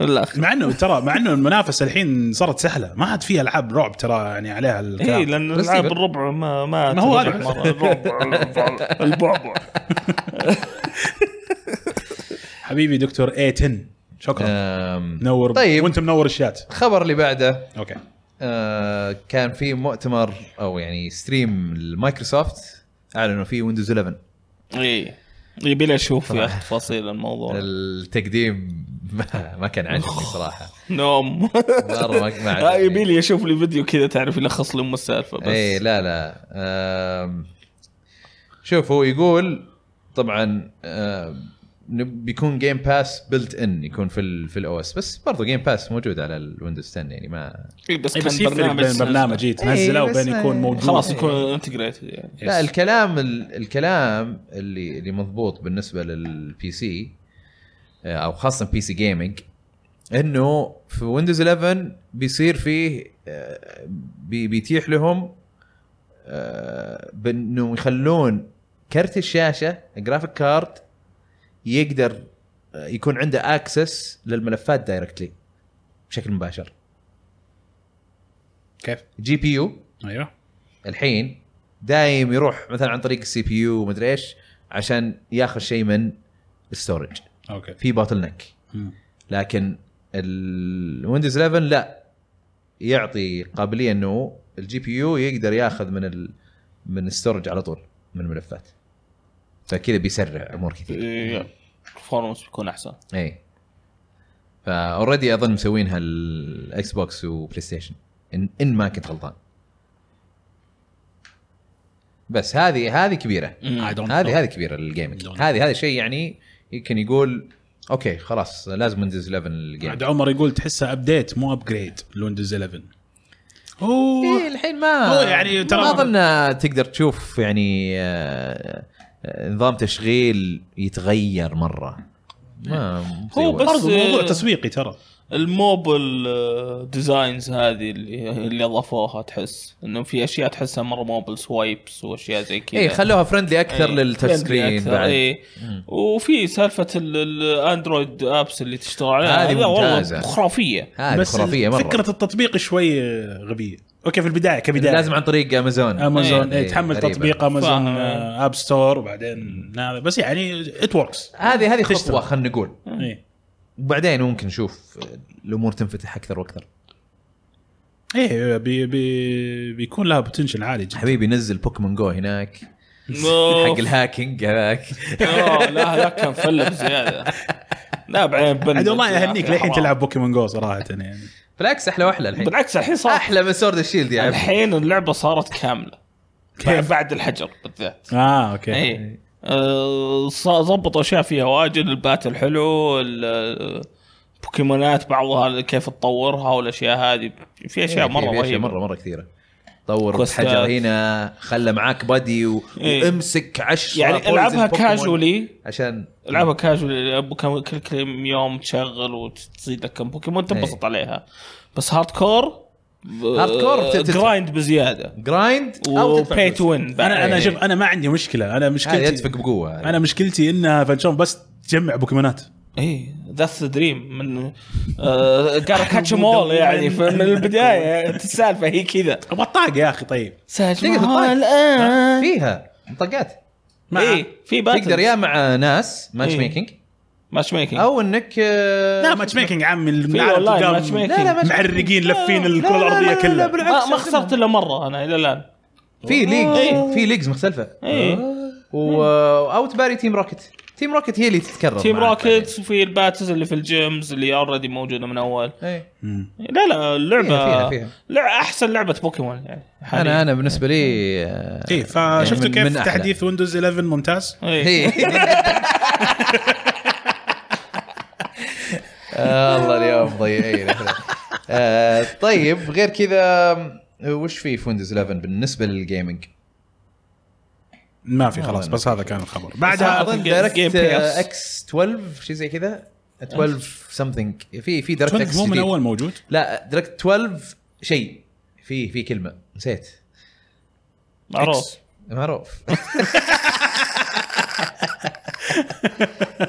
Speaker 1: لا
Speaker 2: مع انه ترى مع انه المنافسه الحين صارت سهله ما عاد في العاب رعب ترى يعني عليها
Speaker 1: اي
Speaker 2: الكلام
Speaker 1: لان
Speaker 3: بس
Speaker 1: العاب
Speaker 3: يبقى.
Speaker 1: إيه، الربع ما ما
Speaker 2: ما هو
Speaker 1: تنجح
Speaker 2: هذا.
Speaker 1: مرة. الربع البعبع- البعبع
Speaker 2: حبيبي دكتور اي 10 شكرا
Speaker 3: أم،
Speaker 2: منور
Speaker 3: طيب.
Speaker 2: وانت منور الشات
Speaker 3: الخبر اللي بعده
Speaker 2: اوكي
Speaker 3: آه، آه، كان في مؤتمر او يعني ستريم لمايكروسوفت اعلنوا فيه ويندوز 11
Speaker 1: اي إيه. يبي لي اشوف يا أخي تفاصيل الموضوع
Speaker 3: التقديم ما, ما كان عاجبني صراحه
Speaker 1: نوم
Speaker 3: مره ما- ما
Speaker 1: آه،
Speaker 3: عجبني.
Speaker 1: يبي لي اشوف لي فيديو كذا تعرف يلخص لي ام السالفه بس
Speaker 3: اي إيه، لا لا آم، شوف هو يقول طبعا آم، نب- بيكون جيم باس بلت ان يكون في ال في الاو اس بس برضه جيم باس موجود على الويندوز 10 يعني ما
Speaker 1: إي بس
Speaker 2: إيه، بس
Speaker 1: كان
Speaker 2: يفرق بين برنامج إيه، تنزله
Speaker 3: إيه، بس
Speaker 2: وبين
Speaker 3: ما-
Speaker 2: يكون موجود
Speaker 1: خلاص يكون انتجريتد يعني
Speaker 3: لا الكلام ال- الكلام اللي اللي مضبوط بالنسبه للبي سي آه، او خاصه بي سي جيمنج انه في ويندوز 11 بيصير فيه آه، بي- بيتيح لهم آه، بانه يخلون كرت الشاشه جرافيك كارد يقدر آه، يكون عنده اكسس للملفات دايركتلي بشكل مباشر
Speaker 2: كيف؟
Speaker 3: جي بي يو
Speaker 2: ايوه
Speaker 3: الحين دايم يروح مثلا عن طريق السي بي يو ومدري ايش عشان ياخذ شيء من الستورج
Speaker 2: اوكي
Speaker 3: في باتل نك
Speaker 2: مم.
Speaker 3: لكن الويندوز 11 لا يعطي قابليه انه الجي بي يو يقدر ياخذ من ال... من الستورج على طول من الملفات فكذا بيسرع امور كثير
Speaker 1: البرفورمانس إيه، بيكون احسن
Speaker 3: اي فاوريدي اظن مسوينها الاكس بوكس وبلاي ستيشن ان, إن ما كنت غلطان بس هذه هذه كبيره
Speaker 1: مم.
Speaker 2: Mm. I don't know.
Speaker 3: هذه هذه كبيره للجيمنج
Speaker 2: Don't.
Speaker 3: هذه هذا شيء يعني يمكن يقول اوكي خلاص لازم ويندوز 11 للجيمنج
Speaker 2: عبد عمر يقول تحسها ابديت مو ابجريد لويندوز 11
Speaker 3: إيه
Speaker 2: اوه
Speaker 3: الحين ما
Speaker 2: هو يعني ترى-
Speaker 3: ما اظن تقدر تشوف يعني آه، آه، نظام تشغيل يتغير مره ما زي
Speaker 1: هو
Speaker 3: أول.
Speaker 1: بس-
Speaker 2: برضه موضوع
Speaker 1: آه،
Speaker 2: تسويقي ترى
Speaker 1: الموبل آه، ديزاينز هذه اللي اللي اضافوها تحس انه في اشياء تحسها مره موبل سوايبس واشياء زي كذا
Speaker 2: إيه،
Speaker 3: اي خلوها فرندلي اكثر
Speaker 1: إيه،
Speaker 3: للتش
Speaker 1: friendly
Speaker 3: سكرين
Speaker 1: أكثر،
Speaker 3: بعد
Speaker 1: إيه. وفي سالفه ال- الاندرويد ابس اللي تشتغل عليها
Speaker 3: هذه
Speaker 1: هذا
Speaker 3: ممتازة.
Speaker 1: والله خرافيه
Speaker 3: هذه
Speaker 2: بس
Speaker 3: خرافيه مره
Speaker 2: فكره التطبيق شوي غبيه اوكي في البدايه كبدايه
Speaker 3: لازم عن طريق امازون
Speaker 2: امازون
Speaker 3: إيه،
Speaker 2: إيه تحمل
Speaker 3: غريبة.
Speaker 2: تطبيق امازون
Speaker 1: فاهم.
Speaker 2: آه، اب ستور وبعدين هذا بس يعني ات وركس
Speaker 3: هذه هذه
Speaker 2: تشتغل.
Speaker 3: خطوه خلينا نقول
Speaker 2: ايه
Speaker 3: وبعدين ممكن نشوف الامور تنفتح اكثر واكثر
Speaker 2: ايه بي بي بيكون لها بوتنشل عالي جدا
Speaker 3: حبيبي نزل بوكيمون جو هناك حق
Speaker 1: أوف.
Speaker 3: الهاكينج هذاك
Speaker 1: أوه، آه، لا هذاك كان فله بزياده لا بعدين بن آه،
Speaker 2: عاد والله اهنيك للحين تلعب بوكيمون جو صراحه يعني
Speaker 3: بالعكس احلى واحلى الحين
Speaker 1: بالعكس الحين صار
Speaker 3: احلى من سورد الشيلد يا عبد
Speaker 1: الحين اللعبه صارت كامله
Speaker 2: كيف؟
Speaker 1: بعد الحجر بالذات
Speaker 2: اه اوكي
Speaker 3: إيه،
Speaker 1: اي آه، ص- ظبطوا اشياء فيها واجد الباتل حلو ال- البوكيمونات بعضها كيف تطورها والاشياء هذه في اشياء
Speaker 3: إيه،
Speaker 1: مره
Speaker 3: في اشياء
Speaker 1: رهيبه
Speaker 3: مره مره كثيره طور
Speaker 1: كوستات.
Speaker 3: حجر هنا خلى معاك بادي و...
Speaker 1: إيه.
Speaker 3: وامسك عشرة
Speaker 1: يعني
Speaker 3: بويزن
Speaker 1: العبها
Speaker 3: بوكيمون
Speaker 1: كاجولي
Speaker 3: عشان
Speaker 1: العبها كاجولي بوكيمون كل كم يوم تشغل وتصيد لك كم
Speaker 3: إيه.
Speaker 1: بوكيمون تنبسط عليها بس آه، هارد كور
Speaker 3: هارد كور بت- تدفع.
Speaker 1: جرايند بزياده
Speaker 3: جرايند او تدفع
Speaker 1: وباي
Speaker 3: فلوس.
Speaker 1: تو وين
Speaker 2: انا انا
Speaker 3: إيه.
Speaker 2: شوف انا ما عندي مشكله انا
Speaker 3: هذا
Speaker 2: مشكلتي
Speaker 3: يدفق بقوه
Speaker 2: انا مشكلتي انها فنشون بس تجمع بوكيمونات
Speaker 1: اي ذاتس ذا دريم من آه، قال كاتشم اول يعني من البدايه السالفه هي كذا
Speaker 2: ابغى الطاقه يا اخي طيب
Speaker 3: تقدر
Speaker 1: ساجمها
Speaker 3: تطاق.
Speaker 1: الان
Speaker 3: فيها مطقات
Speaker 1: اي إيه، في باتل
Speaker 3: تقدر يا مع ناس ماتش
Speaker 1: إيه.
Speaker 3: ميكنج
Speaker 1: ماتش ميكنج
Speaker 3: او انك آه،
Speaker 2: لا ماتش ميكنج عام
Speaker 1: في
Speaker 2: العالم
Speaker 1: والله
Speaker 2: تلقاهم
Speaker 1: ماتش ميكنج.
Speaker 3: لا، لا، ماتش
Speaker 2: معرقين لافين
Speaker 3: لا،
Speaker 2: الكره
Speaker 3: لا، لا،
Speaker 2: الارضيه
Speaker 3: لا، لا، لا،
Speaker 2: كلها
Speaker 3: بالعكس.
Speaker 1: ما, ما خسرت الا مره انا الى الان
Speaker 3: في ليج
Speaker 1: إيه.
Speaker 3: في ليجز مختلفه
Speaker 1: إيه.
Speaker 3: و... او تباري تيم روكت تيم روكت هي اللي تتكرر
Speaker 1: تيم
Speaker 3: معك طيب.
Speaker 1: روكيتس وفي الباتز اللي في الجيمز اللي اوريدي موجوده من اول
Speaker 3: بعدين. إيه.
Speaker 2: مم.
Speaker 1: لا لا اللعبه
Speaker 3: فيها- فيها.
Speaker 1: لع- احسن لعبه بوكيمون يعني
Speaker 3: انا انا بالنسبه لي آه،
Speaker 2: ايه فشفتوا
Speaker 3: من- من
Speaker 2: كيف
Speaker 3: أحلى. إيه.
Speaker 2: تحديث ويندوز 11 ممتاز
Speaker 1: انا
Speaker 3: آه، الله اليوم ضيعين آه، طيب غير كذا وش في في ويندوز 11 بالنسبه للجيمنج؟
Speaker 2: ما في خلاص بس هذا كان الخبر بعدها
Speaker 3: اظن
Speaker 1: Game- Game
Speaker 3: دايركت
Speaker 1: Pass.
Speaker 3: اكس 12 آه، شيء زي كذا 12 سمثينج في في دايركت
Speaker 2: تونك
Speaker 3: اكس
Speaker 2: مو من اول موجود
Speaker 3: لا دايركت 12 شيء في في كلمه نسيت
Speaker 1: معروف
Speaker 3: معروف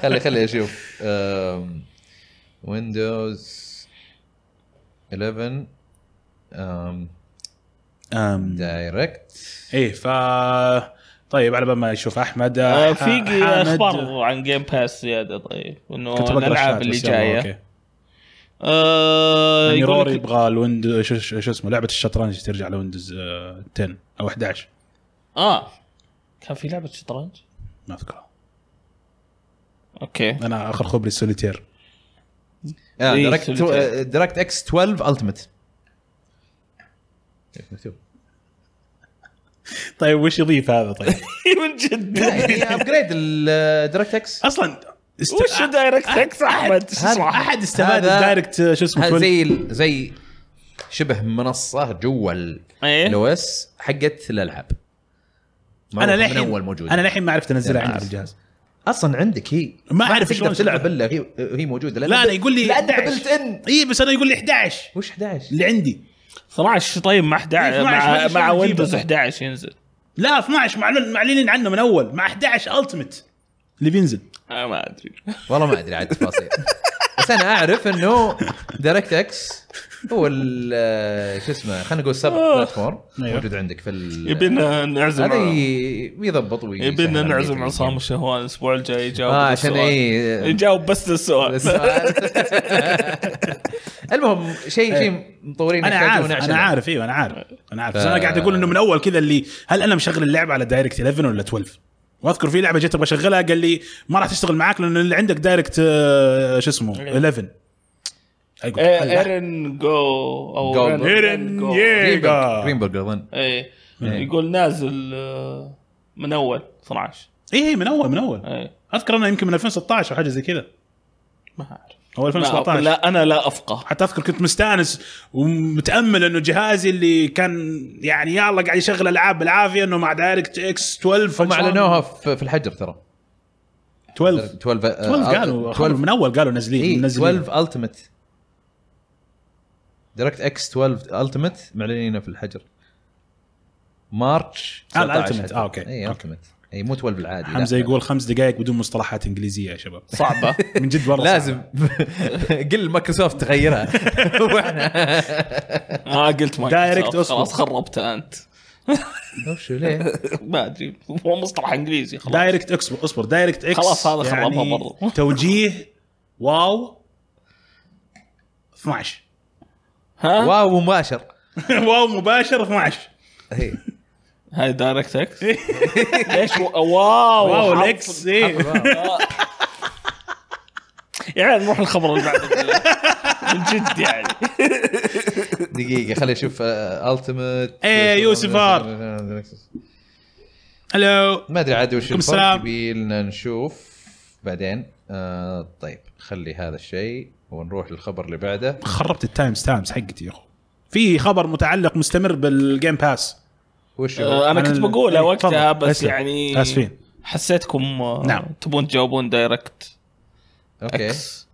Speaker 3: خلي خلي اشوف ويندوز 11
Speaker 2: أم،
Speaker 3: دايركت
Speaker 2: ايه ف طيب على بال ما يشوف احمد
Speaker 1: آه،
Speaker 2: آه،
Speaker 1: في
Speaker 2: ح-
Speaker 1: ج-
Speaker 2: حامد،
Speaker 1: اخبار عن جيم باس زياده طيب انه
Speaker 2: كنت بقرا الشات
Speaker 1: الالعاب اللي
Speaker 2: بس يلا،
Speaker 1: جايه
Speaker 2: أوكي.
Speaker 1: آه
Speaker 2: يعني
Speaker 1: يقول
Speaker 2: روري
Speaker 1: لك-
Speaker 2: يبغى الويندوز شو, شو شو اسمه لعبه الشطرنج ترجع لويندوز آه، 10 او 11
Speaker 1: اه كان في لعبه شطرنج
Speaker 2: ما اذكرها
Speaker 1: اوكي
Speaker 2: انا اخر خبري السوليتير
Speaker 3: آه
Speaker 1: إيه،
Speaker 3: دايركت
Speaker 1: سوليتير.
Speaker 3: آه، دايركت اكس 12 التمت مكتوب
Speaker 2: طيب وش يضيف هذا طيب؟
Speaker 1: من جد
Speaker 3: ابجريد الدايركت اكس
Speaker 2: اصلا است...
Speaker 1: وش دايركت اكس احمد شو
Speaker 2: هذا
Speaker 1: اسمه؟
Speaker 2: احد استفاد
Speaker 3: هذا-
Speaker 2: الدايركت آه، شو اسمه
Speaker 3: هذا
Speaker 2: 12
Speaker 3: زي ال- زي شبه منصه جوا
Speaker 1: إيه.
Speaker 3: الاو اس حقت الالعاب معروفة
Speaker 2: انا
Speaker 3: من اول
Speaker 2: للحين
Speaker 3: موجوده
Speaker 2: انا للحين ما عرفت انزلها
Speaker 3: يعني
Speaker 2: عندي في
Speaker 3: عارف.
Speaker 2: الجهاز
Speaker 3: اصلا عندك هي
Speaker 2: ما أعرف
Speaker 3: تقدر
Speaker 2: شلون
Speaker 3: تلعب الا هي هي موجوده
Speaker 2: لا انا يقول لي
Speaker 3: لأنها
Speaker 2: 11
Speaker 3: بلت ان
Speaker 2: اي إيه، بس انا يقول لي 11
Speaker 3: وش 11
Speaker 2: اللي عندي
Speaker 1: 12 طيب مع 11
Speaker 2: 12 ما
Speaker 1: مع
Speaker 2: أدري شلون
Speaker 1: مع
Speaker 2: نجيبه.
Speaker 1: ويندوز 11 ينزل
Speaker 2: لا 12 معلن معلنين عنه من اول مع 11 التمت اللي بينزل
Speaker 1: آه ما ادري
Speaker 3: والله ما ادري عاد تفاصيل بس انا اعرف انه دايركت اكس هو ال- شو اسمه خلينا نقول سب بلاتفورم
Speaker 2: أيوه.
Speaker 3: موجود عندك في ال-
Speaker 1: يبينا نعزم
Speaker 3: هذا ي- يضبط ويسهل
Speaker 1: يبينا
Speaker 3: عملية
Speaker 1: نعزم
Speaker 3: ال-
Speaker 1: عصام الشهوان الاسبوع الجاي يجاوب
Speaker 2: آه،
Speaker 3: اه عشان
Speaker 1: للسؤال.
Speaker 2: إيه.
Speaker 3: اي
Speaker 1: يجاوب بس للسؤال
Speaker 3: بس- المهم شيء شيء مطورين
Speaker 2: انا
Speaker 3: يحتاجونه
Speaker 2: عارف
Speaker 3: عشان-
Speaker 2: انا عارف ايوه انا عارف انا عارف بس
Speaker 3: ف-
Speaker 2: انا قاعد اقول انه من اول كذا اللي هل انا مشغل اللعبه على دايركت 11 ولا 12 واذكر في لعبه جيت ابغى اشغلها قال لي ما راح تشتغل معاك لان اللي عندك دايركت آه، شو اسمه 11 أقول،
Speaker 1: إيه، ايرن جو او
Speaker 3: جو.
Speaker 1: رن-
Speaker 2: إيرن،
Speaker 1: جو.
Speaker 2: ياه.
Speaker 3: جرينبرغ
Speaker 2: إيجا.
Speaker 3: جرينبرغ اظن
Speaker 1: ايه
Speaker 2: إيه.
Speaker 1: يقول نازل آه، من اول 12
Speaker 2: اي اي إيه، من اول من اول
Speaker 1: ايه
Speaker 2: اذكر انا يمكن من 2016 او حاجه زي كذا
Speaker 1: ما اعرف
Speaker 2: او
Speaker 1: ما
Speaker 2: 2017
Speaker 1: لا انا لا افقه
Speaker 2: حتى اذكر كنت مستانس ومتامل انه جهازي اللي كان يعني يلا قاعد يشغل العاب بالعافيه انه مع دايركت اكس 12
Speaker 3: هم اعلنوها في في الحجر ترى
Speaker 2: 12
Speaker 3: 12 آه،
Speaker 2: 12 قالوا 12 من اول قالوا نازلين
Speaker 3: إيه،
Speaker 2: منزلين
Speaker 3: 12 التمت دايركت اكس 12 التمت معلنينه في الحجر مارتش
Speaker 2: آه،
Speaker 3: 19
Speaker 2: الألتيمت.
Speaker 3: حتى.
Speaker 2: آه، أوكي.
Speaker 3: اي
Speaker 2: أوكي.
Speaker 3: التمت اي مو 12 العادي لا.
Speaker 2: حمزه يقول خمس دقائق بدون مصطلحات انجليزيه يا شباب
Speaker 1: صعبه
Speaker 2: من جد والله
Speaker 3: لازم قل مايكروسوفت تغيرها واحنا
Speaker 1: اه قلت ما
Speaker 2: دايركت
Speaker 1: خلاص
Speaker 2: أصبر.
Speaker 1: خلاص خربتها انت
Speaker 3: وشو ليه؟
Speaker 1: ما ادري هو مصطلح انجليزي خلاص
Speaker 2: دايركت اكس اصبر دايركت اكس
Speaker 1: خلاص هذا خربها برضو.
Speaker 2: توجيه واو 12
Speaker 1: ها
Speaker 3: واو مباشر
Speaker 2: واو مباشر 12
Speaker 3: إيه.
Speaker 1: هاي دايركت اكس ليش و- واو
Speaker 2: واو
Speaker 1: حط-
Speaker 2: الاكس ايه
Speaker 3: إيه.
Speaker 1: يعني نروح الخبر اللي بعده من جد يعني
Speaker 3: دقيقة آه، خليني اشوف التمت
Speaker 2: إيه، يوسف آر. هلو
Speaker 3: آه، ما ادري عاد وش
Speaker 2: عليكم
Speaker 3: الفرق
Speaker 2: السلام.
Speaker 3: يبيلنا نشوف بعدين آه طيب خلي هذا الشيء ونروح للخبر اللي بعده
Speaker 2: خربت التايم ستامبس حقتي يا اخو في خبر متعلق مستمر بالجيم باس
Speaker 3: وش
Speaker 1: آه،
Speaker 3: هو؟
Speaker 1: انا كنت
Speaker 2: أنا-
Speaker 1: بقولها
Speaker 2: إيه،
Speaker 1: وقتها
Speaker 2: تفضل.
Speaker 1: بس
Speaker 2: أسلم.
Speaker 1: يعني
Speaker 2: آسفين.
Speaker 1: حسيتكم آه،
Speaker 2: نعم.
Speaker 1: تبون تجاوبون دايركت
Speaker 3: اوكي
Speaker 1: اكس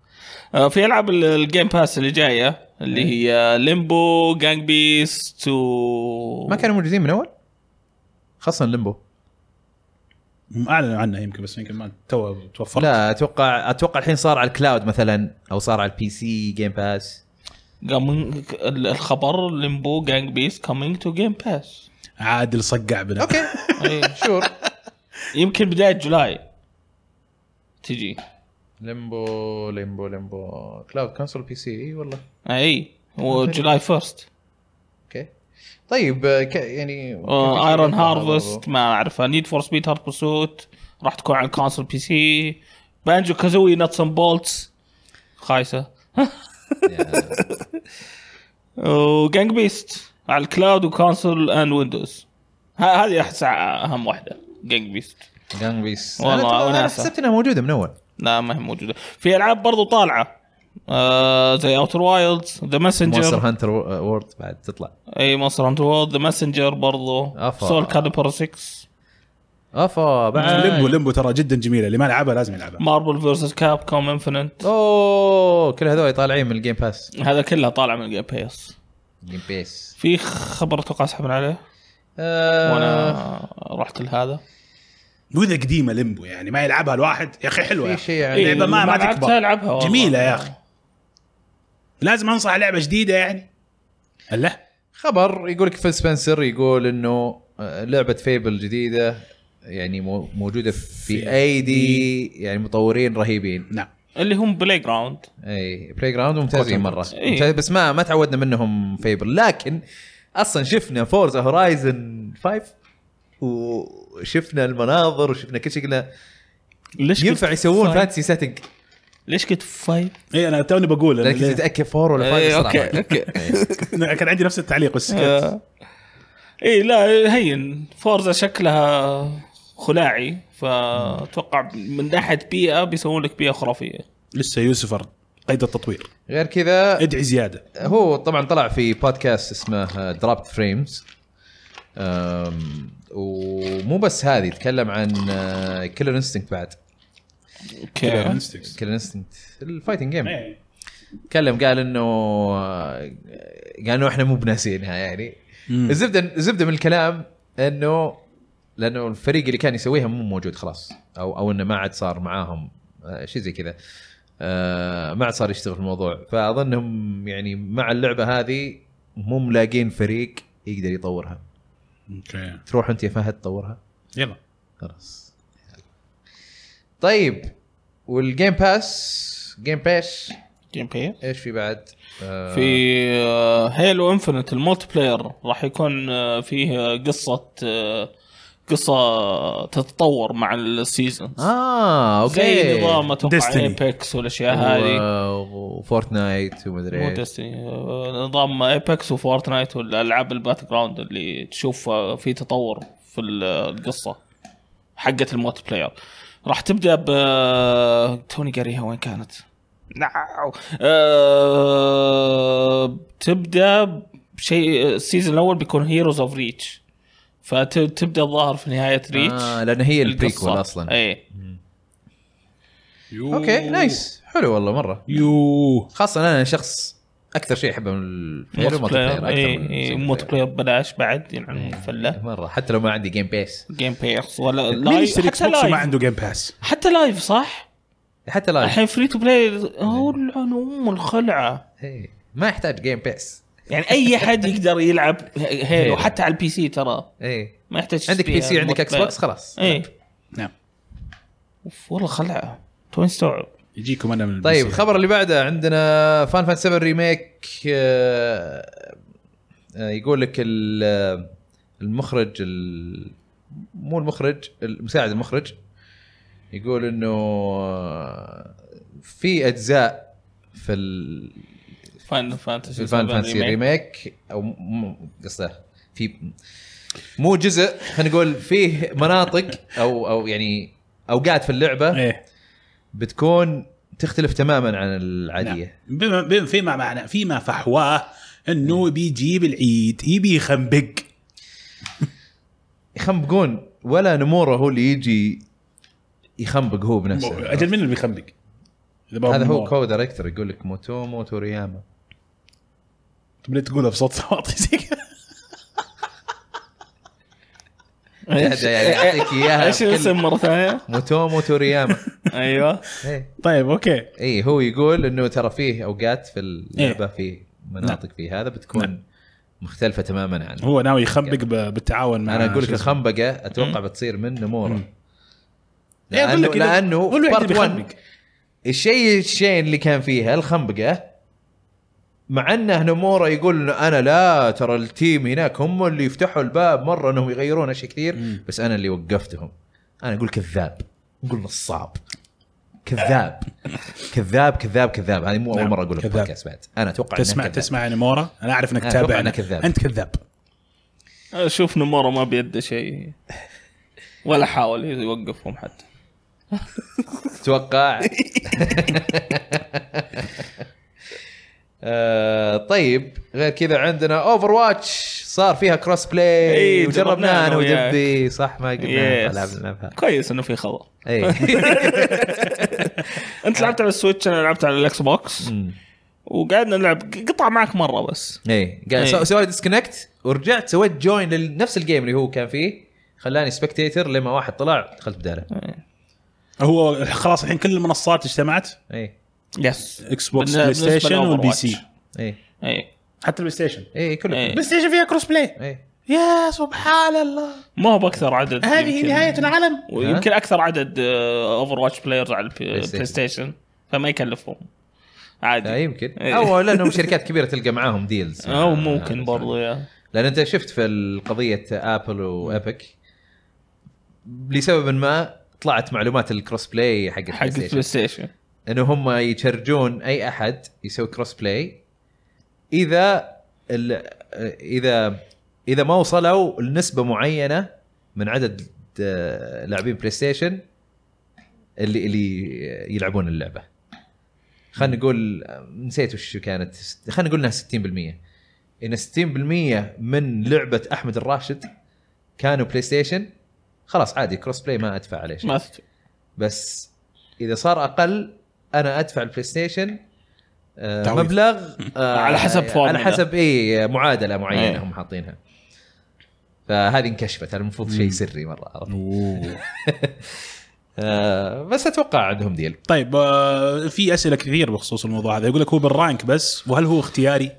Speaker 1: آه، في العاب ال- الجيم باس اللي جايه اللي هي ليمبو جانج بيست و
Speaker 3: ما كانوا موجودين من اول؟ خاصة ليمبو
Speaker 2: اعلنوا عنه يمكن بس يمكن ما تو توفرت
Speaker 3: لا اتوقع اتوقع الحين صار على الكلاود مثلا او صار على البي سي جيم باس
Speaker 1: قام ال- الخبر ليمبو جانج بيست كومينج تو جيم باس
Speaker 2: عادل صقع بنا
Speaker 3: اوكي شور
Speaker 1: يمكن بدايه جولاي تجي
Speaker 3: ليمبو ليمبو ليمبو كلاود كونسول بي سي اي والله
Speaker 1: اي وجولاي فيرست
Speaker 3: اوكي طيب آه، ك... يعني
Speaker 1: ايرون هارفست ما اعرفها نيد فور سبيد هارد بسوت راح تكون على الكونسول بي سي بانجو كازوي نتس اند بولتس خايسه وجانج بيست على الكلاود وكونسول اند ويندوز ه- هذه احس اهم واحده جانج بيست
Speaker 3: جانج بيس
Speaker 1: والله،
Speaker 3: والله انا
Speaker 1: وناسة.
Speaker 3: حسبت انها موجوده من اول
Speaker 1: لا ما هي موجوده في العاب برضو طالعه آه زي اوتر وايلدز ذا
Speaker 3: مونستر
Speaker 1: ماسنجر
Speaker 3: هانتر وورد بعد تطلع
Speaker 1: اي مونستر هانتر وورد ذا ماسنجر برضو
Speaker 3: أفا.
Speaker 1: سول كاليبر 6
Speaker 3: افا بعد
Speaker 2: لمبو لمبو ترى جدا جميله اللي ما لعبها لازم يلعبها
Speaker 1: ماربل فيرسس كاب كوم انفنت
Speaker 3: اوه كل هذول طالعين من الجيم باس
Speaker 1: هذا كله طالع من الجيم بيس
Speaker 3: جيم باس
Speaker 1: في خبر اتوقع سحبنا عليه
Speaker 3: آه،
Speaker 1: وانا رحت لهذا
Speaker 2: واذا قديمه لمبو يعني ما يلعبها الواحد يا اخي حلوه يا
Speaker 3: في
Speaker 2: أخي.
Speaker 3: شيء يعني
Speaker 2: لعبة ما- ما
Speaker 1: لعبتها
Speaker 2: تكبر.
Speaker 1: العبها والله.
Speaker 2: جميله يا اخي لازم انصح لعبه جديده يعني هلا
Speaker 3: خبر يقول لك فيل سبنسر يقول انه آه، لعبه فيبل جديده يعني مو- موجوده في ايدي يعني مطورين رهيبين
Speaker 2: نعم
Speaker 1: اللي هم بلاي جراوند
Speaker 3: اي بلاي جراوند ممتازين
Speaker 2: Cotton
Speaker 3: مره
Speaker 1: Buds. إي.
Speaker 3: ممتاز بس ما ما تعودنا منهم فيبل لكن اصلا شفنا فورزا هورايزن 5 وشفنا المناظر وشفنا كل شيء قلنا
Speaker 1: ليش
Speaker 3: ينفع
Speaker 1: قلت
Speaker 3: يسوون
Speaker 1: five؟
Speaker 3: فانتسي سيتنج
Speaker 1: ليش قلت فايف؟
Speaker 2: اي انا توني بقول إيه، أنا
Speaker 3: لكن
Speaker 2: ليه.
Speaker 3: تتاكد فور ولا إيه.
Speaker 1: إيه،
Speaker 3: فايف
Speaker 1: اوكي اوكي
Speaker 2: أنا كان عندي نفس التعليق بس
Speaker 1: آه.
Speaker 2: سكت
Speaker 1: اي إيه، لا هين فورزا شكلها خلاعي فاتوقع من ناحيه بيئه بيسوون لك بيئه خرافيه
Speaker 2: لسه يوسفر قيد التطوير
Speaker 3: غير كذا
Speaker 1: إيه.
Speaker 2: ادعي زياده
Speaker 3: هو طبعا طلع في بودكاست اسمه درابت فريمز ومو بس هذه تكلم عن كيلر انستنكت بعد
Speaker 1: اوكي
Speaker 3: كيلر انستنكت الفايتنج
Speaker 2: إيه.
Speaker 3: جيم تكلم قال انه قال انه احنا مو بناسينها يعني
Speaker 2: مم.
Speaker 3: الزبده الزبده من الكلام انه لانه الفريق اللي كان يسويها مو موجود خلاص او او انه ما عاد صار معاهم آه، شيء زي كذا آه، ما عاد صار يشتغل في الموضوع فاظنهم يعني مع اللعبه هذه مو ملاقين فريق يقدر يطورها
Speaker 2: اوكي
Speaker 3: تروح انت يا فهد تطورها
Speaker 2: يلا
Speaker 3: خلاص طيب والجيم باس جيم باس
Speaker 1: جيم بلاي
Speaker 3: ايش في بعد؟ آه،
Speaker 1: في آه، هيلو انفنت المولتي بلاير راح يكون آه، فيه آه، قصه آه، قصه تتطور مع السيزون
Speaker 3: اه اوكي
Speaker 1: زي نظام اتوقع
Speaker 2: Destiny.
Speaker 1: ايبكس والاشياء
Speaker 3: أيوة.
Speaker 1: هذه
Speaker 3: و- وفورتنايت ومدري
Speaker 1: مو
Speaker 3: ايش
Speaker 1: ديستني نظام ايبكس وفورتنايت والالعاب البات جراوند اللي تشوف في تطور في القصه حقه الموت بلاير راح تبدا ب توني قاريها وين كانت؟ نعم أه... تبدا بشيء السيزون الاول بيكون هيروز اوف ريتش فتبدا الظاهر في نهايه ريتش
Speaker 3: آه لان هي البريكول اصلا
Speaker 1: اي
Speaker 2: يو.
Speaker 3: اوكي نايس حلو والله مره
Speaker 2: يو
Speaker 3: خاصه انا شخص اكثر شيء احبه من البلاير
Speaker 1: موت
Speaker 3: والموت بلاير
Speaker 1: بلاير
Speaker 3: اكثر من إيه.
Speaker 1: اي
Speaker 3: السنجل
Speaker 1: موت
Speaker 3: بلاير.
Speaker 1: بلاير إيه، ببلاش بعد يعني فله
Speaker 3: مره حتى لو ما عندي جيم بيس
Speaker 1: جيم بيس ولا
Speaker 2: مين
Speaker 1: لايف
Speaker 2: يشتري اكس
Speaker 1: حتى
Speaker 2: بوكس وما
Speaker 1: لايف
Speaker 2: عنده جيم باس
Speaker 1: حتى لايف صح؟
Speaker 3: حتى لايف
Speaker 1: الحين فري تو بلاي هو لعن ام الخلعه
Speaker 3: إيه. ما يحتاج جيم بيس
Speaker 1: يعني اي حد يقدر يلعب هيلو حتى على البي سي ترى
Speaker 3: اي
Speaker 1: ما يحتاج
Speaker 3: إيه. عندك بي سي عندك اكس
Speaker 1: خلاص
Speaker 3: بوكس خلاص
Speaker 1: اي
Speaker 2: نعم
Speaker 1: أوف، والله خلعه تو مستوعب
Speaker 2: يجيكم انا من
Speaker 3: طيب
Speaker 2: البي سي.
Speaker 3: الخبر اللي بعده عندنا فان فان 7 ريميك آه، آه، يقول لك ال- آه، المخرج ال- مو المخرج المساعد المخرج يقول انه آه، في اجزاء في ال-
Speaker 1: فاينل
Speaker 3: في
Speaker 1: فانتسي
Speaker 3: الفان فانتسي ريميك او م- م- قصده في مو جزء خلينا نقول فيه مناطق او او يعني اوقات في اللعبه
Speaker 2: ايه
Speaker 3: بتكون تختلف تماما عن العاديه
Speaker 2: نعم. بما بما- فيما معنى فيما فحواه انه بيجيب العيد يبي يخنبق
Speaker 3: يخنبقون ولا نموره هو اللي يجي يخنبق هو بنفسه
Speaker 2: اجل من اللي بيخنبق؟ إذا بابا
Speaker 3: هذا هو
Speaker 2: مور.
Speaker 3: كو دايركتور يقول لك موتومو تورياما
Speaker 2: طب ليه تقولها بصوت صوتي زي كذا؟
Speaker 3: هذا يعني يعطيك اياها
Speaker 1: ايش
Speaker 3: بكل-
Speaker 1: الاسم مره ثانيه؟
Speaker 3: موتومو تورياما
Speaker 1: ايوه
Speaker 3: إيه.
Speaker 2: طيب اوكي
Speaker 3: اي هو يقول انه ترى فيه اوقات في اللعبه
Speaker 2: إيه.
Speaker 3: فيه مناطق فيه هذا بتكون مختلفه تماما عنه
Speaker 2: نعم. هو ناوي يخنبق ب- بالتعاون مع
Speaker 3: انا اقول لك
Speaker 2: شو اسمه.
Speaker 3: الخنبقه اتوقع بتصير من نموره
Speaker 2: مم. إيه، أقول
Speaker 3: لانه
Speaker 2: لك إذا-
Speaker 3: لانه
Speaker 2: قول له
Speaker 3: في
Speaker 2: عندي
Speaker 3: بارت 1
Speaker 2: بيخنبق.
Speaker 3: الشيء الشين اللي كان فيها الخنبقه مع انه نمورا يقول انه انا لا ترى التيم هناك هم اللي يفتحوا الباب مره انهم يغيرون اشياء كثير
Speaker 2: مم.
Speaker 3: بس انا اللي وقفتهم انا اقول كذاب نقول نصاب كذاب كذاب كذاب كذاب هذه مو اول
Speaker 2: نعم،
Speaker 3: مره اقولها في
Speaker 2: كذاب.
Speaker 3: البودكاست بعد انا اتوقع إنها
Speaker 2: تسمع
Speaker 3: كذاب.
Speaker 2: تسمع يا نمورة انا اعرف انك
Speaker 3: طيب، أنا أتوقع
Speaker 2: تابع
Speaker 3: أنا كذاب.
Speaker 2: انت كذاب
Speaker 1: شوف نمورا ما بيده شيء ولا حاول يوقفهم حتى
Speaker 3: اتوقع آه، طيب غير كذا عندنا اوفر واتش صار فيها كروس بلاي
Speaker 1: إيه،
Speaker 3: وجربناها
Speaker 1: جربناها
Speaker 3: انا
Speaker 1: أنا وياك.
Speaker 3: ودبي صح ما قلنا
Speaker 1: Yes.
Speaker 3: لعبنا نلعبها
Speaker 1: كويس انه في خبر
Speaker 3: اي
Speaker 1: انت لعبت على السويتش انا لعبت على الاكس بوكس وقعدنا نلعب قطع معك مره بس
Speaker 3: اي قاعد
Speaker 1: إيه.
Speaker 3: سو- سويت ديسكونكت ورجعت سويت جوين لنفس الجيم اللي هو كان فيه خلاني سبكتيتر لما واحد طلع دخلت بداله
Speaker 2: هو خلاص الحين كل المنصات اجتمعت
Speaker 3: اي
Speaker 1: يس
Speaker 2: اكس بوكس
Speaker 1: بالن-
Speaker 2: بلاي
Speaker 1: بالنسبة
Speaker 2: ستيشن
Speaker 1: لأوفر
Speaker 2: والبي
Speaker 1: واتش.
Speaker 2: سي
Speaker 3: اي
Speaker 1: اي
Speaker 2: حتى البلاي ستيشن
Speaker 3: اي كله
Speaker 1: إيه.
Speaker 2: بلاي ستيشن فيها كروس بلاي
Speaker 3: اي
Speaker 2: يا سبحان الله
Speaker 1: ما هو باكثر عدد يمكن-
Speaker 2: العالم
Speaker 1: ويمكن اكثر عدد اوفر واتش بلايرز آه، على
Speaker 3: ستيشن.
Speaker 1: البلاي ستيشن فما يكلفهم عادي
Speaker 3: آه، يمكن
Speaker 1: إيه.
Speaker 3: او لانهم شركات كبيره تلقى معاهم ديلز
Speaker 1: او
Speaker 3: آه،
Speaker 1: ممكن برضو يا
Speaker 3: لان انت شفت في قضيه ابل وابك لسبب ما طلعت معلومات الكروس بلاي حق
Speaker 1: حق البلاي ستيشن
Speaker 3: انه هم يشرجون اي احد يسوي كروس بلاي اذا ال... اذا اذا ما وصلوا لنسبه معينه من عدد آه، لاعبين بلاي ستيشن اللي اللي يلعبون اللعبه خلينا نقول نسيت وش كانت خلينا نقول انها 60% ان 60% من لعبه احمد الراشد كانوا بلاي ستيشن خلاص عادي كروس بلاي ما ادفع عليه شيء
Speaker 1: ما أست-
Speaker 3: بس اذا صار اقل انا ادفع البلاي ستيشن آه،
Speaker 2: تعويض.
Speaker 3: مبلغ آه،
Speaker 1: على حسب
Speaker 3: على
Speaker 1: فورمولا.
Speaker 3: حسب اي معادله معينه
Speaker 1: إيه.
Speaker 3: هم حاطينها فهذه انكشفت المفروض شيء سري مره عرفت؟
Speaker 2: أوه.
Speaker 3: آه، بس اتوقع عندهم ديل
Speaker 2: طيب آه، في اسئله كثير بخصوص الموضوع هذا يقول لك هو بالرانك بس وهل هو اختياري؟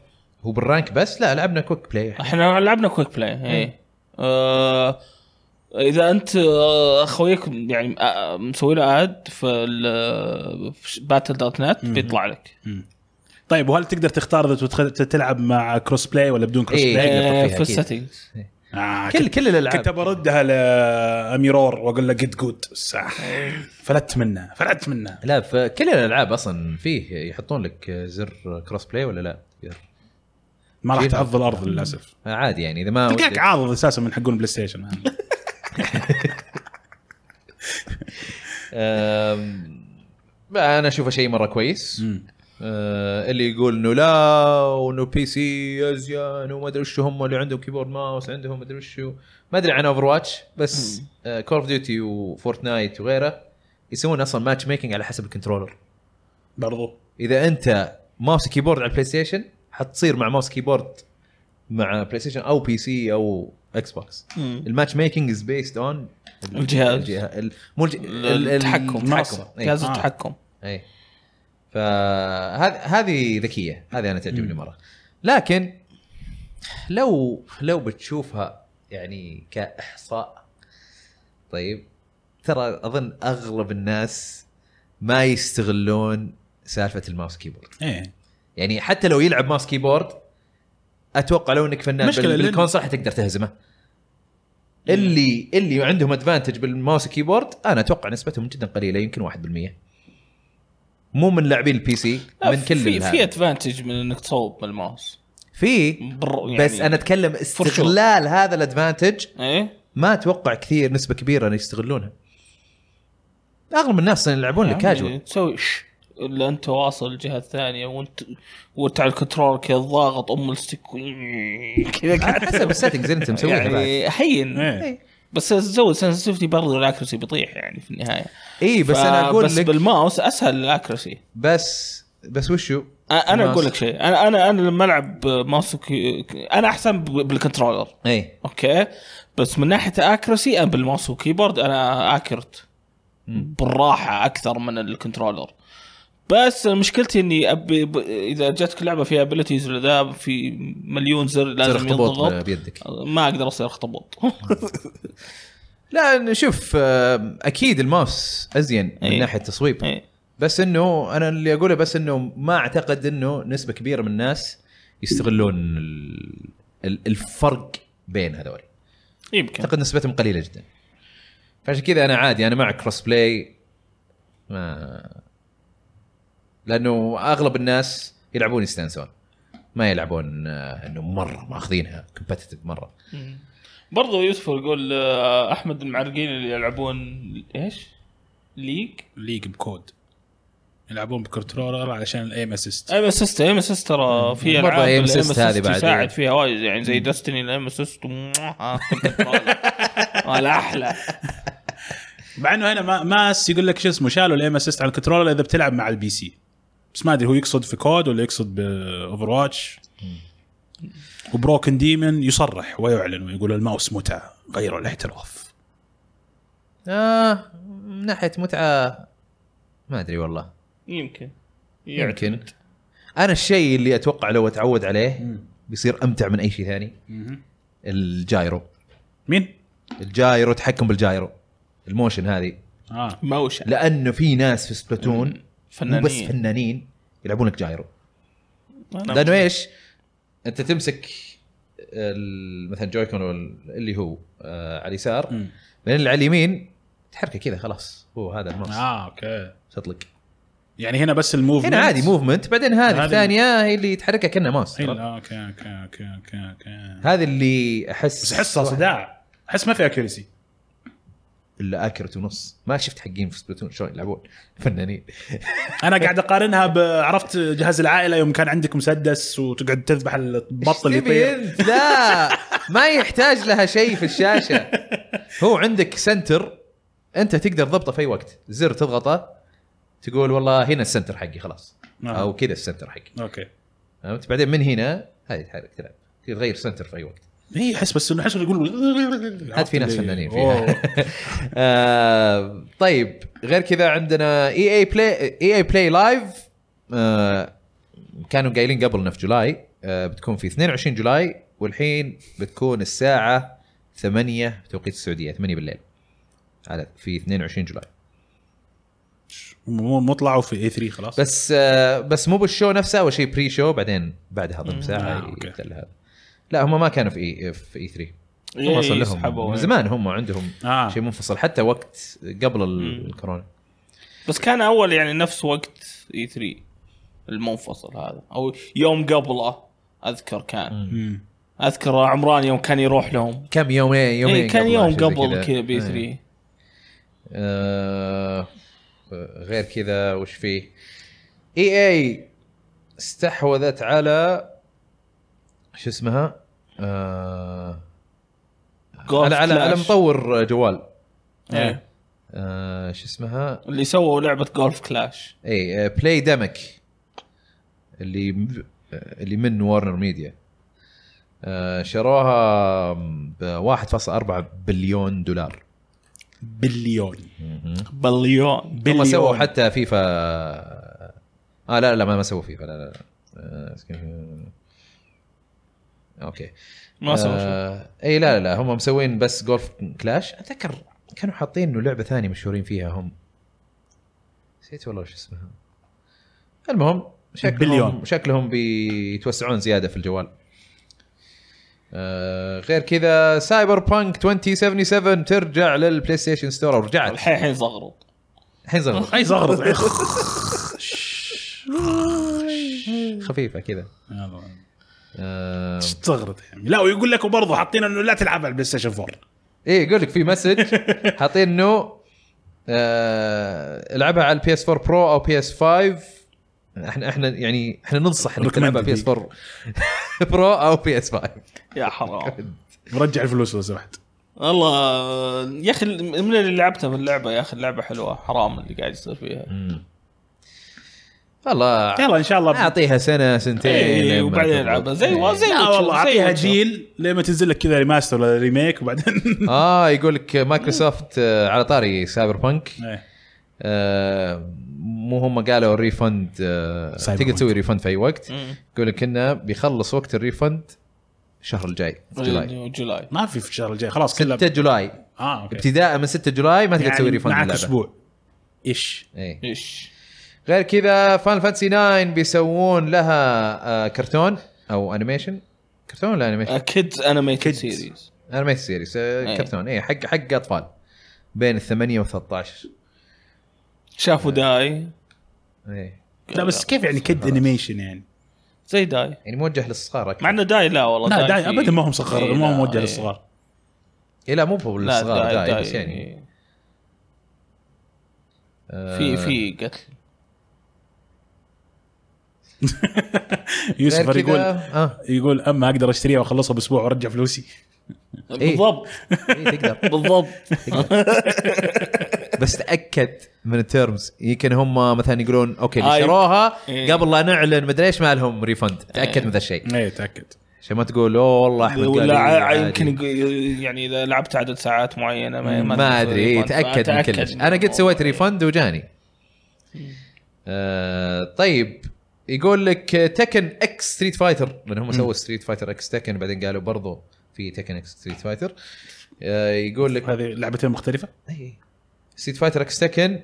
Speaker 3: هو بالرانك بس لا لعبنا كويك بلاي
Speaker 2: آه،
Speaker 1: احنا لعبنا كويك بلاي اي
Speaker 3: إيه.
Speaker 1: آه اذا انت آه، خويك يعني آه، مسوي له اد في ال- في باتل دوت نت بيطلع لك
Speaker 2: طيب وهل تقدر تختار اذا تتخ- تلعب مع كروس بلاي ولا بدون كروس
Speaker 3: إيه.
Speaker 2: بلاي؟
Speaker 1: آه،
Speaker 3: فيها
Speaker 1: في
Speaker 3: أكيد.
Speaker 1: السيتنجز
Speaker 2: آه،
Speaker 3: كل كل
Speaker 2: كنت
Speaker 3: الالعاب
Speaker 2: بردها لاميرور واقول له جيت جود صح فلت منه فلت منه
Speaker 3: لا فكل الالعاب اصلا فيه يحطون لك زر كروس بلاي ولا لا تقدر.
Speaker 2: ما راح
Speaker 3: جينا.
Speaker 2: تعض الارض للاسف
Speaker 3: آه، عادي يعني اذا ما
Speaker 2: تلقاك
Speaker 3: ودك-
Speaker 2: عاضد اساسا من حقون بلاي ستيشن
Speaker 3: أم، انا اشوفه شيء مره كويس
Speaker 2: مم.
Speaker 3: أه، اللي يقول انه لا وانه بي سي ازين وما ادري وش هم اللي عندهم كيبورد ماوس عندهم ما ادري وش هو. ما ادري عن اوفر واتش بس آه، كول اوف ديوتي وفورتنايت وغيره يسوون اصلا ماتش ميكنج على حسب الكنترولر
Speaker 2: برضو
Speaker 3: اذا انت ماوس كيبورد على البلاي ستيشن حتصير مع ماوس كيبورد مع بلاي ستيشن او بي سي او اكس بوكس
Speaker 1: مم.
Speaker 3: الماتش ميكنج از بيست اون
Speaker 1: الجهاز.
Speaker 3: مو الج- ال-
Speaker 1: التحكم.
Speaker 3: التحكم إيه.
Speaker 1: جهاز
Speaker 2: آه.
Speaker 1: التحكم
Speaker 3: اي فهذه إيه. هذه ذكيه هذه انا تعجبني مره لكن لو لو بتشوفها يعني كاحصاء طيب ترى اظن اغلب الناس ما يستغلون سالفه الماوس كيبورد
Speaker 2: ايه
Speaker 3: يعني حتى لو يلعب ماوس كيبورد اتوقع لو انك فنان
Speaker 2: مشكلة
Speaker 3: بال-
Speaker 2: لأن-
Speaker 3: بالكونسول حتقدر تهزمه اللي اللي عندهم ادفانتج بالماوس كيبورد انا اتوقع نسبتهم جدا قليله يمكن 1% مو من لاعبين البي سي
Speaker 1: لا،
Speaker 3: من كل
Speaker 1: في
Speaker 3: الهذا.
Speaker 1: في ادفانتج من انك تصوب بالماوس
Speaker 3: في
Speaker 1: بر- يعني
Speaker 3: بس انا اتكلم استغلال هذا الادفانتج
Speaker 1: ايه
Speaker 3: ما اتوقع كثير نسبه كبيره انه يستغلونها اغلب الناس يلعبون لك
Speaker 1: يعني
Speaker 3: كاجوال
Speaker 1: تسوي ش الا انت واصل الجهه الثانيه وانت وانت على الكنترول كذا ضاغط ام الستيك كذا قاعد
Speaker 3: حسب السيتنجز اللي انت مسويها بعد.
Speaker 1: يعني حين
Speaker 2: إيه.
Speaker 1: بس تزود سنسيتيفيتي برضه الاكرسي بيطيح يعني في النهايه
Speaker 3: اي بس
Speaker 1: ف-
Speaker 3: انا اقول
Speaker 1: بس
Speaker 3: لك
Speaker 1: بالماوس اسهل الاكرسي
Speaker 3: بس بس وشو
Speaker 1: أ- انا
Speaker 3: الماوس.
Speaker 1: اقول لك شيء انا انا انا لما العب ماوس وكي... انا احسن ب- بالكنترولر
Speaker 3: اي
Speaker 1: اوكي بس من ناحيه اكرسي انا بالماوس وكيبورد انا اكرت بالراحه اكثر من الكنترولر بس مشكلتي اني ابي ب... اذا جاتك لعبه فيها ابيلتيز ولا ذا في مليون زر
Speaker 3: تصير
Speaker 1: لازم
Speaker 3: اخطبوط
Speaker 1: يضغط
Speaker 3: بيدك
Speaker 1: ما اقدر اصير اخطبوط
Speaker 3: لا شوف آم، اكيد الماوس ازين من
Speaker 1: إيه.
Speaker 3: ناحيه تصويب
Speaker 1: إيه.
Speaker 3: بس انه انا اللي اقوله بس انه ما اعتقد انه نسبه كبيره من الناس يستغلون ال- ال- الفرق بين هذول
Speaker 1: يمكن
Speaker 3: اعتقد نسبتهم قليله جدا فعشان كذا انا عادي انا مع كروس بلاي ما لانه اغلب الناس يلعبون يستانسون ما يلعبون آه، انه مره ماخذينها كومبتتف مره
Speaker 1: برضو يوسف يقول آه، احمد المعرقين اللي يلعبون ايش؟ ليج؟
Speaker 2: ليج بكود يلعبون بكنترولر علشان الايم اسيست
Speaker 1: ايم اسيست ايم اسيست ترى في
Speaker 3: برضو
Speaker 1: العاب
Speaker 3: aim
Speaker 1: الAim
Speaker 3: assist
Speaker 1: assist
Speaker 3: هذه بعد، إيه.
Speaker 1: يساعد فيها وايد يعني زي دستني الايم اسيست ولا احلى
Speaker 2: مع انه هنا ما ماس يقول لك شو اسمه شالوا الايم اسيست على الكنترولر اذا بتلعب مع البي سي بس ما ادري هو يقصد في كود ولا يقصد باوفر واتش وبروكن ديمن يصرح ويعلن ويقول الماوس متعه غير الاحتراف
Speaker 3: آه من ناحية متعة ما أدري والله
Speaker 1: يمكن
Speaker 3: يمكن أنا الشيء اللي أتوقع لو أتعود عليه بيصير أمتع من أي شيء ثاني الجايرو
Speaker 2: مين؟
Speaker 3: الجايرو تحكم بالجايرو الموشن هذه
Speaker 2: اه
Speaker 1: موشن
Speaker 3: لأنه في ناس في سبلاتون مو
Speaker 1: فنانين
Speaker 3: بس فنانين يلعبون لك جايرو
Speaker 1: أنا-
Speaker 3: لانه ايش؟ انت تمسك ال- مثلا جويكون وال- اللي هو آه على اليسار
Speaker 2: مم.
Speaker 3: بعدين اللي على اليمين تحركه كذا خلاص هو هذا الماوس
Speaker 2: اه اوكي
Speaker 3: تطلق
Speaker 2: يعني هنا بس الموف
Speaker 3: هنا عادي موفمنت بعدين هذه
Speaker 2: هذه-
Speaker 3: الثانيه هي اللي تحركها كانها ماوس
Speaker 2: اوكي
Speaker 3: عرفت؟
Speaker 2: اوكي اوكي اوكي اوكي
Speaker 3: هذه اللي احس
Speaker 2: بس احسها صداع احس ما في اكيرسي
Speaker 3: الا اكرت ونص ما شفت حقين في سبلاتون شلون يلعبون فنانين
Speaker 2: انا قاعد اقارنها ب- عرفت جهاز العائله يوم كان عندك مسدس وتقعد تذبح البط اللي
Speaker 3: إيش تبي
Speaker 2: يطير
Speaker 3: أنت؟ لا ما يحتاج لها شيء في الشاشه هو عندك سنتر انت تقدر تضبطه في اي وقت زر تضغطه تقول والله هنا السنتر حقي خلاص
Speaker 2: آه.
Speaker 3: او كذا السنتر حقي
Speaker 2: اوكي
Speaker 3: فهمت بعدين من هنا هذه تحرك تلعب تغير سنتر في اي وقت
Speaker 2: اي احس إيه، بس انه احس إنه يقول
Speaker 3: هات في ناس فنانين فيها
Speaker 2: أوه.
Speaker 3: آه طيب غير كذا عندنا E اي اي بلاي اي اي بلاي لايف آه كانوا قايلين قبلنا في جولاي آه بتكون في 22 جولاي والحين بتكون الساعة 8 بتوقيت السعودية 8 بالليل على في 22 جولاي
Speaker 2: مو مو طلعوا في اي 3 خلاص
Speaker 3: بس آه بس مو بالشو نفسه اول شيء بري شو بعدين بعدها ضم
Speaker 2: آه،
Speaker 3: ساعة
Speaker 2: أوكي.
Speaker 3: يبدا هذا لا هم ما كانوا في اي في اي 3 هم
Speaker 1: إيه،
Speaker 3: اصلا
Speaker 1: يسحبوا،
Speaker 3: لهم من
Speaker 1: إيه.
Speaker 3: زمان هم عندهم
Speaker 2: آه.
Speaker 3: شيء منفصل حتى وقت قبل الكورونا
Speaker 1: بس كان اول يعني نفس وقت اي 3 المنفصل هذا او يوم قبله اذكر كان
Speaker 2: مم.
Speaker 1: اذكر عمران يوم كان يروح لهم
Speaker 3: كم يومين يومين
Speaker 1: إيه كان
Speaker 3: قبل
Speaker 1: يوم
Speaker 3: عشان زي
Speaker 1: قبل كذا بي
Speaker 3: إيه.
Speaker 1: 3
Speaker 3: آه، غير كذا وش فيه؟ اي اي استحوذت على شو اسمها؟ آه على على على مطور جوال
Speaker 1: إيه.
Speaker 3: آه شو اسمها؟
Speaker 1: اللي سووا لعبه جولف كلاش
Speaker 3: اي بلاي ديمك اللي م- اللي من وارنر ميديا آه، شروها ب 1.4 بليون دولار
Speaker 2: بليون
Speaker 1: بليون
Speaker 3: هم
Speaker 2: بليون
Speaker 3: سووا حتى فيفا اه لا لا ما ما سووا فيفا لا لا, لا. آه، اسكن- اوكي
Speaker 1: ما سووا شيء
Speaker 3: آه اي لا لا لا هم مسوين بس جولف كلاش اتذكر كانوا حاطين انه لعبه ثانيه مشهورين فيها هم نسيت والله وش اسمها المهم شكلهم
Speaker 2: بليون.
Speaker 3: شكلهم بيتوسعون زياده في الجوال آه غير كذا سايبر بانك 2077 ترجع للبلاي ستيشن ستور ورجعت
Speaker 1: الحين الحين زغرط
Speaker 3: الحين زغرة
Speaker 2: اي زغرط
Speaker 3: خفيفه كذا آه
Speaker 2: استغرب يعني لا ويقول لك وبرضه حاطين انه لا تلعب على البلاي ستيشن 4
Speaker 3: ايه يقول لك في مسج حاطين انه آه، العبها على البي اس 4 برو او بي اس 5 احنا احنا يعني احنا ننصح انك
Speaker 2: Recommended
Speaker 3: تلعبها بي اس 4 برو او بي اس 5
Speaker 1: يا حرام
Speaker 2: رجع الفلوس لو سمحت
Speaker 1: والله يا اخي من اللي لعبته في اللعبه يا اخي اللعبه حلوه حرام اللي قاعد يصير فيها
Speaker 3: والله
Speaker 2: يلا ان شاء الله إيه،
Speaker 3: اعطيها سنه سنتين
Speaker 1: اي
Speaker 3: لما
Speaker 1: إيه، وبعدين
Speaker 3: تضبط.
Speaker 1: العبها زي
Speaker 3: إيه.
Speaker 1: زي
Speaker 2: لا
Speaker 1: Witcher،
Speaker 2: والله
Speaker 1: زي
Speaker 2: اعطيها
Speaker 1: Witcher.
Speaker 2: جيل لما تنزل لك كذا ريماستر ولا ريميك وبعدين
Speaker 3: اه يقول لك مايكروسوفت آه، على طاري سايبر بانك
Speaker 2: إيه.
Speaker 3: آه، مو هم قالوا الريفند آه،
Speaker 2: سايبر
Speaker 3: تقدر
Speaker 2: بانك.
Speaker 3: تسوي ريفند في اي وقت
Speaker 1: مم.
Speaker 3: يقول لك انه بيخلص وقت الريفند الشهر الجاي في جولاي
Speaker 1: جولاي
Speaker 2: ما في في الشهر الجاي خلاص كلها
Speaker 3: 6 جولاي
Speaker 2: اه اوكي
Speaker 3: ابتداء من 6 جولاي ما تقدر
Speaker 2: يعني
Speaker 3: تسوي ريفند
Speaker 2: معك
Speaker 3: للعبة.
Speaker 2: اسبوع ايش
Speaker 3: إيه.
Speaker 1: ايش
Speaker 3: غير كذا فان فانتسي 9 بيسوون لها آه، كرتون او انيميشن كرتون ولا انيميشن؟
Speaker 1: كيدز انيميتد
Speaker 2: Kids.
Speaker 1: سيريز
Speaker 3: انيميشن سيريس
Speaker 1: إيه.
Speaker 3: آه، كرتون اي حق حق اطفال بين 8 و 13
Speaker 1: شافوا
Speaker 3: إيه.
Speaker 1: داي
Speaker 3: اي
Speaker 2: لا بس كيف يعني كد انيميشن يعني
Speaker 1: زي داي
Speaker 3: يعني موجه للصغار اكثر
Speaker 1: مع انه داي لا والله
Speaker 2: لا داي
Speaker 1: في-
Speaker 2: ابدا ما هم صغار
Speaker 1: إيه،
Speaker 2: ما هم
Speaker 1: لا،
Speaker 2: موجه
Speaker 1: إيه.
Speaker 2: للصغار
Speaker 3: إيه لا مو هو
Speaker 1: لا
Speaker 3: للصغار داي بس يعني آه،
Speaker 1: إيه. في في قتل
Speaker 3: غير
Speaker 2: يوسف
Speaker 3: كذا
Speaker 2: يقول
Speaker 3: اه
Speaker 2: يقول اما اقدر اشتريها واخلصها باسبوع وارجع فلوسي
Speaker 1: بالضبط
Speaker 3: إيه تقدر
Speaker 1: بالضبط
Speaker 3: بس تاكد من التيرمز يمكن هم مثلا يقولون اوكي اللي
Speaker 1: آه،
Speaker 3: شروها
Speaker 1: إيه.
Speaker 3: قبل لا نعلن مدري ايش ما لهم ريفند تاكد من ذا الشيء
Speaker 2: ايه تاكد
Speaker 3: عشان ما تقول اوه والله احمد قال
Speaker 1: ولا
Speaker 3: لي
Speaker 1: ع-
Speaker 3: عادي."
Speaker 1: يمكن يق- يعني اذا لعبت عدد ساعات معينه ما,
Speaker 3: ما ادري إيه،
Speaker 1: تقدر تسوي refund.
Speaker 3: تاكد من
Speaker 1: فتأكد
Speaker 3: كلش
Speaker 1: من
Speaker 3: انا قد
Speaker 1: الموضوع.
Speaker 3: سويت ريفند وجاني آه طيب يقول لك آه، تكن اكس ستريت فايتر لان هم سووا ستريت فايتر اكس تكن بعدين قالوا برضو في تكن اكس ستريت فايتر آه يقول لك إيه.
Speaker 2: هذه لعبتين مختلفه
Speaker 3: ستريت فايتر اكس تكن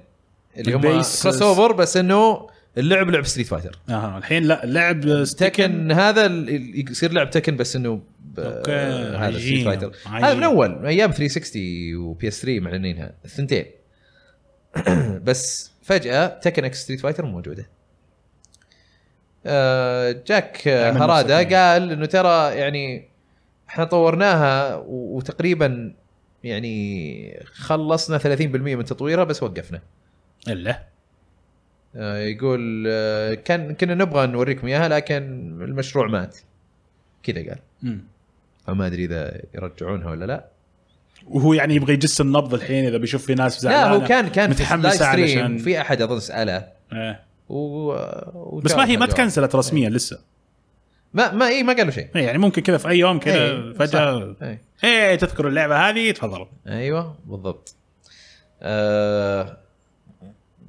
Speaker 3: اللي هم
Speaker 2: البيس-
Speaker 3: كروس اوفر بس انه اللعب لعب ستريت فايتر
Speaker 2: اها الحين لا لعب
Speaker 3: تكن هذا ال- ال- يصير لعب تكن بس انه ب-
Speaker 2: أوكي،
Speaker 3: هذا
Speaker 2: عجيب،
Speaker 3: ستريت فايتر
Speaker 2: عجيب.
Speaker 3: هذا من اول ايام 360 وبي اس 3 معلنينها الثنتين بس فجاه تكن اكس ستريت فايتر مو موجوده آه، جاك آه،
Speaker 2: عمل نفسه.
Speaker 3: هرادا قال انه ترى يعني احنا طورناها و- وتقريبا يعني خلصنا 30% من تطويرها بس وقفنا
Speaker 2: الا
Speaker 3: آه، يقول آه، كان كنا نبغى نوريكم اياها لكن المشروع مات كذا قال
Speaker 2: مم.
Speaker 3: فما ادري اذا يرجعونها ولا لا
Speaker 2: وهو يعني يبغى يجس النبض الحين اذا بيشوف لي ناس
Speaker 3: لا
Speaker 2: زعلانة.
Speaker 3: هو كان كان في
Speaker 2: متحمسة
Speaker 3: لايف ستريم
Speaker 2: علشان-
Speaker 3: في احد اظن ساله
Speaker 2: إيه.
Speaker 3: و... وجاوب
Speaker 2: بس ما هي ما
Speaker 3: الجواب.
Speaker 2: تكنسلت رسميا لسه
Speaker 3: ما ما اي ما قالوا شيء
Speaker 2: إيه، يعني ممكن كذا في اي يوم كذا
Speaker 3: إيه،
Speaker 2: فجاه
Speaker 3: صح. إيه.
Speaker 2: ايه تذكر اللعبه هذه تفضل
Speaker 3: ايوه بالضبط آه...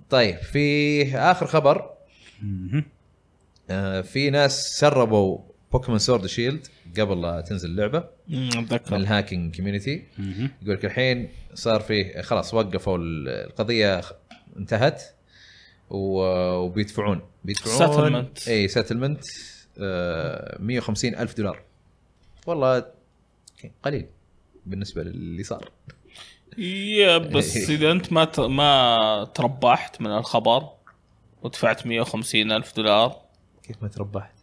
Speaker 3: طيب في اخر خبر
Speaker 2: مهم.
Speaker 3: آه في ناس سربوا بوكيمون سورد شيلد قبل لا تنزل اللعبه
Speaker 1: مم،
Speaker 3: من
Speaker 2: نعم.
Speaker 1: اتذكر
Speaker 3: الهاكينج كوميونتي
Speaker 2: مهم.
Speaker 3: يقول لك الحين صار فيه خلاص وقفوا ال- القضيه خ- انتهت و- وبيدفعون بيدفعون آه،
Speaker 1: Settlement.
Speaker 3: اي سيتلمنت 150 الف دولار والله قليل بالنسبه للي صار
Speaker 1: يا
Speaker 3: إيه.
Speaker 1: بس اذا انت ما ت- ما تربحت من الخبر ودفعت 150 الف دولار
Speaker 3: كيف ما تربحت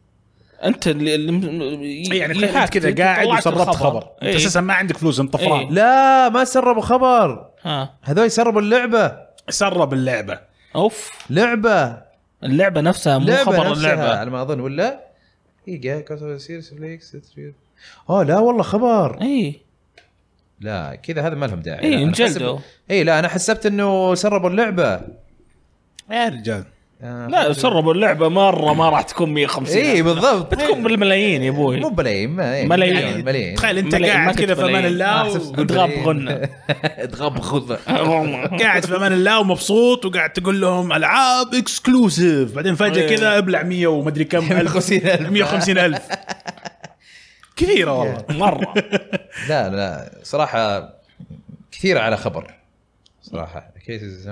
Speaker 1: انت اللي اللي-
Speaker 2: يعني
Speaker 1: اللي
Speaker 2: تخيل
Speaker 1: هاكت،
Speaker 2: كذا
Speaker 1: أنت
Speaker 2: قاعد
Speaker 1: إيه، طلعت
Speaker 2: وسربت خبر انت
Speaker 1: إيه.
Speaker 2: اساسا ما عندك فلوس انت طفران
Speaker 1: إيه.
Speaker 3: لا ما سربوا خبر
Speaker 1: ها
Speaker 3: هذول سربوا اللعبه
Speaker 2: سرب اللعبه
Speaker 1: اوف
Speaker 3: لعبه
Speaker 1: اللعبه نفسها مو
Speaker 3: لعبة
Speaker 1: خبر
Speaker 3: نفسها
Speaker 1: اللعبه
Speaker 3: على ما اظن ولا اي سيريس بليكس اه لا والله خبر
Speaker 1: اي
Speaker 3: لا كذا هذا ما لهم داعي
Speaker 1: إيه،
Speaker 3: لا، أنا
Speaker 1: انجلدوا.
Speaker 3: حسب- اي إيه، لا انا حسبت انه سربوا اللعبه
Speaker 2: يا رجال
Speaker 3: آه،
Speaker 1: لا سربوا اللعبه مره ما راح تكون 150
Speaker 2: إيه،
Speaker 3: اي بالضبط
Speaker 1: بتكون بالملايين يا ابوي
Speaker 3: مو بلايين ما- إيه،
Speaker 1: ملايين.
Speaker 3: ملايين ملايين
Speaker 2: يعني تخيل انت
Speaker 1: ملايين، ما
Speaker 2: قاعد
Speaker 1: كنت
Speaker 2: كذا في امان
Speaker 1: ملايين.
Speaker 2: الله
Speaker 3: ما
Speaker 2: و-
Speaker 3: حسبت تقول
Speaker 1: تغاب
Speaker 3: ملايين.
Speaker 1: غنة.
Speaker 3: تغاب غنة
Speaker 2: قاعد في امان الله ومبسوط وقاعد تقول لهم العاب اكسكلوسيف بعدين فجاه
Speaker 1: إيه.
Speaker 2: كذا ابلع 100 ومدري كم
Speaker 3: 150,000.
Speaker 2: 150 الف كثيره
Speaker 1: إيه.
Speaker 2: والله
Speaker 1: مره
Speaker 3: لا لا صراحه كثير على خبر صراحه كيسز